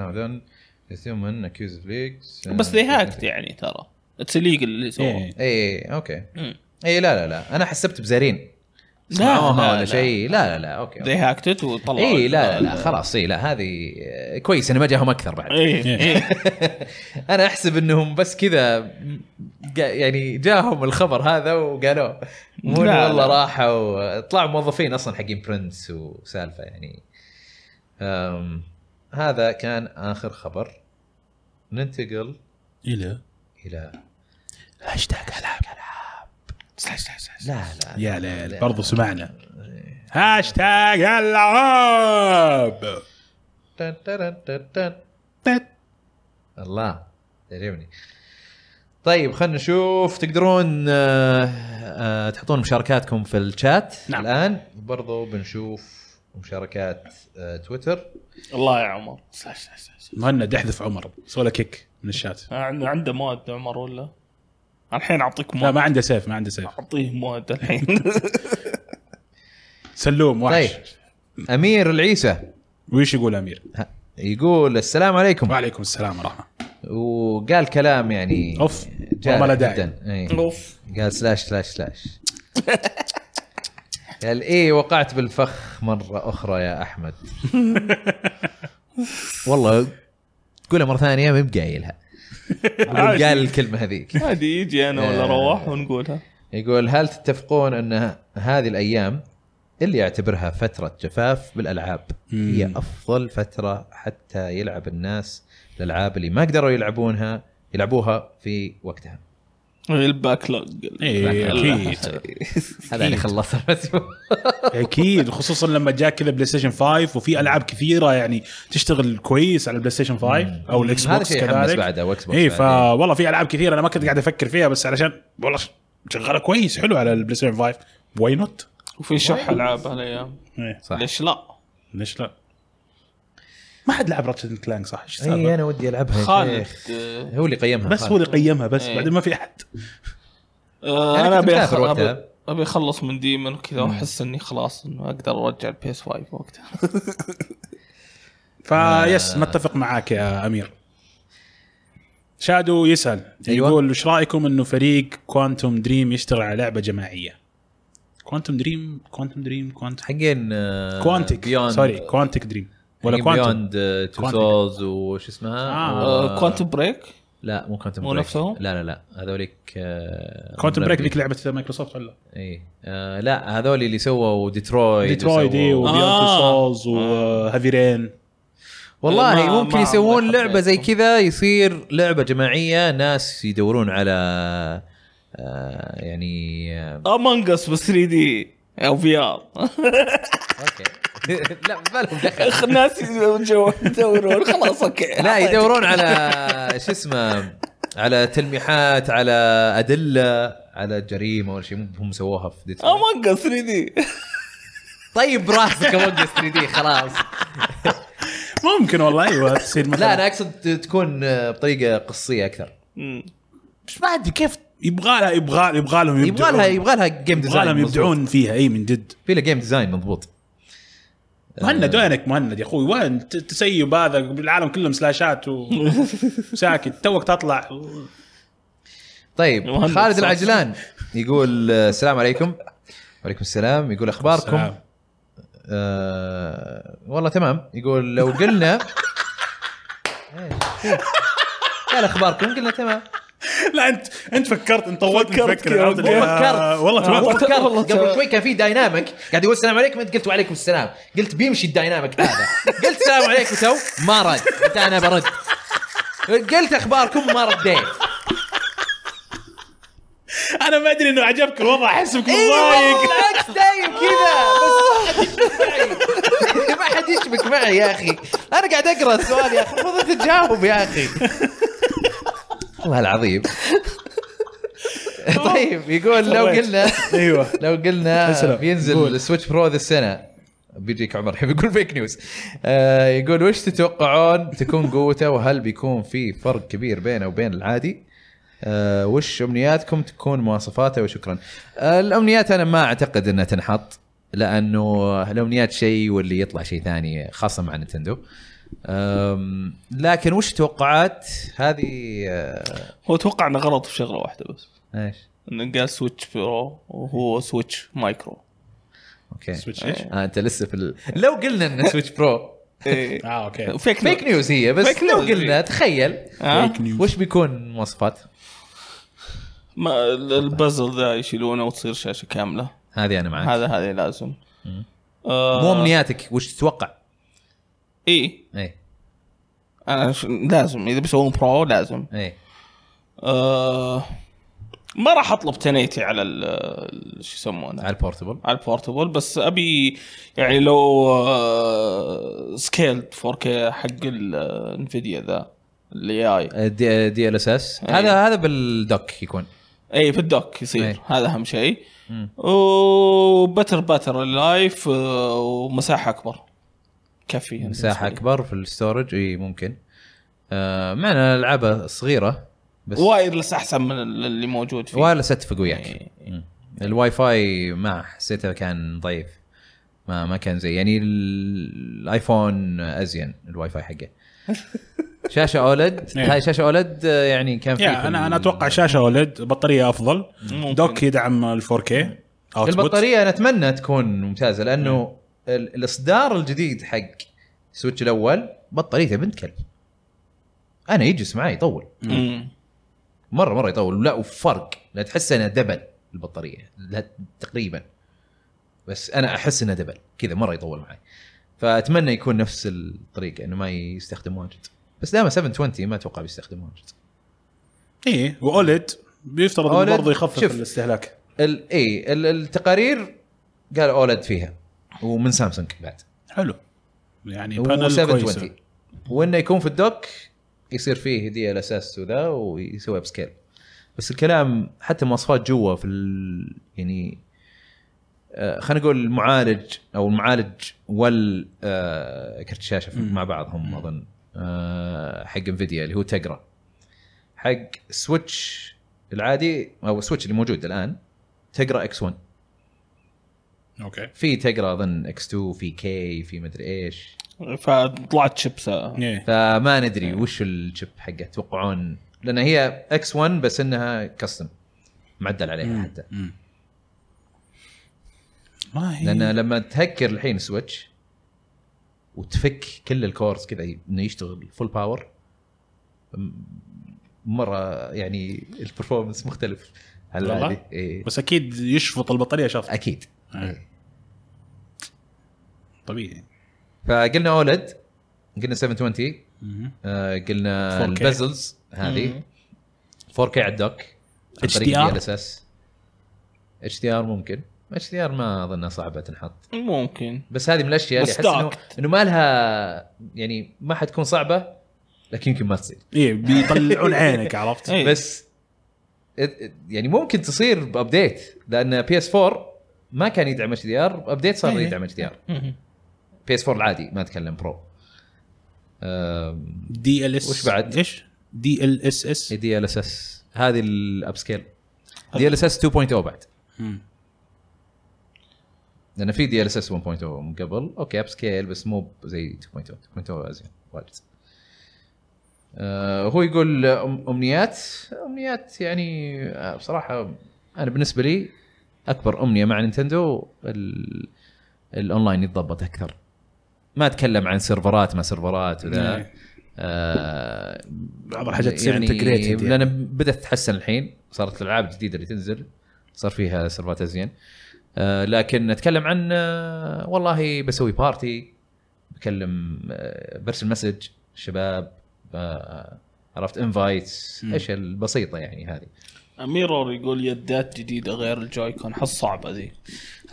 Speaker 3: هيومن اكيوز فليكس
Speaker 1: بس ذي هاكت يعني ترى اتس ليجل اللي سووه
Speaker 2: إيه.
Speaker 3: اي اوكي
Speaker 1: مم.
Speaker 3: اي إيه، لا لا لا انا حسبت بزارين
Speaker 1: لا
Speaker 3: معاها
Speaker 1: لا
Speaker 3: ولا شيء لا لا لا اوكي
Speaker 1: ذي هاكتت وطلعوا
Speaker 2: إيه،
Speaker 3: اي لا لا لا خلاص اي لا هذه آه، كويس انا ما جاهم اكثر
Speaker 1: إيه،
Speaker 3: بعد
Speaker 2: إيه.
Speaker 1: اي إي.
Speaker 3: انا احسب انهم بس كذا م- قا- يعني جاهم الخبر هذا وقالوه مو إنه
Speaker 1: لا،
Speaker 3: والله
Speaker 1: لا.
Speaker 3: راحوا طلعوا موظفين اصلا حقين برنس وسالفه يعني أم هذا كان اخر خبر ننتقل
Speaker 2: الى
Speaker 3: الى
Speaker 2: هاشتاج العاب
Speaker 1: سلاش، سلاش، سلاش.
Speaker 3: لا لا
Speaker 2: يا ليل برضو سمعنا هاشتاج العاب
Speaker 3: تن- تن- تن- تن.
Speaker 1: إيه.
Speaker 3: الله تعجبني طيب خلينا نشوف تقدرون آه، آه، تحطون مشاركاتكم في الشات
Speaker 2: نعم.
Speaker 3: الان برضو بنشوف مشاركات آه، تويتر
Speaker 1: الله يا عمر سلاش، سلاش، سلاش.
Speaker 2: مهند احذف عمر سوى له كيك من الشات
Speaker 1: عنده عنده مواد عمر ولا الحين اعطيك
Speaker 2: لا
Speaker 1: مواد
Speaker 2: ما عنده سيف ما عنده سيف
Speaker 1: اعطيه مواد الحين
Speaker 2: سلوم وحش
Speaker 3: طيب امير العيسى
Speaker 2: ويش يقول امير؟
Speaker 3: ها، يقول السلام عليكم
Speaker 2: وعليكم السلام ورحمه
Speaker 3: وقال كلام يعني
Speaker 2: اوف
Speaker 3: جارح
Speaker 2: والله لا داعي
Speaker 3: جداً. إيه.
Speaker 1: اوف
Speaker 3: قال سلاش سلاش سلاش قال ايه وقعت بالفخ مره اخرى يا احمد والله قولها مره ثانيه ما بقايلها قال الكلمه هذيك
Speaker 1: هذه يجي انا
Speaker 2: إيه.
Speaker 1: ولا روح ونقولها
Speaker 3: يقول هل تتفقون ان هذه الايام اللي يعتبرها فتره جفاف بالالعاب هي افضل فتره حتى يلعب الناس الالعاب اللي ما قدروا يلعبونها يلعبوها في وقتها
Speaker 1: الباك لوج
Speaker 2: إيه، أكيد.
Speaker 3: هذا اللي خلصها بس
Speaker 2: اكيد خصوصا لما جاك كذا بلاي ستيشن 5 وفي العاب كثيره يعني تشتغل كويس على البلاي ستيشن 5 او الاكس
Speaker 3: هذا
Speaker 2: بوكس
Speaker 3: شيء يحمس
Speaker 2: كذلك
Speaker 3: بعده، وإكس بوكس
Speaker 2: اي
Speaker 3: بعد،
Speaker 2: فوالله في العاب كثيره انا ما كنت قاعد افكر فيها بس علشان والله ش- شغاله كويس حلو على البلاي ستيشن 5 واي نوت
Speaker 1: وفي شح العاب هالايام
Speaker 3: إيه. صح
Speaker 1: ليش لا؟
Speaker 2: إيه، ليش لا؟ ما حد لعب راتشت كلانك صح؟ ايش السالفة؟
Speaker 3: اي انا إيه، ودي العبها يا
Speaker 1: خالد
Speaker 3: شيخ.
Speaker 1: آه،
Speaker 3: هو اللي قيمها
Speaker 2: بس
Speaker 3: خالد.
Speaker 2: هو اللي قيمها بس
Speaker 1: إيه.
Speaker 2: بعدين ما في احد
Speaker 1: آه،
Speaker 3: أنا
Speaker 1: انا
Speaker 3: يعني كنت
Speaker 1: ابي
Speaker 3: مسافر
Speaker 1: أخ-
Speaker 3: وقتها.
Speaker 1: أبي- ابي اخلص من ديمن وكذا واحس اني خلاص انه اقدر ارجع البي اس 5 وقتها
Speaker 2: آه. فيس نتفق معاك يا امير شادو يسال
Speaker 3: أيوة.
Speaker 2: أيوة. يقول ايش رايكم انه فريق كوانتوم دريم يشتغل على لعبه جماعيه كوانتوم دريم كوانتوم دريم كوانتوم
Speaker 3: حقين
Speaker 2: آه،
Speaker 3: آه،
Speaker 2: كوانتيك سوري كوانتيك دريم ولا كوانتوم
Speaker 3: بيوند تو
Speaker 2: Quantic.
Speaker 3: سولز آه، وش اسمها
Speaker 2: آه.
Speaker 3: و-
Speaker 1: كوانتم بريك
Speaker 3: لا مو كوانتم
Speaker 1: مو
Speaker 3: بريك
Speaker 1: نفسهم؟
Speaker 3: لا لا لا هذوليك آه،
Speaker 2: كوانتوم بريك
Speaker 3: مدربين.
Speaker 2: ذيك لعبه مايكروسوفت ولا
Speaker 3: اي آه لا هذول اللي سووا ديترويد
Speaker 2: ديترويد اي
Speaker 3: وسووا-
Speaker 2: وبيونت
Speaker 1: آه.
Speaker 2: سولز وهافي رين
Speaker 3: والله
Speaker 1: ما-
Speaker 3: ممكن
Speaker 1: ما
Speaker 3: يسوون
Speaker 1: عمري
Speaker 3: لعبه زي
Speaker 1: حطيتهم.
Speaker 3: كذا يصير لعبه جماعيه ناس يدورون على آه يعني آه
Speaker 1: امونج اس بس 3 دي او في ار
Speaker 3: اوكي لا ما لهم دخل
Speaker 1: ناس يجو- يدورون خلاص اوكي
Speaker 3: لا يدورون على شو اسمه على تلميحات على ادله على جريمه ولا شيء مو هم سووها في ديترويد
Speaker 1: امونج اس 3 دي
Speaker 3: طيب راسك اوقف 3 دي خلاص
Speaker 2: ممكن والله ايوه تصير مثلا
Speaker 3: لا انا اقصد تكون بطريقه قصيه اكثر
Speaker 2: مش ما ادري كيف يبغى لها يبغى يبغى لهم
Speaker 3: يبغى لها يبغى لها جيم ديزاين
Speaker 2: يبغى لهم
Speaker 3: مضبوط.
Speaker 2: يبدعون فيها اي من جد
Speaker 3: في له جيم ديزاين مضبوط
Speaker 1: آه.
Speaker 2: مهند وينك مهند يا اخوي وين ت- تسيب هذا العالم كلهم سلاشات وساكت توك تطلع
Speaker 3: طيب
Speaker 1: مهندس
Speaker 3: خالد
Speaker 1: صح.
Speaker 3: العجلان يقول آه، السلام عليكم وعليكم السلام يقول اخباركم
Speaker 2: سلام.
Speaker 3: آه والله تمام يقول لو قلنا إيش فيه؟ قال اخباركم قلنا تمام
Speaker 2: لا انت انت فكرت انت طولت
Speaker 1: فكرت
Speaker 2: تفكر
Speaker 1: كذا.
Speaker 2: عرفت اللي- آه، والله تمام
Speaker 3: فكرت
Speaker 1: والله
Speaker 3: قبل
Speaker 1: تمام.
Speaker 3: شوي كان في دايناميك قاعد يقول السلام عليكم انت قلت وعليكم السلام قلت بيمشي الدايناميك هذا قلت السلام عليكم تو ما رد قلت انا برد قلت اخباركم ما رديت
Speaker 2: انا ما ادري انه عجبك الوضع احسبك
Speaker 3: ايوه
Speaker 2: متضايق
Speaker 3: بالعكس دايم كذا بس ما حد يشبك معي يا اخي انا قاعد اقرا السؤال يا اخي المفروض أنت تجاوب يا اخي والله العظيم طيب يقول لو قلنا
Speaker 2: ايوه
Speaker 3: لو قلنا
Speaker 2: أسلم.
Speaker 3: بينزل سويتش برو ذا السنه بيجيك عمر الحين بيقول فيك نيوز آه يقول وش تتوقعون تكون قوته وهل بيكون في فرق كبير بينه وبين العادي؟ آه وش امنياتكم تكون مواصفاته وشكرا. آه الامنيات انا ما اعتقد انها تنحط لانه الامنيات شيء واللي يطلع شيء ثاني خاصه مع نتندو. آم، لكن وش توقعات هذه آه،
Speaker 1: هو توقع انه غلط في شغله واحده بس
Speaker 3: ايش؟
Speaker 1: انه قال سويتش برو وهو سويتش مايكرو
Speaker 3: اوكي
Speaker 2: سويتش ايش؟
Speaker 3: آه انت لسه في ال... لو قلنا ان سويتش برو
Speaker 1: إيه.
Speaker 2: اه اوكي
Speaker 1: فيك
Speaker 3: فيك
Speaker 1: نيوز.
Speaker 3: نيوز هي بس
Speaker 1: فيك
Speaker 3: لو
Speaker 1: نيوز
Speaker 3: قلنا
Speaker 1: هي.
Speaker 3: تخيل
Speaker 1: ها؟
Speaker 3: وش بيكون مواصفات
Speaker 1: ما ال- البازل ذا يشيلونه وتصير شاشه كامله
Speaker 3: هذه انا معك
Speaker 1: هذا هذا لازم آه،
Speaker 3: مو امنياتك وش تتوقع إيه،
Speaker 1: اي
Speaker 3: اي
Speaker 1: انا ش... لازم اذا بيسوون برو لازم
Speaker 3: اي
Speaker 1: آه... ما راح اطلب تنيتي على ال... ال- شو يسمونه
Speaker 3: على البورتبل
Speaker 1: على البورتبل بس ابي يعني لو آه، سكيلد 4K حق الانفيديا ذا الاي اي
Speaker 3: دي, دي ال اس اس هذا هذا بالدوك يكون
Speaker 1: اي في الدوك يصير
Speaker 3: أي.
Speaker 1: هذا اهم شيء وبتر باتر اللايف ومساحه اكبر آه، كفي بالنسبة
Speaker 3: مساحه
Speaker 1: لي.
Speaker 3: اكبر في الستورج اي ممكن آه معنا العابه صغيره بس
Speaker 1: وايرلس احسن من اللي موجود فيه
Speaker 3: وايرلس اتفق وياك مم. الواي فاي يعني، إيه. ما حسيته كان ضعيف ما ما كان زي يعني ال- الايفون ازين الواي فاي حقه شاشه اولد
Speaker 2: إيه.
Speaker 3: هاي شاشه اولد يعني كان في
Speaker 2: يا انا انا اتوقع شاشه اولد بطاريه افضل
Speaker 1: ممكن.
Speaker 2: دوك يدعم ال 4K output.
Speaker 3: البطاريه انا اتمنى تكون ممتازه لانه
Speaker 2: إيه.
Speaker 3: ال- الاصدار الجديد حق سويتش الاول بطاريته بنت كلب انا يجلس معي يطول
Speaker 1: مم.
Speaker 3: مره مره يطول لا وفرق لا تحس انها دبل البطاريه لا تقريبا بس انا احس انها دبل كذا مره يطول معي فاتمنى يكون نفس الطريقه انه ما يستخدم واجد بس دائما 720 ما اتوقع بيستخدم واجد
Speaker 2: اي واولد إيه، بيفترض
Speaker 3: OLED
Speaker 2: إنه برضه يخفف
Speaker 3: شوف.
Speaker 2: الاستهلاك
Speaker 3: ال اي ال- التقارير قال اولد فيها ومن سامسونج بعد
Speaker 2: حلو يعني
Speaker 3: و
Speaker 2: بانل كويس
Speaker 3: 720 وانه يكون في الدوك يصير فيه دي ال اس اس وذا ويسويها بسكيل بس الكلام حتى مواصفات جوا في ال... يعني آه، خلينا نقول المعالج او المعالج وال آه، كرت الشاشه في- مع بعضهم اظن آه، حق انفيديا اللي هو تقرا حق سويتش العادي او سويتش اللي موجود الان تقرا اكس 1
Speaker 2: اوكي
Speaker 1: آه.
Speaker 3: في تقرا اظن اكس 2 في كي في مدري ايش
Speaker 1: فطلعت شيبس
Speaker 2: إيه.
Speaker 3: فما ندري وش الشيب حقه تتوقعون لان هي اكس 1 بس انها كاستم معدل عليها حتى
Speaker 2: ما هي
Speaker 3: لان لما تهكر الحين سويتش وتفك كل الكورز كذا انه يشتغل فول باور مره يعني البرفورمنس مختلف هل
Speaker 2: والله؟
Speaker 3: هذه- إيه.
Speaker 2: بس اكيد يشفط البطاريه شفط
Speaker 3: اكيد
Speaker 2: طبيعي
Speaker 3: فقلنا اولد قلنا 720
Speaker 2: مم.
Speaker 3: آه، قلنا
Speaker 2: 4K.
Speaker 3: البزلز هذه 4K على الدوك عن
Speaker 2: HDR
Speaker 3: طريق ال DLSS. HDR ممكن HDR ما اظنها صعبه تنحط
Speaker 1: ممكن
Speaker 3: بس هذه من الاشياء اللي
Speaker 1: بس
Speaker 3: احس انه
Speaker 1: docked.
Speaker 3: انه ما لها يعني ما حتكون صعبه لكن يمكن ما تصير
Speaker 2: ايه بيطلعون عينك عرفت
Speaker 1: إيه.
Speaker 3: بس ات- يعني ممكن تصير بابديت لان بي اس 4 ما كان يدعم اتش دي ار ابديت صار
Speaker 2: إيه.
Speaker 3: يدعم اتش دي ار
Speaker 1: مهم.
Speaker 3: بي اس 4 العادي ما اتكلم برو آم،
Speaker 2: دي ال اس
Speaker 3: وش بعد؟ إيه.
Speaker 2: ايش؟ دي ال اس اس
Speaker 3: دي ال اس اس هذه الاب سكيل دي ال اس اس 2.0 بعد
Speaker 2: مم.
Speaker 3: لان في دي ال اس اس 1.0 من قبل اوكي اب سكيل بس مو زي oh. 2.0 2.0 ازين واجد آه هو يقول أم- امنيات امنيات يعني آه بصراحه انا بالنسبه لي اكبر امنيه مع نينتندو ال- الاونلاين يتضبط اكثر ما اتكلم عن سيرفرات ما سيرفرات ولا
Speaker 2: إيه.
Speaker 3: آه
Speaker 2: بعض الحاجات تصير integrated يعني.
Speaker 3: لان بدات تتحسن الحين صارت الالعاب الجديده اللي تنزل صار فيها سيرفرات ازين آه، لكن اتكلم عن آه، والله بسوي بارتي بكلم آه، برسل مسج شباب آه، عرفت انفايتس ايش البسيطه يعني هذه
Speaker 1: اميرور يقول يدات جديده غير الجويكون حس صعبه ذي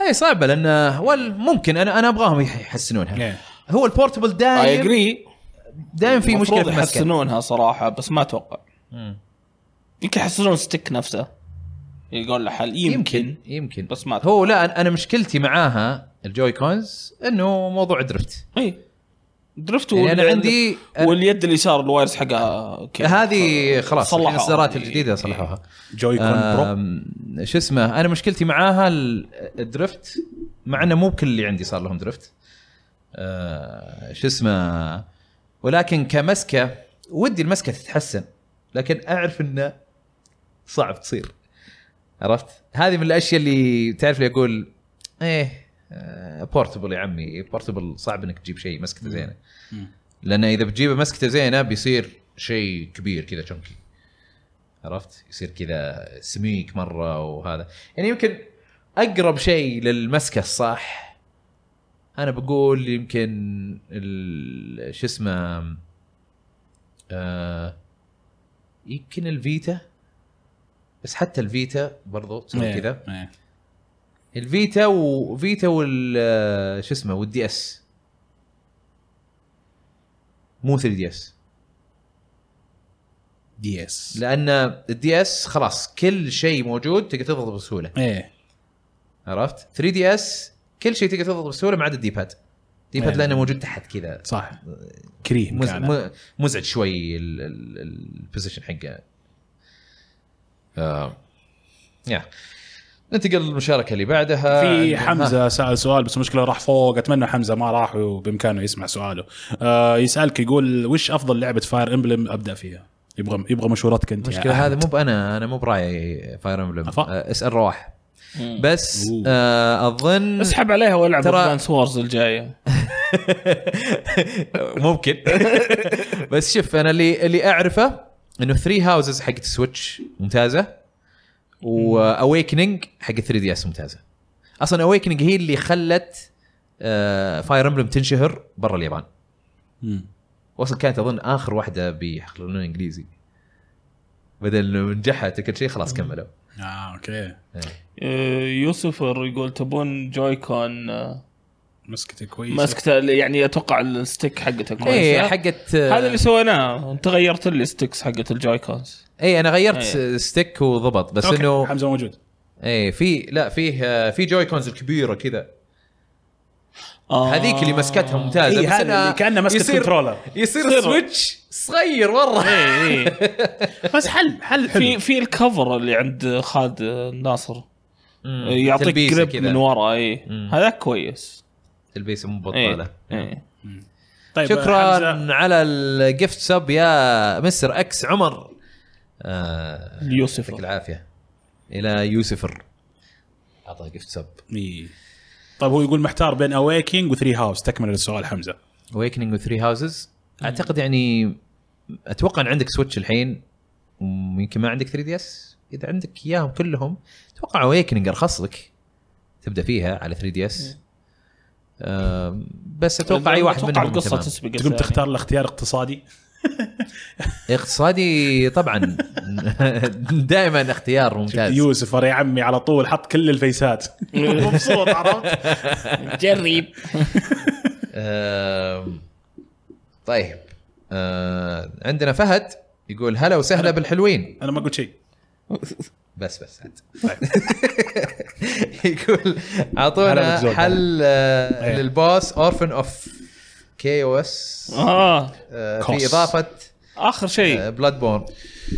Speaker 3: هي صعبه لان وال- ممكن انا انا ابغاهم يح- يحسنونها
Speaker 2: إيه.
Speaker 3: هو البورتبل
Speaker 1: اي
Speaker 3: دايم
Speaker 1: اجري
Speaker 3: دايم آه، في مشكله في المسكن
Speaker 1: يحسنونها صراحه بس ما اتوقع يمكن يحسنون ستيك نفسه يقول له حل يمكن,
Speaker 3: يمكن يمكن
Speaker 1: بس ما
Speaker 3: هو لا أنا- انا مشكلتي معاها الجوي كونز انه موضوع درفت
Speaker 1: اي إيه. درفت
Speaker 3: يعني أنا
Speaker 1: وال-
Speaker 3: عندي-
Speaker 1: واليد اليسار الوايرز حقها كذا. إيه.
Speaker 3: هذه خلاص
Speaker 1: صلحوها.
Speaker 3: الحين الاصدارات الجديده صلحوها
Speaker 2: جوي كون برو
Speaker 3: آم، شو اسمه انا مشكلتي معاها ال- الدرفت مع انه مو بكل اللي عندي صار لهم درفت آه، شو اسمه ولكن كمسكه ودي المسكه تتحسن لكن اعرف انه صعب تصير عرفت هذه من الاشياء اللي تعرف لي اقول ايه بورتبل يا عمي بورتبل صعب انك تجيب شيء مسكته زينه لان اذا بتجيبه مسكته زينه بيصير شيء كبير كذا شنكي عرفت يصير كذا سميك مره وهذا يعني يمكن اقرب شيء للمسكه الصح انا بقول يمكن ال- شو اسمه آه يمكن الفيتا بس حتى الفيتا برضو تسوي كذا
Speaker 2: إيه.
Speaker 3: الفيتا وفيتا وال آه، شو اسمه والدي اس مو 3 دي اس
Speaker 2: دي اس
Speaker 3: لان الدي اس خلاص كل شيء موجود تقدر تضغط بسهوله
Speaker 2: ايه
Speaker 3: عرفت 3 دي اس كل شيء تقدر تضغط بسهوله ما عدا الدي باد الدي باد
Speaker 2: إيه.
Speaker 3: لانه موجود تحت كذا
Speaker 2: صح كريم
Speaker 3: مز...
Speaker 2: كان
Speaker 3: م- مزعج شوي ال- ال- ال- البوزيشن حقه آه. يا ننتقل للمشاركه اللي بعدها
Speaker 2: في
Speaker 3: آه، ها.
Speaker 2: حمزه سال سؤال بس المشكله راح فوق اتمنى حمزه ما راح وبامكانه يسمع سؤاله آه يسالك يقول وش افضل لعبه فاير امبلم ابدا فيها يبغى يبغى مشورتك انت يا
Speaker 3: المشكله
Speaker 2: أحمد.
Speaker 3: هذا مو بانا انا مو برايي فاير امبلم
Speaker 2: أفا.
Speaker 3: اسال رواح
Speaker 1: مم.
Speaker 3: آه، بس
Speaker 2: أوه.
Speaker 3: آه اظن
Speaker 1: اسحب عليها والعب
Speaker 3: ترى-
Speaker 1: ترى... وورز الجايه
Speaker 3: ممكن بس شوف انا اللي اللي اعرفه انه ثري هاوسز حقت سويتش ممتازه واويكننج حق 3 دي اس ممتازه اصلا اويكننج هي اللي خلت فاير امبلم تنشهر برا اليابان
Speaker 2: مم.
Speaker 3: واصلا كانت اظن اخر واحده بيحققون انجليزي بدل إنه نجحت وكل شيء خلاص كملوا
Speaker 2: اه اوكي
Speaker 1: آه، يوسف يقول تبون جويكون آه،
Speaker 2: مسكته كويسه
Speaker 1: مسكته يعني اتوقع الستيك حقته كويسه
Speaker 3: ايه حقت آه،
Speaker 1: هذا اللي سويناه انت غيرت لي ستيكس حقت الجويكونز
Speaker 3: اي انا غيرت
Speaker 1: إيه.
Speaker 3: ستيك وضبط بس
Speaker 2: أوكي،
Speaker 3: انه
Speaker 2: حمزه موجود
Speaker 3: اي في لا فيه آه، في جوي كونز الكبيره كذا
Speaker 1: آه.
Speaker 3: هذيك اللي مسكتها ممتازه
Speaker 2: إيه،
Speaker 3: بس
Speaker 2: هذا
Speaker 3: إنها
Speaker 2: اللي كأنه مسكت
Speaker 3: يصير-
Speaker 2: كنترولر.
Speaker 3: يصير سويتش صغير مره
Speaker 1: ايه ايه
Speaker 2: بس حل حل
Speaker 1: في
Speaker 2: إيه، حلو
Speaker 1: في الكفر اللي عند خالد ناصر إيه، يعطيك
Speaker 3: تلبيسة
Speaker 1: جريب
Speaker 3: كذا.
Speaker 1: من ورا اي
Speaker 3: مم. نعم.
Speaker 1: هذا كويس
Speaker 3: تلبيسه مو بطاله
Speaker 1: ايه ايه
Speaker 2: إيه. طيب
Speaker 3: شكرا
Speaker 2: حمزة،
Speaker 3: على الجفت سب يا مستر اكس عمر آه، يعطيك
Speaker 1: اليوسف
Speaker 3: العافيه الى يوسفر اعطاه جفت سب
Speaker 2: إيه. طيب هو يقول محتار بين اويكينج وثري هاوس تكمل السؤال حمزه
Speaker 3: اويكننج وثري هاوسز اعتقد يعني اتوقع ان عندك سويتش الحين ويمكن ما عندك 3 دي اس اذا عندك اياهم كلهم اتوقع اويكننج ارخص لك تبدا فيها على 3 دي اس بس اتوقع اي واحد
Speaker 1: اتوقع
Speaker 3: منهم
Speaker 1: القصه
Speaker 3: تمام.
Speaker 1: تسبق
Speaker 2: تقوم
Speaker 1: الثاني.
Speaker 2: تختار الاختيار اقتصادي
Speaker 3: اقتصادي طبعا دائما اختيار ممتاز
Speaker 2: يوسف يا عمي على طول حط كل الفيسات مبسوط عرفت
Speaker 1: جرب
Speaker 3: آم، طيب آه، عندنا فهد يقول هلا وسهلا بالحلوين
Speaker 2: انا ما قلت شيء
Speaker 3: بس بس عاد.
Speaker 2: طيب.
Speaker 3: يقول
Speaker 2: هلا
Speaker 3: اعطونا
Speaker 2: بتزود.
Speaker 3: حل آه،
Speaker 2: إيه.
Speaker 3: للبوس اورفن اوف كي او اس
Speaker 1: اه
Speaker 3: آه، في آه،
Speaker 2: كوس.
Speaker 3: اضافه
Speaker 1: اخر شيء
Speaker 3: بلاد بورن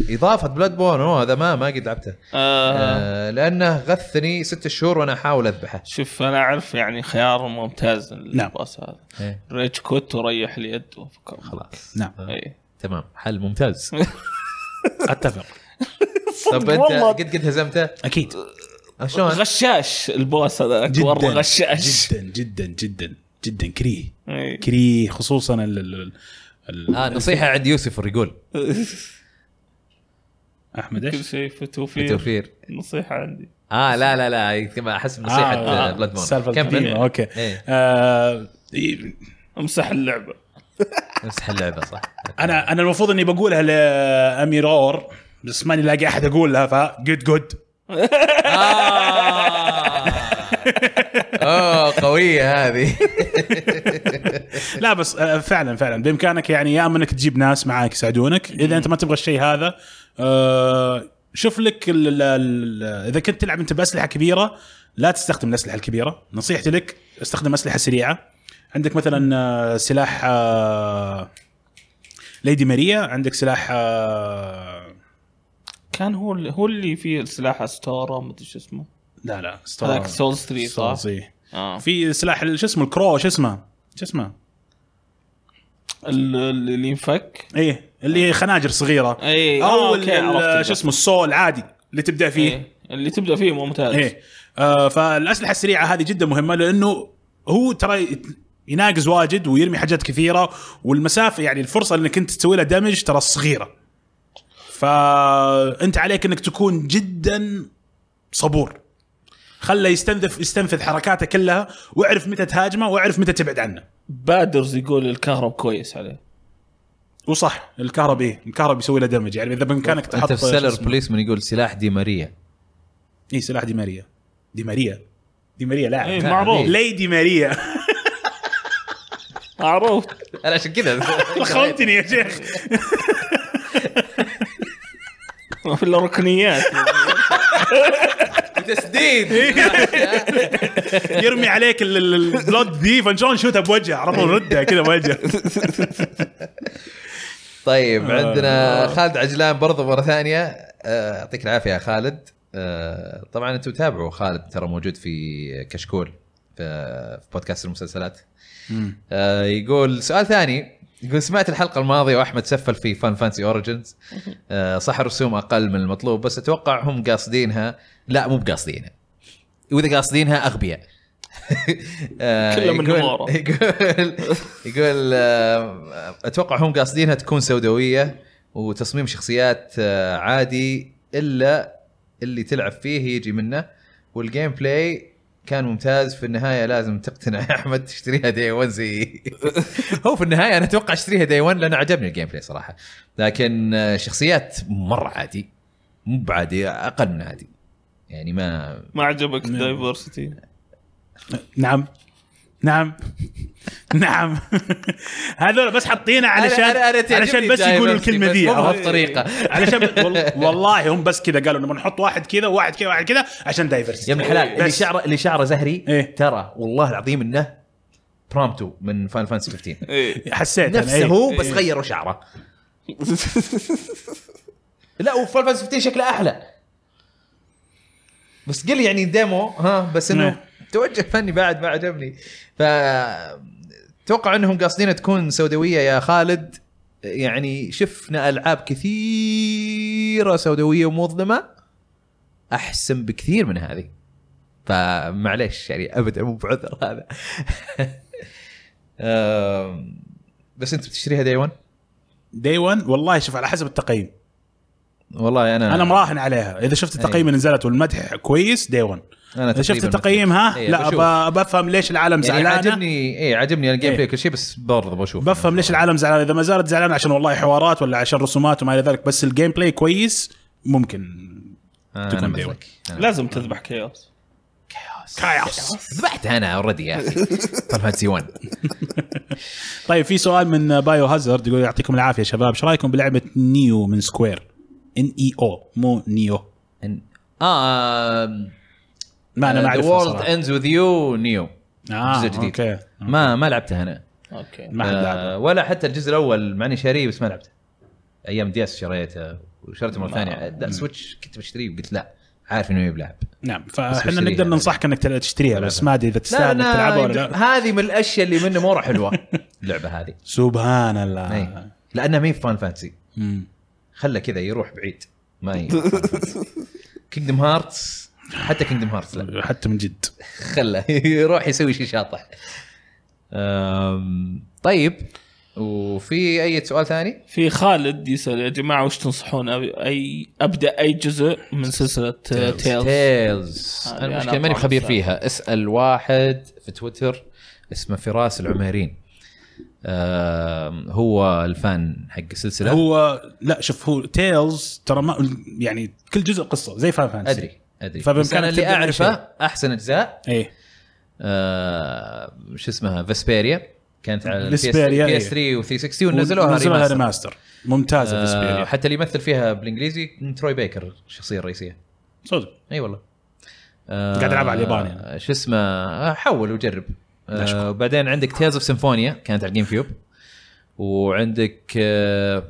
Speaker 3: اضافه بلاد بورن اوه هذا ما ما قد لعبته
Speaker 1: آه.
Speaker 3: آه، لانه غثني ست شهور وانا احاول اذبحه
Speaker 1: شوف انا اعرف يعني خيار ممتاز
Speaker 2: نعم.
Speaker 1: الباص هذا
Speaker 3: إيه،
Speaker 1: ريج كوت وريح اليد وفكر.
Speaker 3: خلاص
Speaker 2: نعم
Speaker 1: إيه.
Speaker 3: تمام حل ممتاز
Speaker 2: اتفق
Speaker 3: طب انت قد قد هزمته
Speaker 2: اكيد
Speaker 3: آه، شلون
Speaker 1: غشاش البوس هذاك والله غشاش
Speaker 2: جدا جدا جدا جدا كريه
Speaker 1: إيه.
Speaker 2: كريه خصوصا ال ال ال
Speaker 3: اه نصيحه عند يوسفر يقول
Speaker 2: احمد
Speaker 1: كل
Speaker 2: ايش؟
Speaker 1: شيء في توفير
Speaker 3: بالتوفير
Speaker 1: نصيحه عندي
Speaker 3: اه لا لا لا كما احس بنصيحه آه بلاد بورن
Speaker 2: السالفه القديمة، اوكي
Speaker 3: إيه.
Speaker 2: آه، إيه،
Speaker 1: امسح اللعبه
Speaker 3: امسح اللعبه صح
Speaker 2: انا انا المفروض اني بقولها لاميرور بس ماني لاقي احد اقولها فجود جود
Speaker 3: آه. اوه قويه هذه
Speaker 2: لا بس آه، فعلا فعلا بامكانك يعني يا اما انك تجيب ناس معاك يساعدونك اذا انت ما تبغى الشيء هذا آه، شوف لك ال- ال- ال- اذا كنت تلعب انت باسلحه كبيره لا تستخدم الاسلحه الكبيره نصيحتي لك استخدم اسلحه سريعه عندك مثلا آه، سلاح آه، ليدي ماريا عندك سلاح آه،
Speaker 1: كان هو اللي هو اللي فيه السلاح استورا مدري شو اسمه
Speaker 2: لا لا ستار
Speaker 1: هذاك سول ستري صح؟
Speaker 2: Souls، إيه.
Speaker 1: اه
Speaker 2: في سلاح ال- شو اسمه الكرو شو اسمه شو اسمه
Speaker 1: ال- ال- اللي ينفك
Speaker 2: ايه اللي خناجر صغيره
Speaker 1: اي
Speaker 2: او
Speaker 1: آه،
Speaker 2: ال-
Speaker 1: أوكي، عرفت
Speaker 2: ال- شو اسمه السول عادي اللي تبدا فيه
Speaker 1: إيه، اللي تبدا فيه ممتاز
Speaker 2: ايه آه فالاسلحه السريعه هذه جدا مهمه لانه هو ترى يت- يناقز واجد ويرمي حاجات كثيره والمسافه يعني الفرصه انك انت تسوي لها دامج ترى صغيره فانت عليك انك تكون جدا صبور خله يستنذف يستنفذ حركاته كلها واعرف متى تهاجمه واعرف متى تبعد عنه
Speaker 1: بادرز يقول الكهرب كويس عليه
Speaker 2: وصح الكهرب ايه الكهرب يسوي له دمج يعني اذا بامكانك تحط
Speaker 3: انت في
Speaker 2: شو
Speaker 3: سيلر
Speaker 2: اسمه؟
Speaker 3: بوليسمان يقول سلاح دي ماريا
Speaker 2: اي سلاح دي ماريا دي ماريا دي ماريا لاعب
Speaker 1: اي
Speaker 2: إيه
Speaker 1: معروف
Speaker 2: ليدي ماريا
Speaker 1: معروف
Speaker 3: انا عشان كذا
Speaker 2: لخمتني يا شيخ
Speaker 1: ما في الا ركنيات
Speaker 3: تسديد
Speaker 2: يرمي عليك ال- ال- البلود ذي فنشون شوتها بوجهه على طول ردها كذا بوجهه
Speaker 3: طيب
Speaker 2: آه.
Speaker 3: عندنا خالد عجلان برضه مره ثانيه آه، يعطيك العافيه يا خالد آه، طبعا انتم تابعوا خالد ترى موجود في كشكول في في بودكاست المسلسلات آه، يقول سؤال ثاني يقول سمعت الحلقه الماضيه واحمد سفل في فان فانسي اوريجنز آه، صح الرسوم اقل من المطلوب بس اتوقع هم قاصدينها لا مو بقاصدينها واذا قاصدينها اغبياء آه،
Speaker 1: كله من
Speaker 3: يقول-
Speaker 1: نمارة.
Speaker 3: يقول يقول آه، اتوقع هم قاصدينها تكون سوداويه وتصميم شخصيات آه، عادي الا اللي تلعب فيه يجي منه والجيم بلاي كان ممتاز في النهايه لازم تقتنع يا احمد تشتريها داي 1 زي هو في النهايه انا اتوقع اشتريها داي 1 لان عجبني الجيم بلاي صراحه لكن آه، شخصيات مره عادي مو بعادي اقل من عادي يعني ما
Speaker 1: ما عجبك الدايفرستي
Speaker 2: نعم نعم نعم هذول بس حاطينه علشان علشان بس يقولوا الكلمه ذي عرفت؟
Speaker 3: بطريقه
Speaker 2: علشان وال- والله هم بس كذا قالوا نبغى نحط واحد كذا وواحد كذا وواحد كذا عشان
Speaker 3: يا
Speaker 2: دايفرسيتي
Speaker 3: ابن الحلال اللي
Speaker 2: بس.
Speaker 3: شعره اللي شعره زهري
Speaker 2: إيه.
Speaker 3: ترى والله العظيم انه برامتو من فان فانسي 15
Speaker 1: ايه
Speaker 2: حسيت أنا،
Speaker 3: نفسه
Speaker 2: إيه.
Speaker 3: هو بس غيروا شعره لا وفان فانسي 15 شكله احلى بس قل يعني ديمو ها بس انه
Speaker 2: نعم.
Speaker 3: توجه فني بعد ما عجبني ف اتوقع انهم قاصدين تكون سوداويه يا خالد يعني شفنا العاب كثيره سوداويه ومظلمه احسن بكثير من هذه فمعليش يعني ابدا مو بعذر هذا آم، بس انت بتشتريها دايما
Speaker 2: دي 1 والله شوف على حسب التقييم
Speaker 3: والله انا
Speaker 2: انا مراهن عليها اذا شفت التقييم اللي نزلت والمدح كويس دي 1
Speaker 3: انا
Speaker 2: اذا شفت
Speaker 3: إيه. تقريباً
Speaker 2: التقييم ها
Speaker 3: إيه،
Speaker 2: لا
Speaker 3: بشوف.
Speaker 2: أبا- بفهم ليش العالم
Speaker 3: يعني
Speaker 2: زعلانه
Speaker 3: عجبني اي عجبني الجيم
Speaker 2: إيه.
Speaker 3: بلاي كل شيء بس برضه بشوف
Speaker 2: بفهم ليش العالم زعلانه اذا ما زالت زعلانه عشان والله حوارات ولا عشان رسومات وما الى ذلك بس الجيم بلاي كويس ممكن
Speaker 3: آه،
Speaker 2: تكون
Speaker 3: انا
Speaker 2: ديوان.
Speaker 3: مثلك أنا
Speaker 1: لازم تذبح كيوس
Speaker 2: كايوس
Speaker 3: ذبحت انا اوريدي يا اخي فان فانتسي 1
Speaker 2: طيب في سؤال من بايو هازارد يقول يعطيكم العافيه يا شباب ايش رايكم بلعبه نيو من سكوير ان اي او مو نيو
Speaker 3: إن- اه
Speaker 2: ما انا ما
Speaker 3: ذا
Speaker 2: اعرفها
Speaker 3: وورلد
Speaker 2: صراحه
Speaker 3: اندز وذ يو نيو
Speaker 2: آه،
Speaker 3: جزء جديد.
Speaker 2: اوكي
Speaker 3: ما ما لعبتها انا
Speaker 1: اوكي
Speaker 2: ما حد لعبها.
Speaker 3: آه، ولا حتى الجزء الاول مع اني شاريه بس ما لعبته ايام دي اس شريته وشريته مره ثانيه لا، سويتش كنت بشتريه وقلت لا عارف انه ما بلعب
Speaker 2: نعم
Speaker 3: بس
Speaker 2: فاحنا
Speaker 3: بشتريها.
Speaker 2: نقدر ننصحك انك تل- تشتريها بس ما ادري اذا تستاهل انك تلعبها ولا لا
Speaker 3: هذه من الاشياء اللي منه مره حلوه اللعبه هذه إيه.
Speaker 2: سبحان
Speaker 3: أي.
Speaker 2: الله
Speaker 3: لانها مين فان فانتسي
Speaker 2: مم.
Speaker 3: خله كذا يروح بعيد ما هي كينجدم هارتس حتى كينجدم هارتس لا
Speaker 2: حتى من جد
Speaker 3: خله يروح يسوي شيء شاطح أم، طيب وفي اي سؤال ثاني؟
Speaker 1: في خالد يسال يا جماعه وش تنصحون أبي- اي ابدا اي جزء من آه، سلسله تيلز
Speaker 3: تيلز
Speaker 1: Uh, هذه
Speaker 3: انا
Speaker 1: أنا
Speaker 3: المشكله ماني خبير
Speaker 1: أطلع
Speaker 3: فيها اسال واحد في تويتر اسمه فراس العميرين أم، هو الفان حق السلسله
Speaker 2: هو لا شوف هو تيلز ترى ما يعني كل جزء قصه زي فاين فانسي
Speaker 3: ادري ادري
Speaker 2: فبإمكانك
Speaker 3: بس انا اللي
Speaker 2: تبدأ من
Speaker 3: اعرفه احسن اجزاء
Speaker 2: ايه
Speaker 3: آه، شو اسمها فيسبيريا كانت على
Speaker 2: فيسبيريا،
Speaker 3: بي
Speaker 2: إيه.
Speaker 3: اس 3 و 360 ونزلوها
Speaker 2: نزلوها
Speaker 3: ريماستر
Speaker 2: ريماستر ممتازه في
Speaker 3: آه،
Speaker 2: سبيريا
Speaker 3: حتى اللي يمثل فيها بالانجليزي تروي بيكر الشخصيه الرئيسيه
Speaker 2: صدق
Speaker 3: اي والله آه،
Speaker 2: قاعد ألعب على الياباني أنا.
Speaker 3: شو اسمه آه، حول وجرب
Speaker 2: لا شكرا.
Speaker 3: آه وبعدين عندك تيلز اوف سيمفونيا كانت على الجيم كيوب وعندك آه،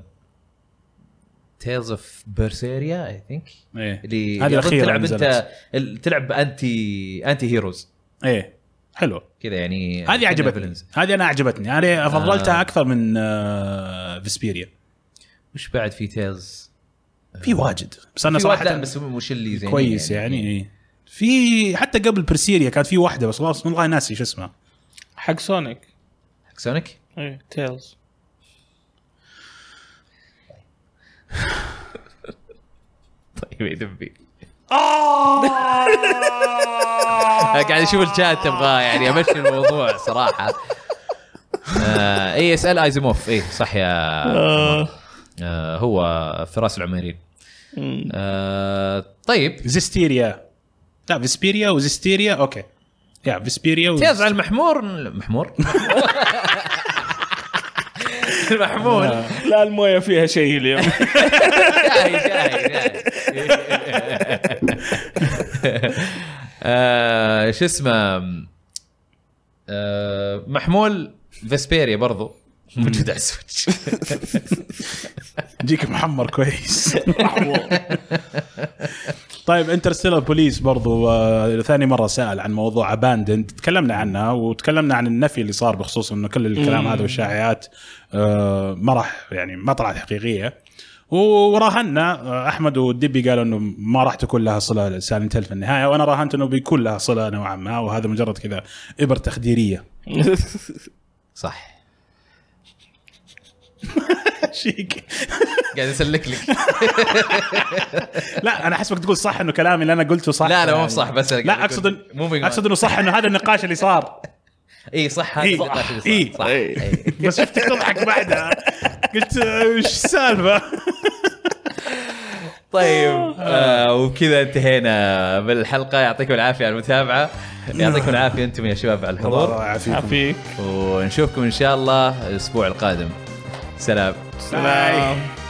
Speaker 3: تيلز اوف بيرسيريا اي ثينك
Speaker 2: ايه
Speaker 3: اللي
Speaker 2: هذه
Speaker 3: اللي أظن
Speaker 2: الاخيره
Speaker 3: تلعب
Speaker 2: نزلت.
Speaker 3: انت ال- تلعب انتي انتي هيروز
Speaker 2: ايه حلو
Speaker 3: كذا يعني
Speaker 2: هذه
Speaker 3: كأنها
Speaker 2: عجبتني
Speaker 3: villains.
Speaker 2: هذه انا عجبتني انا فضلتها
Speaker 3: آه.
Speaker 2: اكثر من آه، فيسبيريا
Speaker 3: وش بعد في تيلز؟
Speaker 2: في واجد بس انا
Speaker 3: في واحد لا
Speaker 2: صراحه
Speaker 3: بس مش اللي زين
Speaker 2: كويس يعني إيه. في حتى قبل برسيريا كانت في واحده بس خلاص والله ناسي شو اسمها
Speaker 1: حق سونيك إيه،
Speaker 3: حق سونيك
Speaker 1: اي تيلز
Speaker 3: طيب يا دبي قاعد اشوف الشات تبغى يعني امشي الموضوع صراحه آه اي اسال ايزموف اي صح يا آه هو فراس العميرين آه طيب
Speaker 2: زيستيريا لا فيسبيريا وزيستيريا اوكي يا فيسبيريا و...
Speaker 3: تيز على المحمور محمور المحمول
Speaker 1: لا المويه فيها شيء اليوم
Speaker 3: شاي شاي شاي. آه، شو اسمه آه، محمول فيسبيريا برضو موجود على السويتش
Speaker 2: جيك محمر كويس طيب انترستيلر بوليس برضو آه، ثاني مره سال عن موضوع اباندند تكلمنا عنها وتكلمنا عن النفي اللي صار بخصوص انه كل الكلام هذا والشائعات آه، ما راح يعني ما طلعت حقيقيه وراهنا آه، احمد والدبي قالوا انه ما راح تكون لها صله سالنت في النهايه وانا راهنت انه بيكون لها صله نوعا ما وهذا مجرد كذا ابر تخديريه
Speaker 3: صح
Speaker 2: شيك
Speaker 3: قاعد اسلك لك
Speaker 2: لا انا حسبك تقول صح انه كلامي اللي انا قلته صح
Speaker 3: لا لا مو
Speaker 2: يعني.
Speaker 3: صح بس أنا
Speaker 2: لا
Speaker 3: قاعد
Speaker 2: اقصد
Speaker 3: أقول
Speaker 2: إن-
Speaker 3: moving on.
Speaker 2: اقصد انه صح انه هذا النقاش اللي صار
Speaker 3: اي صح
Speaker 2: إيه.
Speaker 3: هذا صح صح
Speaker 2: إيه.
Speaker 3: صح.
Speaker 1: إيه.
Speaker 3: إيه.
Speaker 2: بس شفتك تضحك بعدها قلت آه، وش السالفه؟
Speaker 3: طيب آه وبكذا انتهينا بالحلقه يعطيكم العافيه على المتابعه يعطيكم العافيه انتم يا شباب على
Speaker 2: الله
Speaker 3: الحضور
Speaker 2: يعافيكم
Speaker 1: عافيك
Speaker 3: ونشوفكم ان شاء الله الاسبوع القادم سلام
Speaker 1: سلام